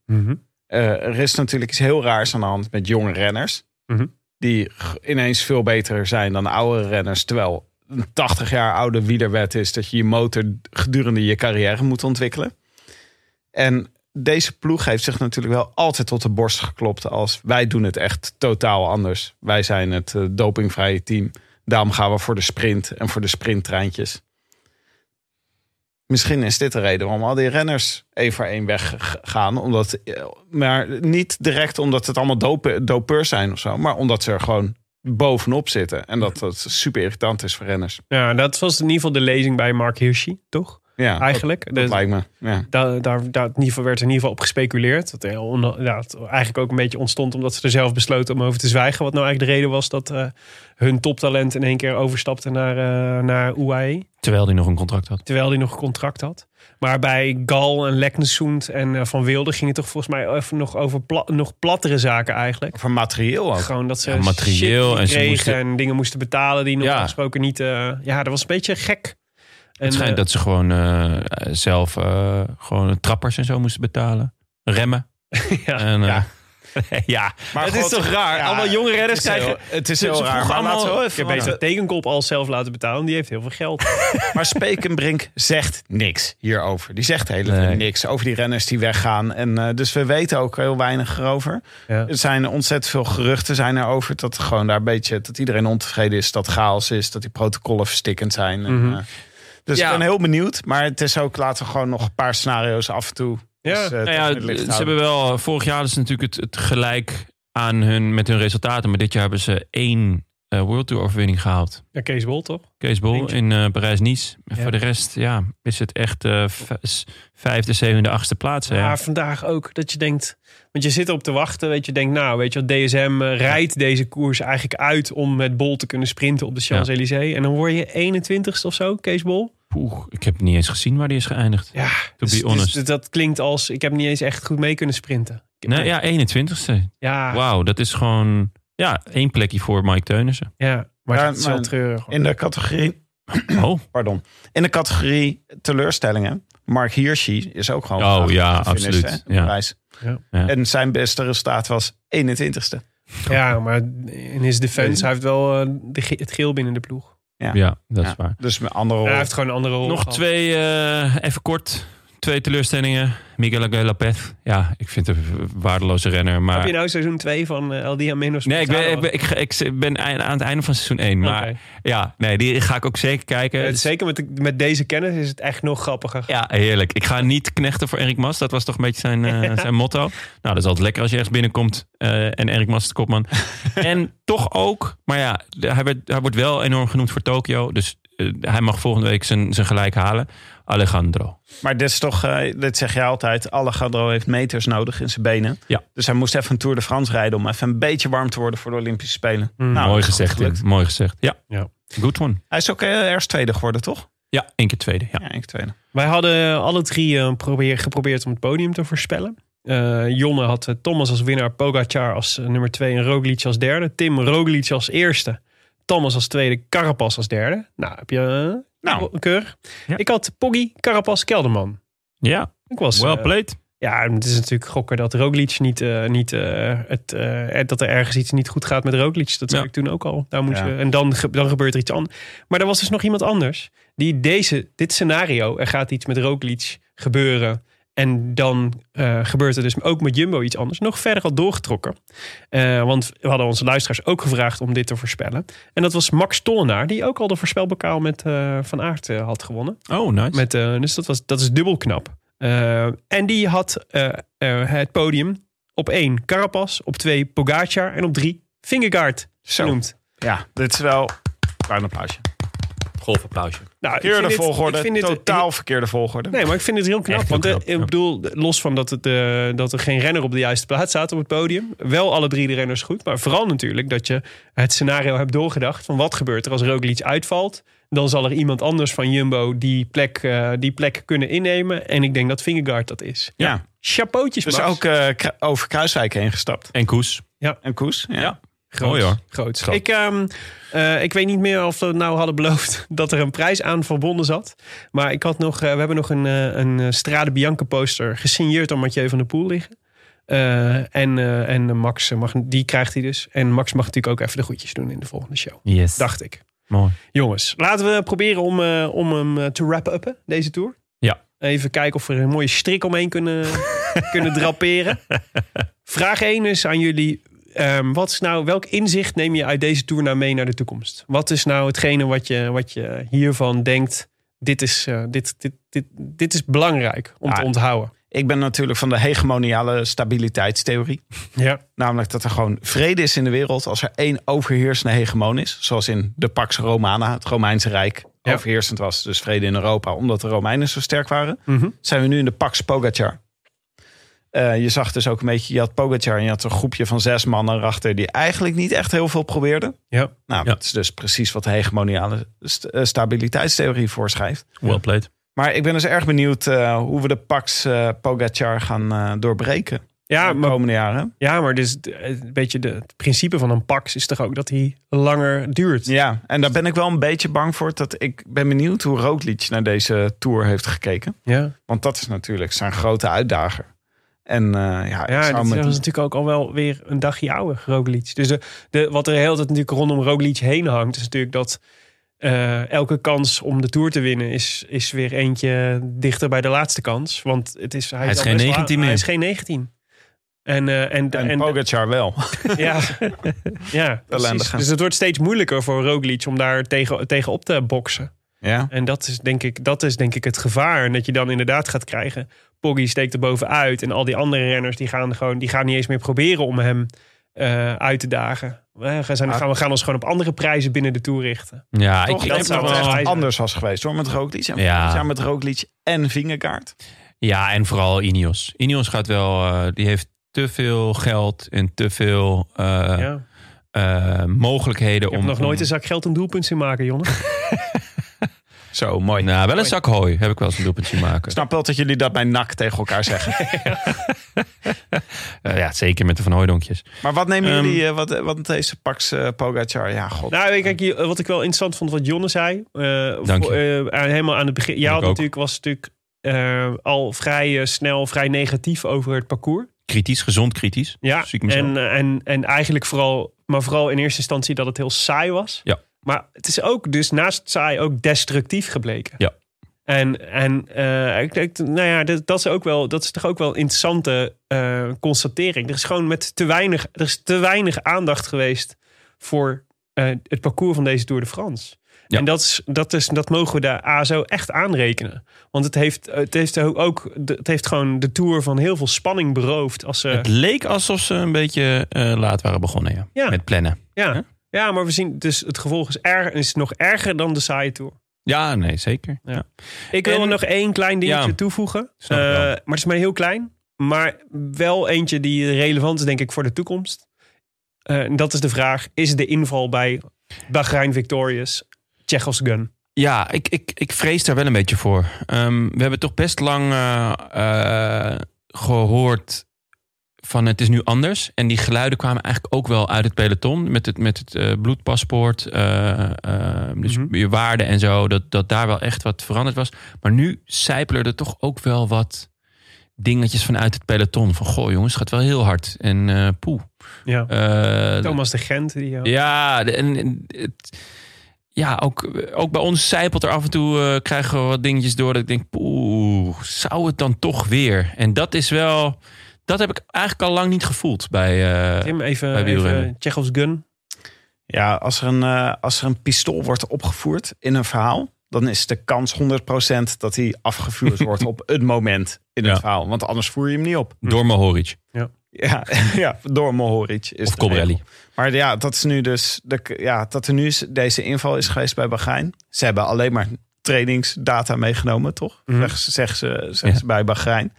Eh, er is natuurlijk iets heel raars aan de hand met jonge renners. Mhm. Die g- ineens veel beter zijn dan oude renners. Terwijl een 80 jaar oude wielerwet is dat je je motor gedurende je carrière moet ontwikkelen. En deze ploeg heeft zich natuurlijk wel altijd tot de borst geklopt als wij doen het echt totaal anders. Wij zijn het eh, dopingvrije team. Daarom gaan we voor de sprint en voor de sprinttreintjes. Misschien is dit de reden waarom al die renners één voor één weggaan. Omdat, eh, maar niet direct omdat het allemaal dope- dopeurs zijn of zo. Maar omdat ze er gewoon bovenop zitten. En dat dat super irritant is voor renners. Ja, dat was in ieder geval de lezing bij Mark Hirschi, toch? Ja, Eigenlijk. dat, dat Dus- lijkt me. Ja. daar, daar, daar in ieder geval werd er in ieder geval op gespeculeerd. Dat heel on- ja, het eigenlijk ook een beetje ontstond omdat ze er zelf besloten om over te zwijgen. Wat nou eigenlijk de reden was dat eh, hun toptalent in één keer overstapte naar, eh naar UAE. Terwijl hij nog een contract had. Terwijl hij nog een contract had. Maar bij Gal en Leknesund en eh, Van Wilde ging het toch volgens mij even nog over pla- nog plattere zaken eigenlijk. Voor materieel ook. Gewoon dat ze Ja, materieel shit en ze kregen moesten- en dingen moesten betalen die nog Ja. gesproken niet... eh, ja, dat was een beetje gek. En, het schijnt eh, dat ze gewoon eh, zelf eh, gewoon trappers en zo moesten betalen. Remmen. Ja. En, eh, ja. Maar het is God, toch raar? ja, Allemaal jonge redders het is heel- krijgen... Het is ze- heel ze raar. vroegen Maar, laten we allemaal- wel Je even beter tekenkop al zelf laten betalen. Die heeft heel veel geld. eh, Maar Spekenbrink zegt niks hierover. Die zegt helemaal Nee. niks over die renners die weggaan. En, eh, dus we weten ook heel weinig erover. Ja. Er zijn ontzettend veel geruchten zijn erover dat gewoon daar een beetje dat iedereen ontevreden is, dat chaos is, dat die protocollen verstikkend zijn. En, eh, dus Mhm. Ja. ik ben heel benieuwd. Maar het is ook laten we gewoon nog een paar scenario's af en toe. Ja. dus, eh, Nou tegen het ja, licht ze houden. hebben wel... Vorig jaar hadden ze natuurlijk het, het gelijk aan hun, met hun resultaten. Maar dit jaar hebben ze één eh, World Tour overwinning gehaald. Ja, Kees Bol toch? Kees Bol Eentje. in eh, Parijs-Nice. En Ja. Voor de rest ja, is het echt eh, v- vijfde, zevende, achtste plaats. hè. Maar vandaag ook dat je denkt... Want je zit erop te wachten. Weet je, denkt nou, weet je wat, DSM eh, rijdt deze koers eigenlijk uit... om met Bol te kunnen sprinten op de Champs-Élysées. En dan word je 21ste of zo, Kees Bol. Poeh, ik heb niet eens gezien waar die is geëindigd. Ja, dus- be honest. dat klinkt als... Ik heb niet eens echt goed mee kunnen sprinten. Ik- Nee, ja, 21ste. Ja, Wauw, dat is gewoon ja, één plekje voor Mike Teunissen. ja, maar Ja, dat is wel maar- treurig. hoor. in de categorie Oh, Pardon. In de categorie teleurstellingen. Mark Hirschi is ook gewoon. Oh, vandaag ja, gefinished, absoluut. hè, op Ja. Parijs. Ja. Ja. En zijn beste resultaat was 21ste. Ja, maar in his defense, hij heeft wel eh, de, ge- het geel binnen de ploeg. Ja. Oh, ja, dat Ja. is waar. Dus met andere Hij rol. heeft gewoon een andere rol Nog gehad. twee, eh, even kort. Twee teleurstellingen. Miguel Aguilar Lopez. Ja, ik vind het een waardeloze renner. Heb je Maar... nou seizoen 2 van eh, El Dia Menos? Nee, ik ben, ik, Montano? ben, ik, ga- ik ben ei- aan het einde van seizoen 1. Maar Oké. ja, nee, die ga ik ook zeker kijken. Eh, zeker met, de- met deze kennis is het echt nog grappiger. Ja, heerlijk. Ik ga niet knechten voor Erik Mas. Dat was toch een beetje zijn, eh, zijn motto. Nou, dat is altijd lekker als je ergens binnenkomt eh, en Erik Mas is de kopman. en toch ook, maar ja, de- hij, werd, hij wordt wel enorm genoemd voor Tokio. Dus eh, hij mag volgende week zijn, zijn gelijk halen. Alejandro. Maar dit is toch, eh, dit zeg je altijd, Alejandro heeft meters nodig in zijn benen. Ja. Dus hij moest even een Tour de France rijden om even een beetje warm te worden voor de Olympische Spelen. Nou, Mooi dat is goed gezegd, Tim. gelukt. Mooi gezegd. Ja. Ja. Good one. Hij is ook eh, ergens tweede geworden, toch? Ja, één keer tweede. Ja. Ja, ik tweede. Wij hadden alle drie eh, probeer, geprobeerd om het podium te voorspellen. Eh, Jonne had eh, Thomas als winnaar, Pogacar als eh, nummer twee en Roglic als derde. Tim Roglic als eerste, Thomas als tweede, Carapaz als derde. Nou, heb je eh, Nou. keurig. Ja. Ik had Poggi, Carapaz, Kelderman. ja. Ik was, Well eh, played. ja, en het is natuurlijk gokken dat Roglic niet, eh, niet eh, het, eh, dat er ergens iets niet goed gaat met Roglic. Dat zei Ja. ik toen ook al. Daar moet Ja. je, en dan, ge- dan gebeurt er iets anders. Maar er was dus nog iemand anders die deze, dit scenario, er gaat iets met Roglic gebeuren. En dan eh, gebeurt er dus ook met Jumbo iets anders. Nog verder had doorgetrokken. Eh, want we hadden onze luisteraars ook gevraagd om dit te voorspellen. En dat was Max Tollenaar, die ook al de voorspelbokaal met eh, Van Aert eh, had gewonnen. Oh, nice. Met, eh, dus dat, was, dat is dubbel knap. Eh, en die had eh, eh, het podium op één Carapaz, op twee Pogacar en op drie Fingergaard genoemd. Ja, dit is wel... Klein applausje. golfapplausje. Nou, ik Verkeerde vind dit- volgorde, ik vind dit- totaal verkeerde volgorde. Nee, maar ik vind het heel knap. Echt heel want eh, knap, ja. ik bedoel, los van dat, het, eh, dat er geen renner op de juiste plaats staat op het podium. Wel alle drie de renners goed. Maar vooral natuurlijk dat je het scenario hebt doorgedacht. Van wat gebeurt er als Roglic uitvalt? Dan zal er iemand anders van Jumbo die plek, eh, die plek kunnen innemen. En ik denk dat Fingergaard dat is. Ja. Chapeautjes, Dus Max. ook eh, kru- over Kruiswijk heen gestapt. En Koes. En Koes? Ja. Ja. Groot. Mooi hoor. Groot. Groot. Ik, ehm, eh, ik weet niet meer of we nou hadden beloofd dat er een prijs aan verbonden zat. Maar ik had nog, eh, we hebben nog een, eh, een eh, Strade Bianca poster gesigneerd door Mathieu van der Poel liggen. Eh, en, eh, en Max, eh, mag, die krijgt hij dus. En Max mag natuurlijk ook even de groetjes doen in de volgende show. Yes. Dacht ik. Mooi. Jongens, laten we proberen om, eh, om hem eh, te wrap-uppen, deze tour. Ja. Even kijken of we er een mooie strik omheen kunnen, kunnen draperen. Vraag 1 is aan jullie. ehm, wat is nou, welk inzicht neem je uit deze tour nou mee naar de toekomst? Wat is nou hetgene wat je, wat je hiervan denkt? Dit is, eh, dit, dit, dit, dit is belangrijk om Ja. te onthouden. Ik ben natuurlijk van de hegemoniale stabiliteitstheorie. Ja. Namelijk dat er gewoon vrede is in de wereld als er één overheersende hegemon is. Zoals in de Pax Romana, het Romeinse Rijk, Ja. overheersend was. Dus vrede in Europa, omdat de Romeinen zo sterk waren. Mhm. Zijn we nu in de Pax Pogacar. Eh, je zag dus ook een beetje, je had Pogacar en je had een groepje van zes mannen erachter... die eigenlijk niet echt heel veel probeerden. Ja. Nou, Ja. dat is dus precies wat de hegemoniale st- eh, stabiliteitstheorie voorschrijft. Well played. Maar ik ben dus erg benieuwd eh, hoe we de Pax eh, Pogacar gaan eh, doorbreken Ja, de maar komende jaren. Ja, maar dus, eh, een beetje de, het principe van een pax is toch ook dat hij langer duurt. Ja, en daar ben ik wel een beetje bang voor. Dat ik ben benieuwd hoe Roglic naar deze Tour heeft gekeken. Ja, Want dat is natuurlijk zijn grote uitdager. En eh, ja, ik ja zou dat met- was natuurlijk ook al wel weer een dagje ouder, Roglic. Dus de, de, wat er heel tijd natuurlijk rondom Roglic heen hangt, is natuurlijk dat eh, elke kans om de Tour te winnen is, is weer eentje dichter bij de laatste kans. Want het is, hij, is al geen best wel- 19 meer. Hij is geen 19. En, eh, en, en, en, Pogacar wel. Ja, ja precies. Ellendige. dus het wordt steeds moeilijker voor Roglic om daar tegen, tegen op te boksen. ja. En dat is, denk ik, dat is denk ik het gevaar. En dat je dan inderdaad gaat krijgen. Poggi steekt er bovenuit. En al die andere renners die gaan, gewoon, die gaan niet eens meer proberen om hem eh, uit te dagen. We gaan, gaan, we gaan ons gewoon op andere prijzen binnen de toer richten. Ja, Toch, Ah. ik, dat ik- zou wel- het hij- echt anders was geweest hoor, met Roglic. En Ja. ja. met Roglic en Vingegaard. ja, en vooral Ineos. Ineos gaat wel, eh, die heeft te veel geld en te veel eh, ja. eh, mogelijkheden Ik om. heb nog nooit om- een zak geld een doelpunt zien maken, Jonne. Zo, mooi. Nou, wel een zak hooi heb ik wel eens een doelpunt zien maken. Ik snap wel dat jullie dat bij NAC tegen elkaar zeggen. Eh, ja, zeker met de Van Hooidonkjes. maar wat nemen Ehm, jullie, eh, wat, wat deze Pax eh, Pogacar? Ja, god. Nou, kijk, hier, wat ik wel interessant vond wat Jonne zei. eh, Dank voor- eh, aan- helemaal aan het begin. Jij ik had ook. natuurlijk, was natuurlijk eh, al vrij eh, snel, vrij negatief over het parcours. Kritisch, gezond kritisch. Ja, Zie ik en, mezelf. eh, en, en eigenlijk vooral, maar vooral in eerste instantie dat het heel saai was. Ja. Maar het is ook dus naast saai ook destructief gebleken. Ja. En, en eh, ik denk, nou ja, dat, dat, is ook wel, dat is toch ook wel een interessante eh, constatering. Er is gewoon met te weinig, er is te weinig aandacht geweest voor eh, het parcours van deze Tour de France. Ja. En dat, is, dat, is, dat mogen we de ASO echt aanrekenen. Want het heeft, het heeft ook het heeft gewoon de Tour van heel veel spanning beroofd. Als ze, Het leek alsof ze een beetje eh, laat waren begonnen ja. Ja. met plannen. Ja. Hè? ja, maar we zien dus het gevolg is, erg, is nog erger dan de saaie tour. Ja, nee, zeker. Ja. Ja. Ik wil En- er nog één klein dingetje Ja. toevoegen. Snap ik Eh, wel. maar het is maar heel klein. Maar wel eentje die relevant is, denk ik, voor de toekomst. Eh, en dat is de vraag: is de inval bij Bahrein Victorious Tsjechos gun? Ja, ik, ik, ik vrees daar wel een beetje voor. Ehm, we hebben toch best lang eh, eh, gehoord van het is nu anders. En die geluiden kwamen eigenlijk ook wel uit het peloton. Met het, met het eh, bloedpaspoort, eh, eh, dus Mhm. je waarde en zo. Dat, dat daar wel echt wat veranderd was. Maar nu sijpelen er toch ook wel wat dingetjes vanuit het peloton. Van goh jongens, het gaat wel heel hard. En eh poeh. Ja. Eh, Thomas de Gent. Die, Oh. eh, ja, de- en, en het- ja ook, ook bij ons zijpelt er af en toe eh, krijgen we wat dingetjes door dat ik denk, poeh, zou het dan toch weer? En dat is wel, dat heb ik eigenlijk al lang niet gevoeld bij. eh, Tim, bij even, wielrennen. even Tsjechos gun. Ja, als er, een, eh, als er een pistool wordt opgevoerd in een verhaal, dan is de kans 100% dat hij afgevuurd wordt op het moment in het Ja. verhaal. Want anders voer je hem niet op. door Mohoric Ja, ja door Mohoric. Is of de Cobrelli. Maar ja, dat is nu dus. De, ja, dat er nu is- deze inval is geweest bij Bahrein. Ze hebben alleen maar trainingsdata meegenomen, toch? Mhm. Zeg- Zeggen ze, zeggen Ja. ze bij Bahrein.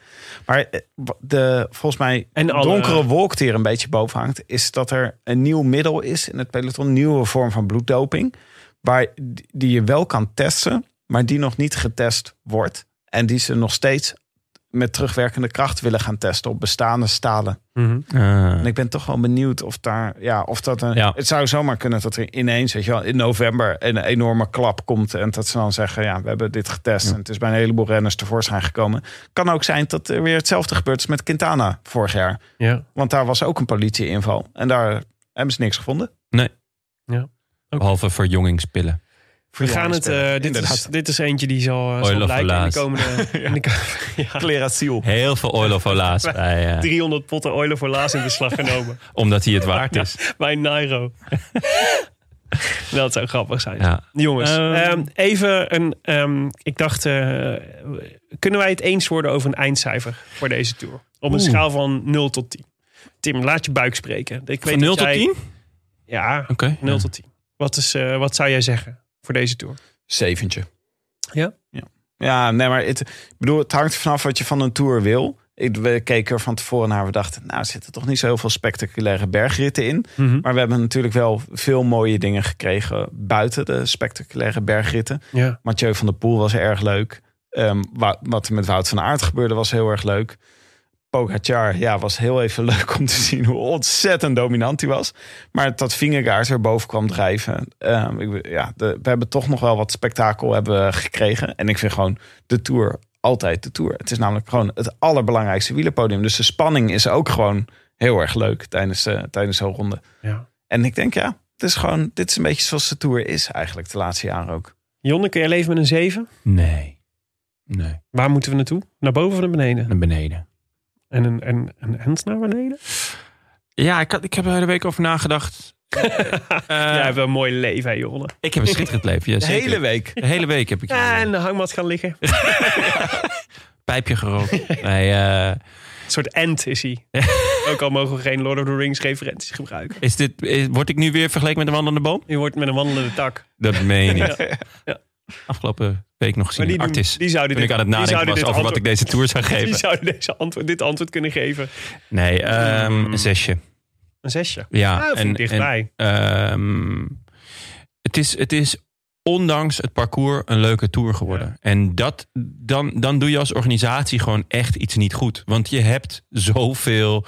Maar eh, wa- de, volgens mij En alle- donkere wolk die er een beetje boven hangt... is dat er een nieuw middel is in het peloton. Een nieuwe vorm van bloeddoping. Waar, die je wel kan testen, maar die nog niet getest wordt. En die ze nog steeds met terugwerkende kracht willen gaan testen... op bestaande stalen Ah. en ik ben toch wel benieuwd of daar, ja, of dat een, Ja. het zou zomaar kunnen dat er ineens, weet je wel, in november een enorme klap komt en dat ze dan zeggen, ja, we hebben dit getest en het is bij een heleboel renners tevoorschijn gekomen. Kan ook zijn dat er weer hetzelfde gebeurt als met Quintana vorig jaar, Ja. want daar was ook een politieinval en daar hebben ze niks gevonden. Behalve verjongingspillen. We gaan het. eh, dit, is, Inderdaad. dit is eentje die zal, eh, Oil zal of blijken in de Olaas. komende. in de ko- ja. Cleratiel. Heel veel oil of olaas bij, eh, 300 potten oilen voor laas in beslag genomen. omdat hij het waard is. Bij Nairo. dat zou grappig zijn. Ja. Jongens, Ehm. ehm, even een. ehm, ik dacht, eh, kunnen wij het eens worden over een eindcijfer voor deze tour? Op een Oeh. schaal van 0 tot 10. Tim, laat je buik spreken. Ik weet Van 0 dat tot jij- 10? Ja, Oké. 0 tot 10. Wat, is, eh, wat zou jij zeggen voor deze tour? Zeventje. Ja? ja? Ja, nee, maar het, ik bedoel, het hangt vanaf wat je van een tour wil. Ik, we keken er van tevoren naar. We dachten, nou, er zitten toch niet zo heel veel spectaculaire bergritten in. Mhm. Maar we hebben natuurlijk wel veel mooie dingen gekregen buiten de spectaculaire bergritten. Ja. Mathieu van der Poel was erg leuk. Ehm, wa- wat er met Wout van Aert gebeurde was heel erg leuk. Pogacar, ja, was heel even leuk om te zien hoe ontzettend dominant hij was. Maar dat Vingegaard er boven kwam drijven. ehm, ik, be- ja, de- we hebben toch nog wel wat spektakel hebben we gekregen. En ik vind gewoon de Tour altijd de Tour. Het is namelijk gewoon het allerbelangrijkste wielerpodium. Dus de spanning is ook gewoon heel erg leuk tijdens, eh, tijdens zo'n ronde. Ja. En ik denk, ja, het is gewoon, dit is een beetje zoals de Tour is eigenlijk de laatste jaren ook. Jonne, kun jij leven met een 7? Nee. Nee. Waar moeten we naartoe? Naar boven of naar beneden? Naar beneden. En een, en een hand naar beneden? Ja, ik, had, ik heb er de hele week over nagedacht. jij Eh, hebt wel een mooi leven, hè, Jonne. Ik heb een schitterend leven. Ja, De zeker. hele week. De hele week heb ik Ja, hier en een eh, de hangmat gaan liggen. pijpje gerookt. Nee, eh, Een soort ant is hij. Ook al mogen we geen Lord of the Rings referenties gebruiken. is dit, is- word ik nu weer vergeleken met een wandelende boom? Je wordt met een wandelende tak. Dat meen je niet. Ja. Afgelopen week nog gezien. Maar die, in doen- Artis. die zouden Toen dit, ik aan het die nadenken zouden was dit over wat ik antwoord- deze tour zou Die geven. zouden deze antwoord, dit antwoord kunnen geven. Nee, ehm, Hmm. een zesje. Een zesje. Ja, Ah, dat vind en- ik dichtbij. en, ehm, het, is, het is ondanks het parcours een leuke tour geworden. En dat, dan, dan doe je als organisatie gewoon echt iets niet goed. Want je hebt zoveel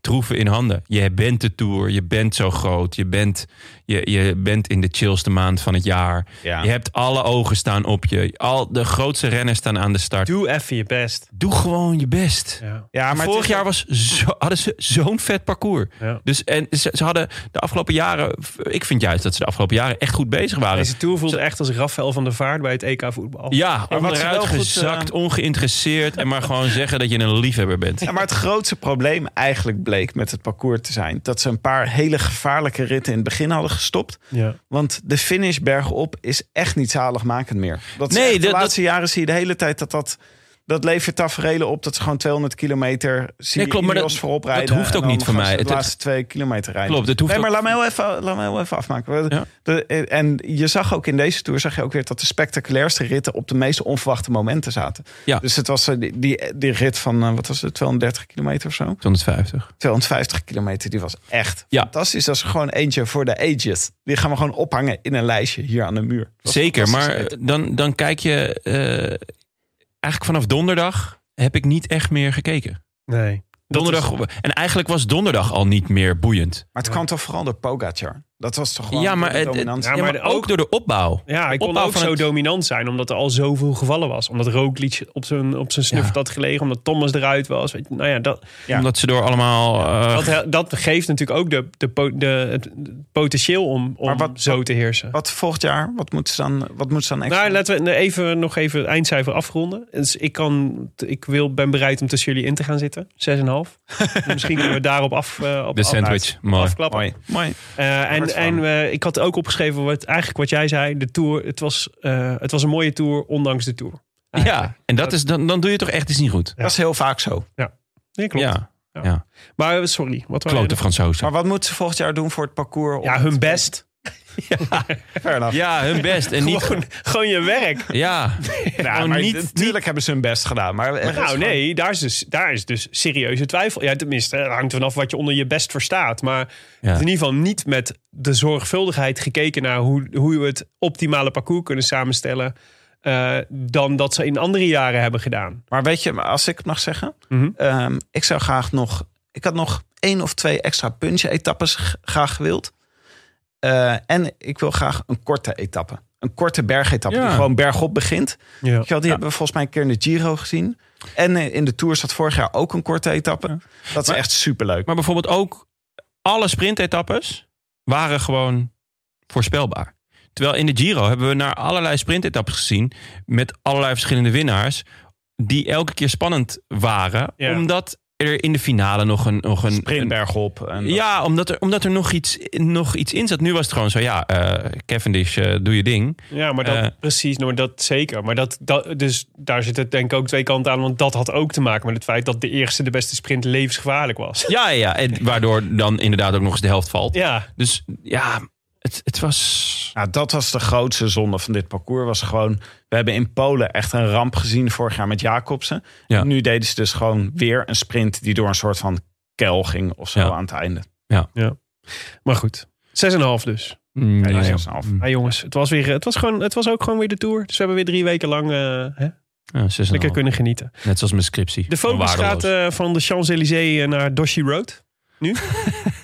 troeven in handen. Je bent de tour, je bent zo groot, je bent, je, je bent in de chillste maand van het jaar. Ja. Je hebt alle ogen staan op je. Al de grootste renners staan aan de start. Doe, Doe even je best. gewoon je best. Ja. Ja, maar Vorig jaar was zo, hadden ze zo'n vet parcours. Ja. Dus en ze, ze hadden de afgelopen jaren. Ik vind juist dat ze de afgelopen jaren echt goed bezig waren. Deze tour voelt echt als Rafael van der Vaart bij het EK voetbal. Ja, ze wel onderuit goed, eh, gezakt, ongeïnteresseerd. En maar gewoon zeggen dat je een liefhebber bent. Ja, maar het grootste probleem eigenlijk bleek met het parcours te zijn... dat ze een paar hele gevaarlijke ritten in het begin hadden gestopt. Ja. Want de finish bergop is echt niet zaligmakend meer. Dat is Nee, echt de dat- laatste jaren zie je de hele tijd dat dat... dat levert tafereelen op dat ze gewoon 200 kilometer zie Nee, klopt, maar Ineos dat- voorop rijden. dat hoeft ook en dan niet van gaan mij. ze Het- De laatste twee kilometer rijden. Klopt, het hoeft nee, maar ook- laat mij heel even, laat mij heel even afmaken. Ja. De- en je zag ook in deze tour zag je ook weer dat de spectaculairste ritten op de meest onverwachte momenten zaten. Ja. Dus het was eh, die, die, die rit van eh, wat was het 230 kilometer of zo. 250. 250 kilometer, die was echt Ja. fantastisch. Dat is gewoon eentje voor de ages. Die gaan we gewoon ophangen in een lijstje hier aan de muur. Dat was Zeker, maar fantastisch rit. eh, dan, dan kijk je... eh, eigenlijk vanaf donderdag heb ik niet echt meer gekeken. Nee. Dat Donderdag, En eigenlijk was donderdag al niet meer boeiend. Maar het kwam toch vooral door Pogacar? Dat was toch gewoon ja, maar, de het- het- dominantie? ja, maar de- ook, door de opbouw. Ja, ik kon opbouw ook van zo het- dominant zijn, omdat er al zoveel gevallen was. Omdat Roglic op zijn, op zijn snuffert had gelegen, omdat Thomas eruit was. Weet je, nou ja, dat, Ja. Omdat ze door allemaal... eh, dat, he- dat geeft natuurlijk ook de, de, po- de, het het potentieel om, om Maar wat- zo te heersen. Wat volgend jaar? Wat moeten ze dan, wat moeten ze dan extra Nou, laten we even, nog even het eindcijfer afronden. Dus ik, kan, ik wil, ben bereid om tussen jullie in te gaan zitten. 6,5. Misschien kunnen we daarop af, eh, op de af- sandwich. Mooi. afklappen. Mooi. Mooi. Eh, en Wordt en eh, ik had ook opgeschreven wat, eigenlijk wat jij zei. De tour, het was, eh, het was een mooie tour, ondanks de tour. Ja, en dat is, dan, dan doe je toch echt iets niet goed. Dat is heel vaak zo. Nee, klopt. Ja, Maar eh, sorry, wat wou klote jij Fransozen. Maar wat moeten ze volgend jaar doen voor het parcours? om- nog- Ja, hun best. fair enough. Ja, hun best. En niet... Gewoon, gewoon je werk. Ja, Ja, gewoon maar niet- natuurlijk hebben ze hun best gedaan. Maar, er is Nou gewoon- nee, daar is, dus, daar is dus serieuze twijfel. Ja, tenminste, het hangt vanaf wat je onder je best verstaat. Maar Ja. in ieder geval niet met de zorgvuldigheid gekeken naar hoe, hoe we het optimale parcours kunnen samenstellen. eh, dan dat ze in andere jaren hebben gedaan. Maar weet je, maar als ik het mag zeggen, Mhm. ehm, ik zou graag nog. Ik had nog één of twee extra punch-etappes g- graag gewild. Eh, en ik wil graag een korte etappe. Een korte bergetappe Ja. die gewoon bergop begint. Ja. Weet je wel, die hebben we volgens mij een keer in de Giro gezien. En eh, in de Tour zat vorig jaar ook een korte etappe. Dat is Maar- echt superleuk. Maar bijvoorbeeld ook alle sprintetappes waren gewoon voorspelbaar. Terwijl in de Giro hebben we naar allerlei sprintetappes gezien met allerlei verschillende winnaars die elke keer spannend waren, Ja. omdat er in de finale nog een nog een, Sprint een- bergop. En dat- ja, omdat er, omdat er nog, iets, nog iets in zat. Nu was het gewoon zo, ja, eh Cavendish, eh, doe je ding. Ja, maar dat, Eh. precies, nou, maar dat zeker. Maar dat, dat, dus daar zit het denk ik ook twee kanten aan. Want dat had ook te maken met het feit dat de eerste, de beste sprint levensgevaarlijk was. Ja, ja, ja. En waardoor dan inderdaad ook nog eens de helft valt. Ja, Dus ja, het, het was... Nou, dat was de grootste zonde van dit parcours. Was gewoon, we hebben in Polen echt een ramp gezien vorig jaar met Jacobsen. Ja. En nu deden ze dus gewoon weer een sprint die door een soort van kel ging of zo Ja. aan het einde. maar goed. 6,5 dus. Mm, Ja, nou ja. 6,5. Maar jongens, het was, weer, het, was gewoon, het was ook gewoon weer de tour. Dus we hebben weer drie weken lang eh, hè, Ja, 6,5. lekker kunnen genieten. Net zoals mijn scriptie. De focus gaat Waardeloos. eh, van de Champs-Élysées eh, naar Doshi Road. Nu.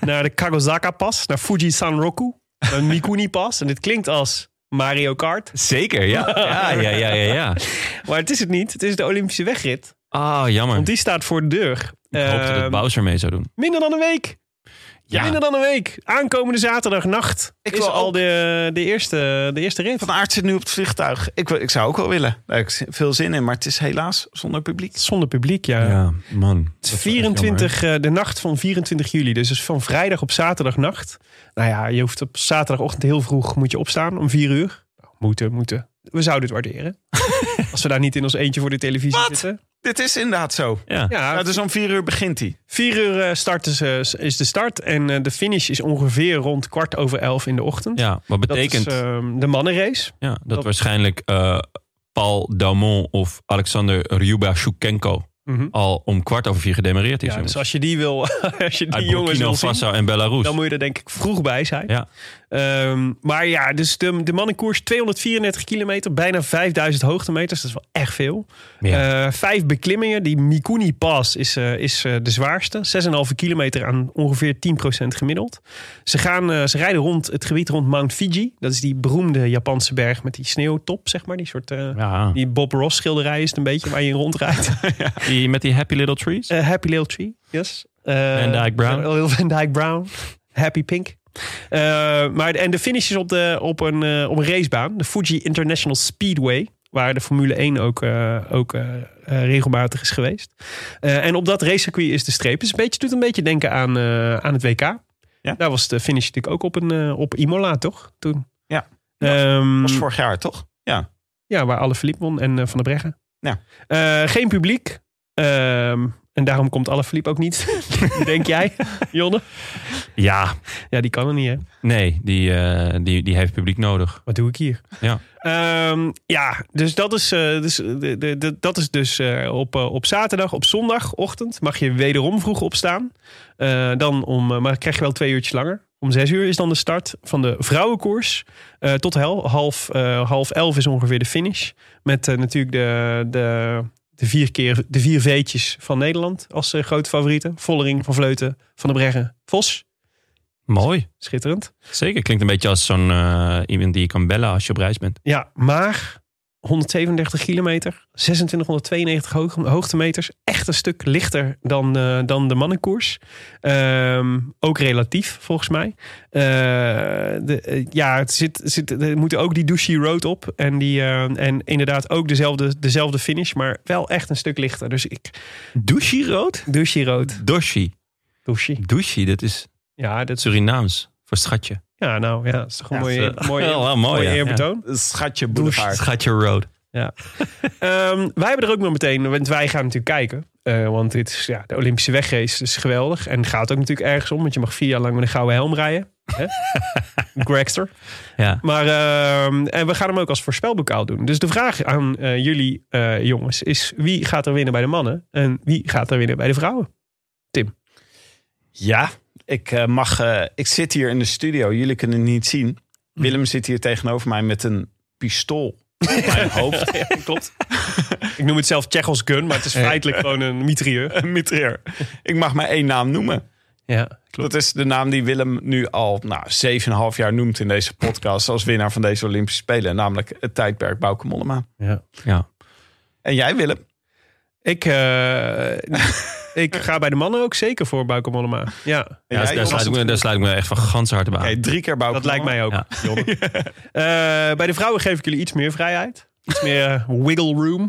naar de Kagosaka-pas. Naar Fuji Sanroku. Naar Mikuni-pas. En dit klinkt als Mario Kart. Zeker, ja. Ja, ja, ja, ja. ja. Maar het is het niet. Het is de Olympische wegrit. Ah, jammer. Want die staat voor de deur. Ik hoopte Eh, dat Bowser mee zou doen. minder dan een week. Ja. Minder dan een week. Aankomende zaterdagnacht Ik is wil al ook- de, de, eerste, de eerste rit. Van Aert zit nu op het vliegtuig. Ik, wil- ik zou ook wel willen. Daar heb ik z- veel zin in, maar het is helaas zonder publiek. Zonder publiek, ja. Ja, man. Het is 24, eh, de nacht van 24 juli. Dus het is van vrijdag op zaterdagnacht. Nou ja, je hoeft op zaterdagochtend heel vroeg moet je opstaan om 4 uur. Nou, moeten, moeten. We zouden het waarderen. Als we daar niet in ons eentje voor de televisie Wat? zitten. Dit is inderdaad zo. Ja. Ja, Ja, dus om vier uur begint hij. 4 uur eh, starten ze, is de start. En eh, de finish is ongeveer rond kwart over elf in de ochtend. ja, wat Dat betekent is ehm, de mannenrace. ja, dat, dat- waarschijnlijk eh, Paul Daumont of Alexander Ryubashukenko Mhm. al om kwart over vier gedemareerd is. Ja, jongens. dus als je die wil, als je die Uit jongens Burkina wil zien, Faso en Belarus. Dan moet je er denk ik vroeg bij zijn. Ja. Ehm, maar ja, dus de, de mannenkoers 234 kilometer, bijna 5000 hoogtemeters. Dat is wel echt veel. Ja. Eh, vijf beklimmingen. Die Mikuni Pass is, eh, is eh, de zwaarste. 6,5 kilometer aan ongeveer 10% gemiddeld. Ze, gaan, eh, ze rijden rond het gebied rond Mount Fuji. Dat is die beroemde Japanse berg met die sneeuwtop, zeg maar. Die soort... eh, ja. Die Bob Ross schilderij is het een beetje waar je in rondrijdt. Die, met die happy little trees. Eh, Happy Little Tree, yes. Eh, Van Dyke Brown. Lil Van Dyke Brown. Happy Pink. Eh, maar, en de finish is op, de, op, een, eh, op een racebaan. De Fuji International Speedway. Waar de Formule 1 ook, eh, ook eh, eh, regelmatig is geweest. Eh, en op dat racecircuit is de streep. Dus een beetje, doet een beetje denken aan, eh, aan het WK. Ja. Daar was de finish natuurlijk ook op, een, eh, op Imola, toch? Toen. Ja. Ehm, Mm. Dat was vorig jaar, toch? ja, waar alle Philippe won en eh, Van der Breggen. Ja. Eh, geen publiek. Ehm, en daarom komt Alaphilippe ook niet. Denk jij, Jonne? Ja, Ja, die kan er niet, hè? nee, die, eh, die, die heeft publiek nodig. Wat doe ik hier? Ja. Ehm, ja, dus dat is, eh, dus, de, de, de- dat is dus eh, op, eh, op zaterdag, op zondagochtend mag je wederom vroeg opstaan. Eh, dan om, eh, maar krijg je wel twee uurtjes langer. Om zes uur is dan de start van de vrouwenkoers. Eh, tot hel, half, eh, half elf is ongeveer de finish. Met eh, natuurlijk de, de, de, vier keer, de vier veetjes van Nederland als eh, grote favorieten. Vollering, Van Vleuten, Van der Breggen, Vos. Mooi. Schitterend. Zeker, klinkt een beetje als zo'n eh, iemand die je kan bellen als je op reis bent. Ja, maar 137 kilometer, 2692 hoog, hoogtemeters. Echt een stuk lichter dan, eh, dan de mannenkoers. Ehm, ook relatief, volgens mij. Eh, de, eh, ja, het zit, zit, er moeten ook die Dushi Road op. En, die, eh, en inderdaad ook dezelfde, dezelfde finish, maar wel echt een stuk lichter. Dus ik, Douchi rood? Dushi Road. Doshi. Dushi. Douchi, dat is Ja, dat is, Surinaams voor schatje. ja, nou ja, dat is toch een Ja, mooie, dat is, eh, mooie, wel mooi, mooie ja. eerbetoon. Schatje Douche. boulevard. Schatje road. Ehm, wij hebben er ook nog meteen, want wij gaan natuurlijk kijken. Eh, want dit is ja, de Olympische wegrace, dus geweldig. En het gaat ook natuurlijk ergens om, want je mag vier jaar lang met een gouden helm rijden. Hè? Gregster. Ja. Maar ehm, en we gaan hem ook als voorspelbokaal doen. Dus de vraag aan eh, jullie eh, jongens is: wie gaat er winnen bij de mannen en wie gaat er winnen bij de vrouwen? Ja, ik, eh, mag, eh, ik zit hier in de studio. Jullie kunnen het niet zien. Mhm. Willem zit hier tegenover mij met een pistool op mijn hoofd. Klopt. Ik noem het zelf Tsjechos gun, maar het is feitelijk gewoon een mitrieur. Een mitrailleur. Ik mag maar één naam noemen. Ja, Dat is de naam die Willem nu al nou, 7,5 jaar noemt in deze podcast. als winnaar van deze Olympische Spelen. Namelijk het tijdperk Bouke Mollema. ja. Ja. En jij, Willem? Ik, eh, ik ga bij de mannen ook zeker voor Bauke Mollema. Ja. Ja, En jij, daar, Jos? sluit ik me, daar sluit ik me echt van ganse harte bij aan. Oké, drie keer Bouke Dat lijkt mij ook. Ja. Jonne. Eh, bij de vrouwen geef ik jullie iets meer vrijheid. Iets meer eh, wiggle room.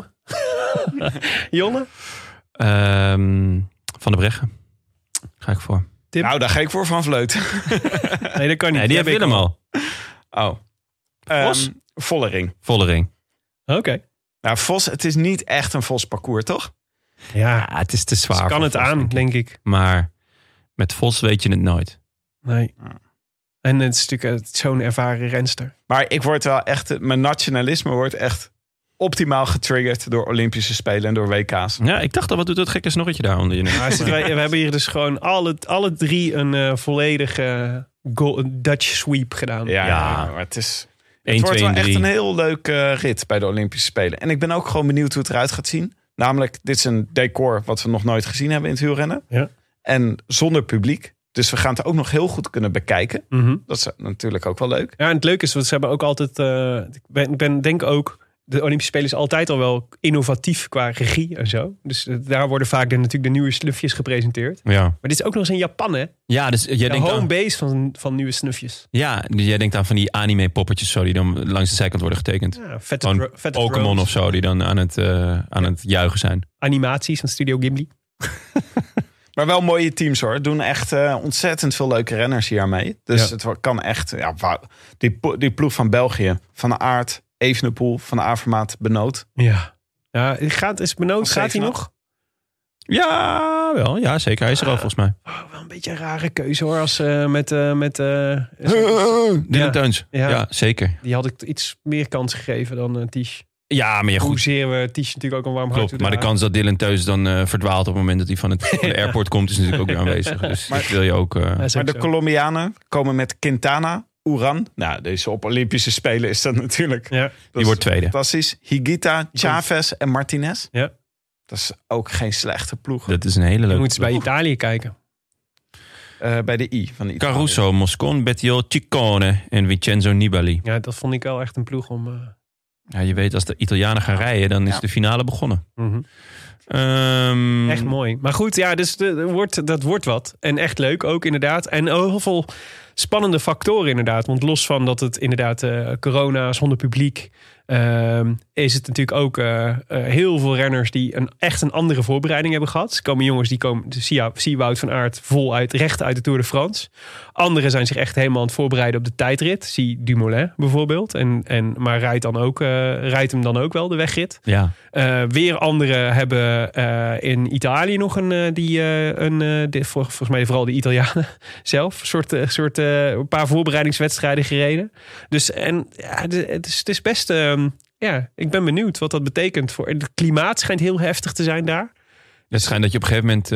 Jonne? Ehm, van de Breggen. Ga ik voor. Nou, daar ga ik voor Van Vleuten. Nee, dat kan niet. Nee, die heb Willem al. Oh. Ehm, Vos? Vollering. Vollering. Oké. Nou, Vos, het is niet echt een Vos parcours, toch? Ja, Ja, het is te zwaar. ze kan voor het Vos, aan, denk ik. Maar met Vos weet je het nooit. Nee. Ja. En het is natuurlijk eh, zo'n ervaren renster. Maar ik word wel echt... Mijn nationalisme wordt echt optimaal getriggerd... door Olympische Spelen en door WK's. Ja, ik dacht al, wat doet dat gekke snorretje daar onder je neus? Maar zitten wij- we hebben hier dus gewoon alle, alle drie een eh, volledige eh, go- Dutch sweep gedaan. Ja, Ja. maar het is... 1, Het wordt 2 wel en echt 3. een heel leuke rit bij de Olympische Spelen. En ik ben ook gewoon benieuwd hoe het eruit gaat zien. Namelijk, dit is een decor wat we nog nooit gezien hebben in het wielrennen. Ja. En zonder publiek. Dus we gaan het ook nog heel goed kunnen bekijken. Mhm. Dat is natuurlijk ook wel leuk. Ja, en het leuke is, want ze hebben ook altijd. eh, ik ben, ik ben denk ook. De Olympische Spelen is altijd al wel innovatief qua regie en zo. Dus eh, daar worden vaak de, natuurlijk de nieuwe snufjes gepresenteerd. Ja. Maar dit is ook nog eens in Japan, hè? ja, dus jij de denkt, home aan, base van, van nieuwe snufjes. ja, dus jij denkt aan van die anime poppetjes zo, die dan langs de zijkant worden getekend. Ja, vette Gewoon dro- vette Pokémon drones. of zo, die dan aan het, eh, aan het juichen zijn. Animaties van Studio Ghibli. Maar wel mooie teams hoor. Doen echt eh, ontzettend veel leuke renners hiermee. Dus Ja. het wo- kan echt. Ja, wauw. die, po- die ploeg van België. Van Aert, Evenepoel, Van Avermaat, Benoot. Ja. Ja, gaat, is benoemd. Nog Gaat hij zeven nog? Ja, wel. Ja, zeker. Hij is er al volgens mij. Oh, wel een beetje een rare keuze hoor. Als eh, met. eh, met eh, Dylan Ja. Teuns. Ja. Ja. zeker. die had ik iets meer kans gegeven dan eh Ties. Ja, maar ja, goed. Hoezeer we Ties natuurlijk ook een warm hart Klopt, maar de toedragen. kans dat Dylan Teus dan eh, verdwaalt op het moment dat hij van, het, van de airport komt, is natuurlijk ook weer aanwezig. Dus dat wil je ook. eh, Ja, is Maar ook de zo. Colombianen komen met Quintana, Uran. Nou, deze op Olympische Spelen is dat natuurlijk. Ja. Dat die wordt tweede. Fantastisch. Higuita, Chavez en Martinez. Ja. Dat is ook geen slechte ploeg. Dat is een hele Je leuke. moet eens bij ploeg. Italië kijken. Eh, bij de I van Italië. Caruso, Moscon, Bettiol, Ciccone en Vincenzo Nibali. Ja, dat vond ik wel echt een ploeg om. eh, Ja, je weet, als de Italianen gaan rijden, dan is Ja. de finale begonnen. Ehm, Mhm. Echt mooi. Maar goed, ja, dus de, de wordt, dat wordt wat. En echt leuk ook, inderdaad. En ook heel veel spannende factoren, inderdaad. Want los van dat het inderdaad eh corona is, zonder publiek. ehm, is het natuurlijk ook eh, eh, heel veel renners die een, echt een andere voorbereiding hebben gehad. Er komen jongens die komen, dus zie je- zie je Wout van Aert voluit recht uit de Tour de France. Anderen zijn zich echt helemaal aan het voorbereiden op de tijdrit. Zie Dumoulin bijvoorbeeld. En, en, maar rijdt, dan ook, eh, rijdt hem dan ook wel de wegrit. Ja. Eh, weer anderen hebben eh, in Italië nog een, eh, die, eh, een eh, de- vol- volgens mij vooral de Italianen zelf, een soort, eh, soort, eh, een paar voorbereidingswedstrijden gereden. Dus en, ja, de- het, is, het is best, ehm, ja, ik ben benieuwd wat dat betekent. Voor, het klimaat schijnt heel heftig te zijn daar. Het schijnt dat je op een gegeven moment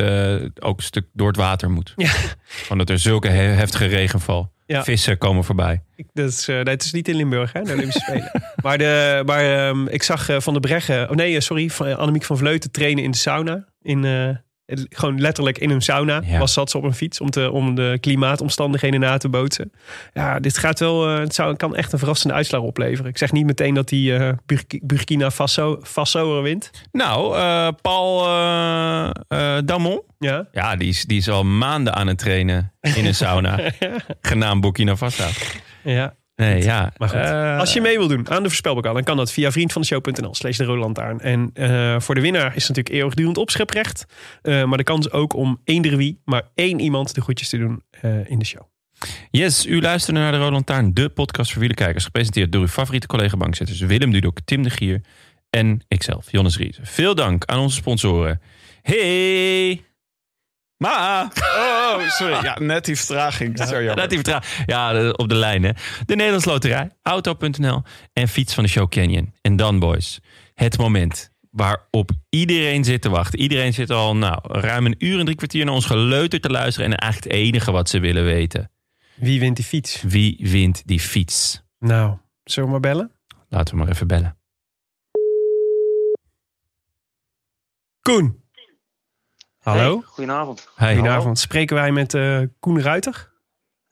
eh, ook een stuk door het water moet. Ja. Van dat er zulke he- heftige regenval. Ja. Vissen komen voorbij. Ik- Dat is, eh, nee, het is niet in Limburg, hè, de Olympische Spelen. maar de, maar ehm, ik zag eh, Van der Breggen, oh nee, eh, sorry, van, eh, Annemiek van Vleuten trainen in de sauna. In, eh, het- gewoon letterlijk in een sauna Ja. was, zat ze op een fiets om, te, om de klimaatomstandigheden na te bootsen. Ja, dit gaat wel, eh, het zou, kan echt een verrassende uitslag opleveren. Ik zeg niet meteen dat die eh, Burk- Burkina Faso, Faso er wint. Nou, eh, Paul eh eh, Damon. Ja. Ja, die is, die is al maanden aan het trainen in een sauna. genaamd Burkina Faso. ja. Nee, ja. Maar goed, Eh, als je mee wil doen aan de voorspelbokaal, dan kan dat via vriendvandeshow.nl slash de Rode Lantaarn. En eh, voor de winnaar is natuurlijk eeuwigdurend opscheprecht. Eh, maar de kans ook om eender wie, maar één iemand de groetjes te doen eh, in de show. Yes, u luistert naar de Rode Lantaarn, de podcast voor wielerkijkers. Gepresenteerd door uw favoriete collega-bankzitters Willem Dudok, Tim de Gier en ikzelf, Jonas Riese. Veel dank aan onze sponsoren. Hey! Ma! Oh, sorry. Ja, net die vertraging. Dat is zo jammer. Laat die vertra- Ja, de- op de lijn, hè. De Nederlands Loterij, Auto.nl en Fiets van de Show Canyon. En dan, boys, het moment waarop iedereen zit te wachten. Iedereen zit al nou, ruim een uur en drie kwartier naar ons geleuter te luisteren. En eigenlijk het enige wat ze willen weten. Wie wint die fiets? Wie wint die fiets? Nou, zullen we maar bellen? Laten we maar even bellen. Koen. Hallo. goedenavond. Hey. Goedenavond. Spreken wij met eh, Koen Ruiter?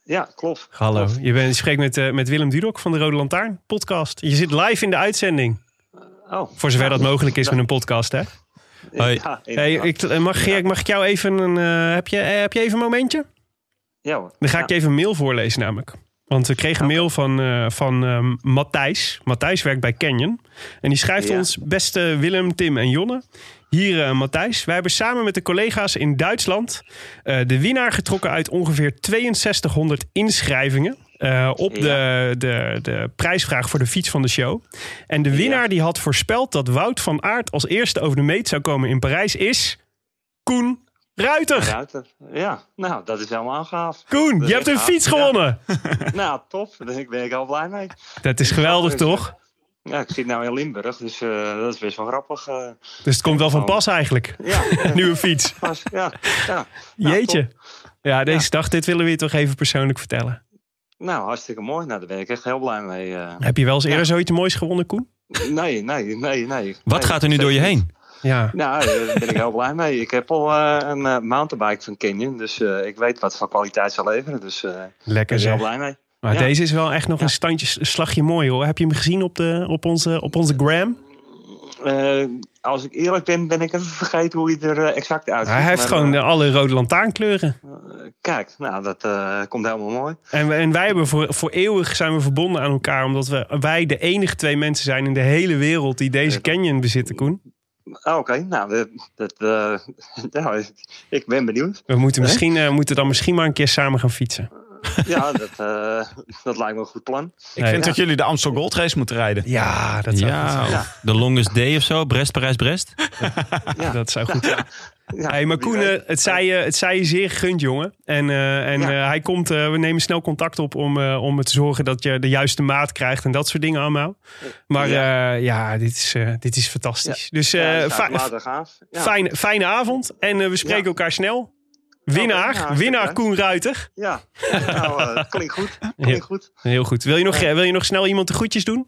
Ja, klopt. Hallo. Klopt. Je, bent, je spreekt met, eh, met Willem Dudok van de Rode Lantaarn podcast. Je zit live in de uitzending. Oh, Voor zover dat mogelijk is Ja. met een podcast, hè? Hoi. Ja, Hey, inderdaad. ik, eh, mag, Geert, mag ik jou even een. eh, heb, je, eh, heb je even een momentje? ja hoor. Dan ga Ja. ik je even een mail voorlezen, namelijk. Want we kregen een mail van, eh, van ehm, Matthijs. Matthijs werkt bij Canyon. En die schrijft Ja. ons: Beste Willem, Tim en Jonne. Hier eh, Matthijs. Wij hebben samen met de collega's in Duitsland eh, de winnaar getrokken uit ongeveer 6200 inschrijvingen. eh, op Ja. de, de, de prijsvraag voor de fiets van de show. En de winnaar Ja. die had voorspeld dat Wout van Aert als eerste over de meet zou komen in Parijs is. Koen Ruiter. Ruiter. Ja, nou, dat is helemaal gaaf. Koen, Dat je is hebt een gaaf. fiets Ja. gewonnen. Nou, top. Daar ben ik al blij mee. Dat is geweldig, toch? Ja, ik zit nou in Limburg, dus eh, dat is best wel grappig. eh. Dus het komt wel van pas eigenlijk. ja, eh, Nieuwe fiets. pas, ja, ja. Nou, Jeetje. top. Ja, deze Ja. dag, dit willen we je toch even persoonlijk vertellen. Nou, hartstikke mooi. Nou, daar ben ik echt heel blij mee. eh. Heb je wel eens eerder Ja. zoiets moois gewonnen, Koen? Nee, nee, nee, nee. Wat Nee, gaat er nu door je zeker niet. heen? Ja. Nou, eh, daar ben ik heel blij mee. Ik heb al eh, een eh, mountainbike van Canyon, dus eh, ik weet wat voor kwaliteit ze leveren. Dus eh, daar ben Lekker ik heel zeg. blij mee. Maar Ja. deze is wel echt nog Ja. een, standje, een slagje mooi hoor. Heb je hem gezien op, de, op, onze, op onze gram? Eh, als ik eerlijk ben, ben ik even vergeten hoe hij er eh, exact uitziet. Hij heeft Maar, gewoon de eh, alle rode lantaarnkleuren. Kijk, nou, dat eh, komt helemaal mooi. En, we- en wij hebben voor, voor eeuwig zijn we verbonden aan elkaar. Omdat we, wij de enige twee mensen zijn in de hele wereld die deze canyon bezitten, Koen. Ah, Oké, nou, dat, dat, eh, nou, ik ben benieuwd. We moeten, misschien, eh, moeten dan misschien maar een keer samen gaan fietsen. Ja, dat, eh, dat lijkt me een goed plan. Ik vind dat jullie de Amstel Gold Race moeten rijden. Ja, dat zou goed zijn. Ja, of de longest day of zo. Brest, Parijs, Brest. Ja, Dat zou goed zijn. ja, hey, maar wie Koen, weet. eh, het zei, je, het zei je zeer gegund, jongen. En, eh, en Ja. eh, hij komt, eh, we nemen snel contact op om, eh, om er te zorgen dat je de juiste maat krijgt en dat soort dingen allemaal. Maar ja, ja dit, is, eh, dit is fantastisch. Dus eh, ja, dat fi- zou later gaaf. Ja. fijne, fijne avond en eh, we spreken Ja. elkaar snel. Oké, Winnaar, nou, hartstikke winnaar leuk. Koen Ruiter. Ja, nou, eh, klinkt goed. Klinkt Ja. goed. Heel goed. Wil je nog, eh, wil je nog snel iemand de groetjes doen?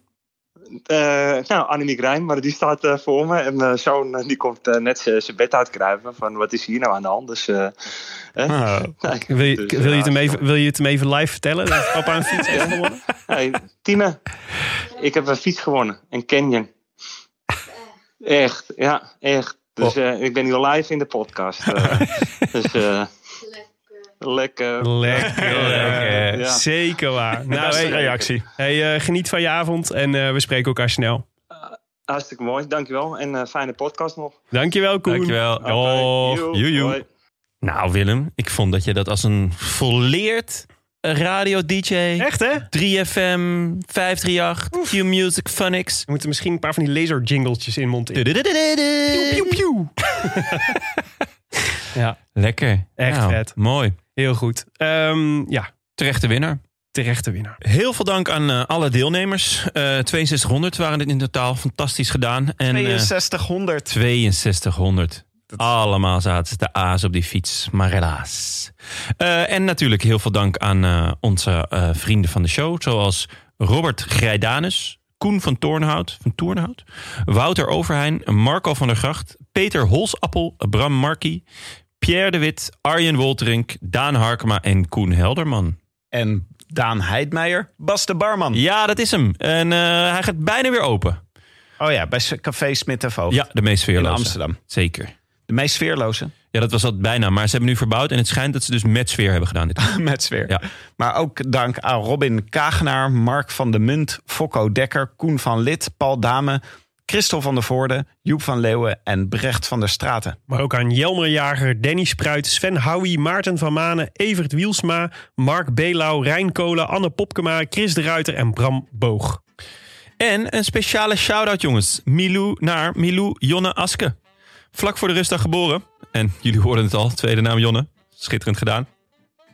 Eh, nou, Annemiek Rijn, maar die staat eh, voor me. En mijn zoon eh, die komt eh, net zijn bed uitkruipen van wat is hier nou aan de hand. Dus, eh, hè? Nee, Ah, Wil je, dus, wil je, ja, het, hem even, wil je het hem even live vertellen? Dat papa een fiets heeft gewonnen? Hey, Tine, ik heb een fiets gewonnen. Een Canyon. Echt, ja, echt. Dus eh, ik ben nu live in de podcast. eh. dus eh, Lekker. Lekker. Lekker. Ja. Zeker waar. De Nou, beste hey, reactie. Hey, eh, geniet van je avond en eh, we spreken elkaar snel. Hartstikke mooi, dankjewel. En eh, fijne podcast nog. Dankjewel, Koen. Dankjewel. Joe. Doeg. Joe, joe. Hoi. Nou, Willem, ik vond dat je dat als een volleerd radio-dj... Echt, hè? 3FM, 538, Q-Music, Phonics. We moeten misschien een paar van die laser jingletjes in monteren. Piu, piu, piu. Ja, Lekker. Echt Nou, vet. Mooi. heel goed. Ehm, ja, Terechte winnaar. terechte winnaar. Heel veel dank aan eh, alle deelnemers. Eh 6200 waren het in totaal. Fantastisch gedaan. En, eh, 6200. 6200. Allemaal zaten ze te aas op die fiets, maar helaas. Eh, en natuurlijk heel veel dank aan eh, onze eh, vrienden van de show. Zoals Robert Grijdanus, Koen van Toornhout, van Toornhout Wouter Overheijn, Marco van der Gracht... Peter Holsappel, Bram Markie, Pierre de Wit, Arjen Wolterink... Daan Harkema en Koen Helderman. En Daan Heidmeijer, Bas de Barman. Ja, dat is hem. En eh, hij gaat bijna weer open. Oh ja, bij s- Café Smit en Voogd. Ja, de meest in sfeerloze. Amsterdam. Zeker. De meest sfeerloze. Ja, dat was dat bijna. Maar ze hebben nu verbouwd en het schijnt dat ze dus met sfeer hebben gedaan. Dit keer. Met sfeer. Ja. Maar ook dank aan Robin Kagenaar, Mark van de Munt, Fokko Dekker, Koen van Lid, Paul Dame, Christel van der Voorde, Joep van Leeuwen en Brecht van der Straten. Maar ook aan Jelmer Jager, Danny Spruit, Sven Houwie, Maarten van Manen, Evert Wielsma, Mark Belau, Rijn Kolen, Anne Popkema, Chris de Ruiter en Bram Boog. En een speciale shout-out, jongens. Milou naar Milou Jonne Aske. Vlak voor de rustdag geboren. En jullie hoorden het al, tweede naam Jonne. Schitterend gedaan.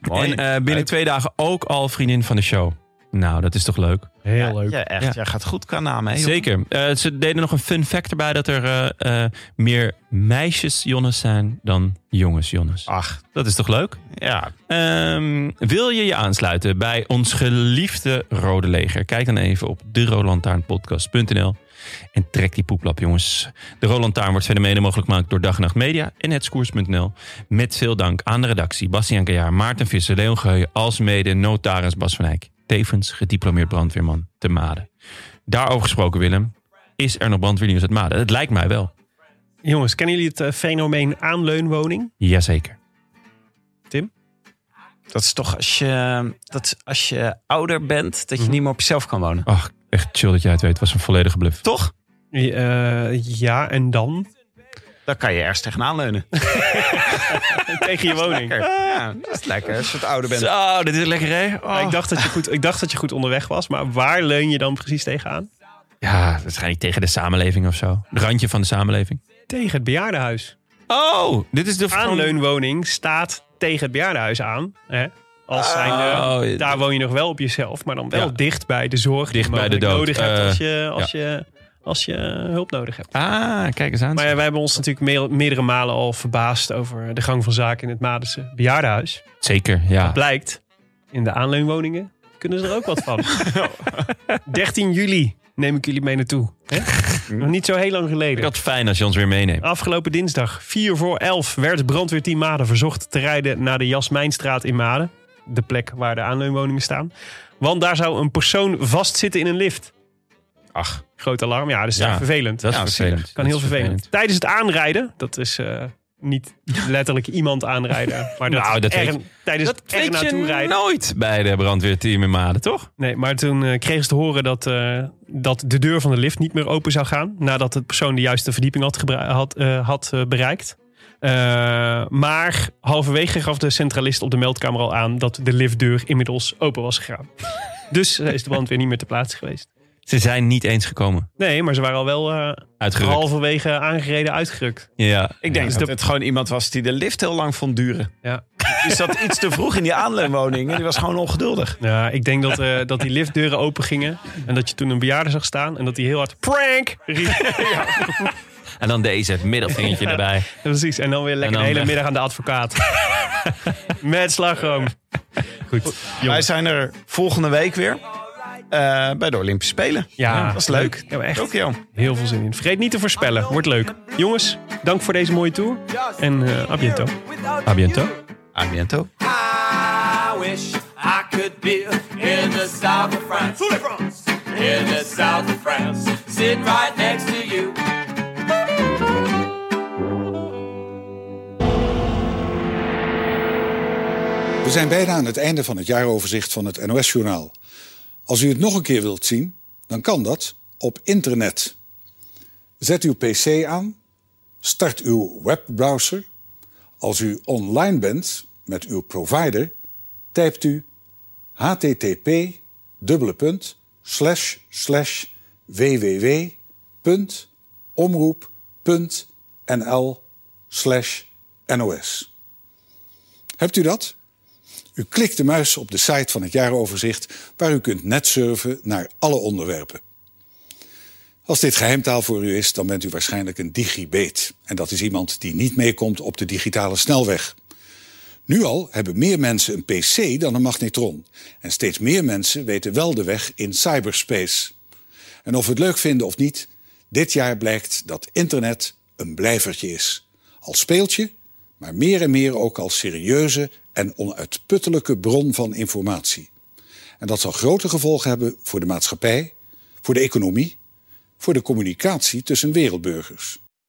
Mooi. En eh, binnen twee dagen ook al vriendin van de show. Nou, dat is toch leuk? Heel Ja, leuk. Ja, echt. Ja. Jij gaat goed qua namen. hè, joh. Zeker. Eh, ze deden nog een fun fact erbij dat er eh, eh, meer meisjes Jonnes zijn dan jongens Jonnes. Ach, Dat is toch leuk? ja. Ehm, wil je je aansluiten bij ons geliefde Rode Leger? Kijk dan even op derolantaarnpodcast.nl en trek die poeplap, jongens. De Rode Lantaarn wordt verder mede mogelijk gemaakt door Dag en Nacht Media en hetskoers.nl. Met veel dank aan de redactie Bastiaan Kajaar, Maarten Visser, Leon Geuyen, alsmede notaris Bas van Eyck. Tevens gediplomeerd brandweerman te Maden. Daarover gesproken, Willem. Is er nog brandweernieuws uit Maden? Het lijkt mij wel. Jongens, kennen jullie het eh, fenomeen aanleunwoning? Jazeker. Dat is toch als je, dat is als je ouder bent, Mhm. dat je niet meer op jezelf kan wonen. Ach, echt chill dat jij het weet. Het was een volledige bluff. Toch? Eh, ja, en dan? Dan kan je ergens tegenaan leunen. Tegen je woning. Lekker. Ja, dat is lekker als je wat ouder bent. Zo, dit is lekker, hè? Ja, ik, dacht dat je goed, ik dacht dat je goed onderweg was, maar waar leun je dan precies tegenaan? Ja, waarschijnlijk tegen de samenleving of zo. Het randje van de samenleving. Tegen het bejaardenhuis. Oh, dit is de Aanleunwoning staat tegen het bejaardenhuis aan. Hè? Als zijnde, Oh, daar woon je nog wel op jezelf, maar dan wel Ja. dicht bij de zorg die Dicht je bij de mogelijk dood. nodig hebt als Eh, je, als, je, als je eh, hulp nodig hebt. Ah, kijk eens aan. Maar ja, wij hebben ons natuurlijk meer- meerdere malen al verbaasd over de gang van zaken in het Madense bejaardenhuis. Zeker, ja. Blijkt, in de aanleunwoningen kunnen ze er ook wat van. 13 juli neem ik jullie mee naartoe. Hè? Nog niet zo heel lang geleden. Dat fijn als je ons weer meeneemt. Afgelopen dinsdag, 4 voor 11, werd brandweerteam Maden verzocht te rijden naar de Jasmijnstraat in Maden. De plek waar de aanleunwoningen staan. Want daar zou een persoon vastzitten in een lift. Ach, Groot alarm, ja, dat is Ja, echt vervelend. dat is Ja, vervelend. kan Dat heel is vervelend. Tijdens het aanrijden, dat is eh, niet letterlijk iemand aanrijden. Maar dat, Nou, is dat er, weet- tijdens Dat het er weet je naartoe rijden. nooit bij de brandweerteam in Maden, toch? Nee, maar toen eh, kregen ze te horen dat, eh, dat de deur van de lift niet meer open zou gaan. Nadat de persoon de juiste verdieping had, gebra- had, eh, had eh, bereikt. Eh, maar halverwege gaf de centralist op de meldkamer al aan dat de liftdeur inmiddels open was gegaan. dus eh, is de brand weer niet meer te plaatsen geweest. Ze zijn niet eens gekomen. Nee, maar ze waren al wel eh, Uitgerukt. halverwege aangereden, uitgerukt. Ja. Ik denk Ja, dat de- het gewoon iemand was die de lift heel lang vond duren. Ja. Die zat iets te vroeg in die aanleunwoning en die was gewoon ongeduldig. Ja, ik denk dat, eh, dat die liftdeuren open gingen. En dat je toen een bejaarde zag staan. En dat hij heel hard prank riep. En dan deze middelvingertje erbij. Ja, precies. En dan weer lekker En dan de hele weg. middag aan de advocaat. Met slagroom. Goed. Wij zijn er volgende week weer eh, bij de Olympische Spelen. Ja, dat is leuk. Ja, maar echt. Tokio. Heel veel zin in. Vergeet niet te voorspellen. Wordt leuk. Jongens, dank voor deze mooie tour. En eh à bientôt. A bientôt. A bientôt. I wish I could be in the south of France. In the south of France. Sitting right next to you. zijn bijna aan het einde van het jaaroverzicht van het NOS-journaal. Als u het nog een keer wilt zien, dan kan dat op internet. Zet uw PC aan, start uw webbrowser. Als u online bent met uw provider, typt u http www.omroep.nl NOS. Hebt u dat? U klikt de muis op de site van het jaaroverzicht, waar u kunt netsurfen naar alle onderwerpen. Als dit geheimtaal voor u is, dan bent u waarschijnlijk een digibeet. En dat is iemand die niet meekomt op de digitale snelweg. Nu al hebben meer mensen een PC dan een magnetron. En steeds meer mensen weten wel de weg in cyberspace. En of we het leuk vinden of niet, dit jaar blijkt dat internet een blijvertje is. Als speeltje, maar meer en meer ook als serieuze en onuitputtelijke bron van informatie. En dat zal grote gevolgen hebben voor de maatschappij, voor de economie, voor de communicatie tussen wereldburgers.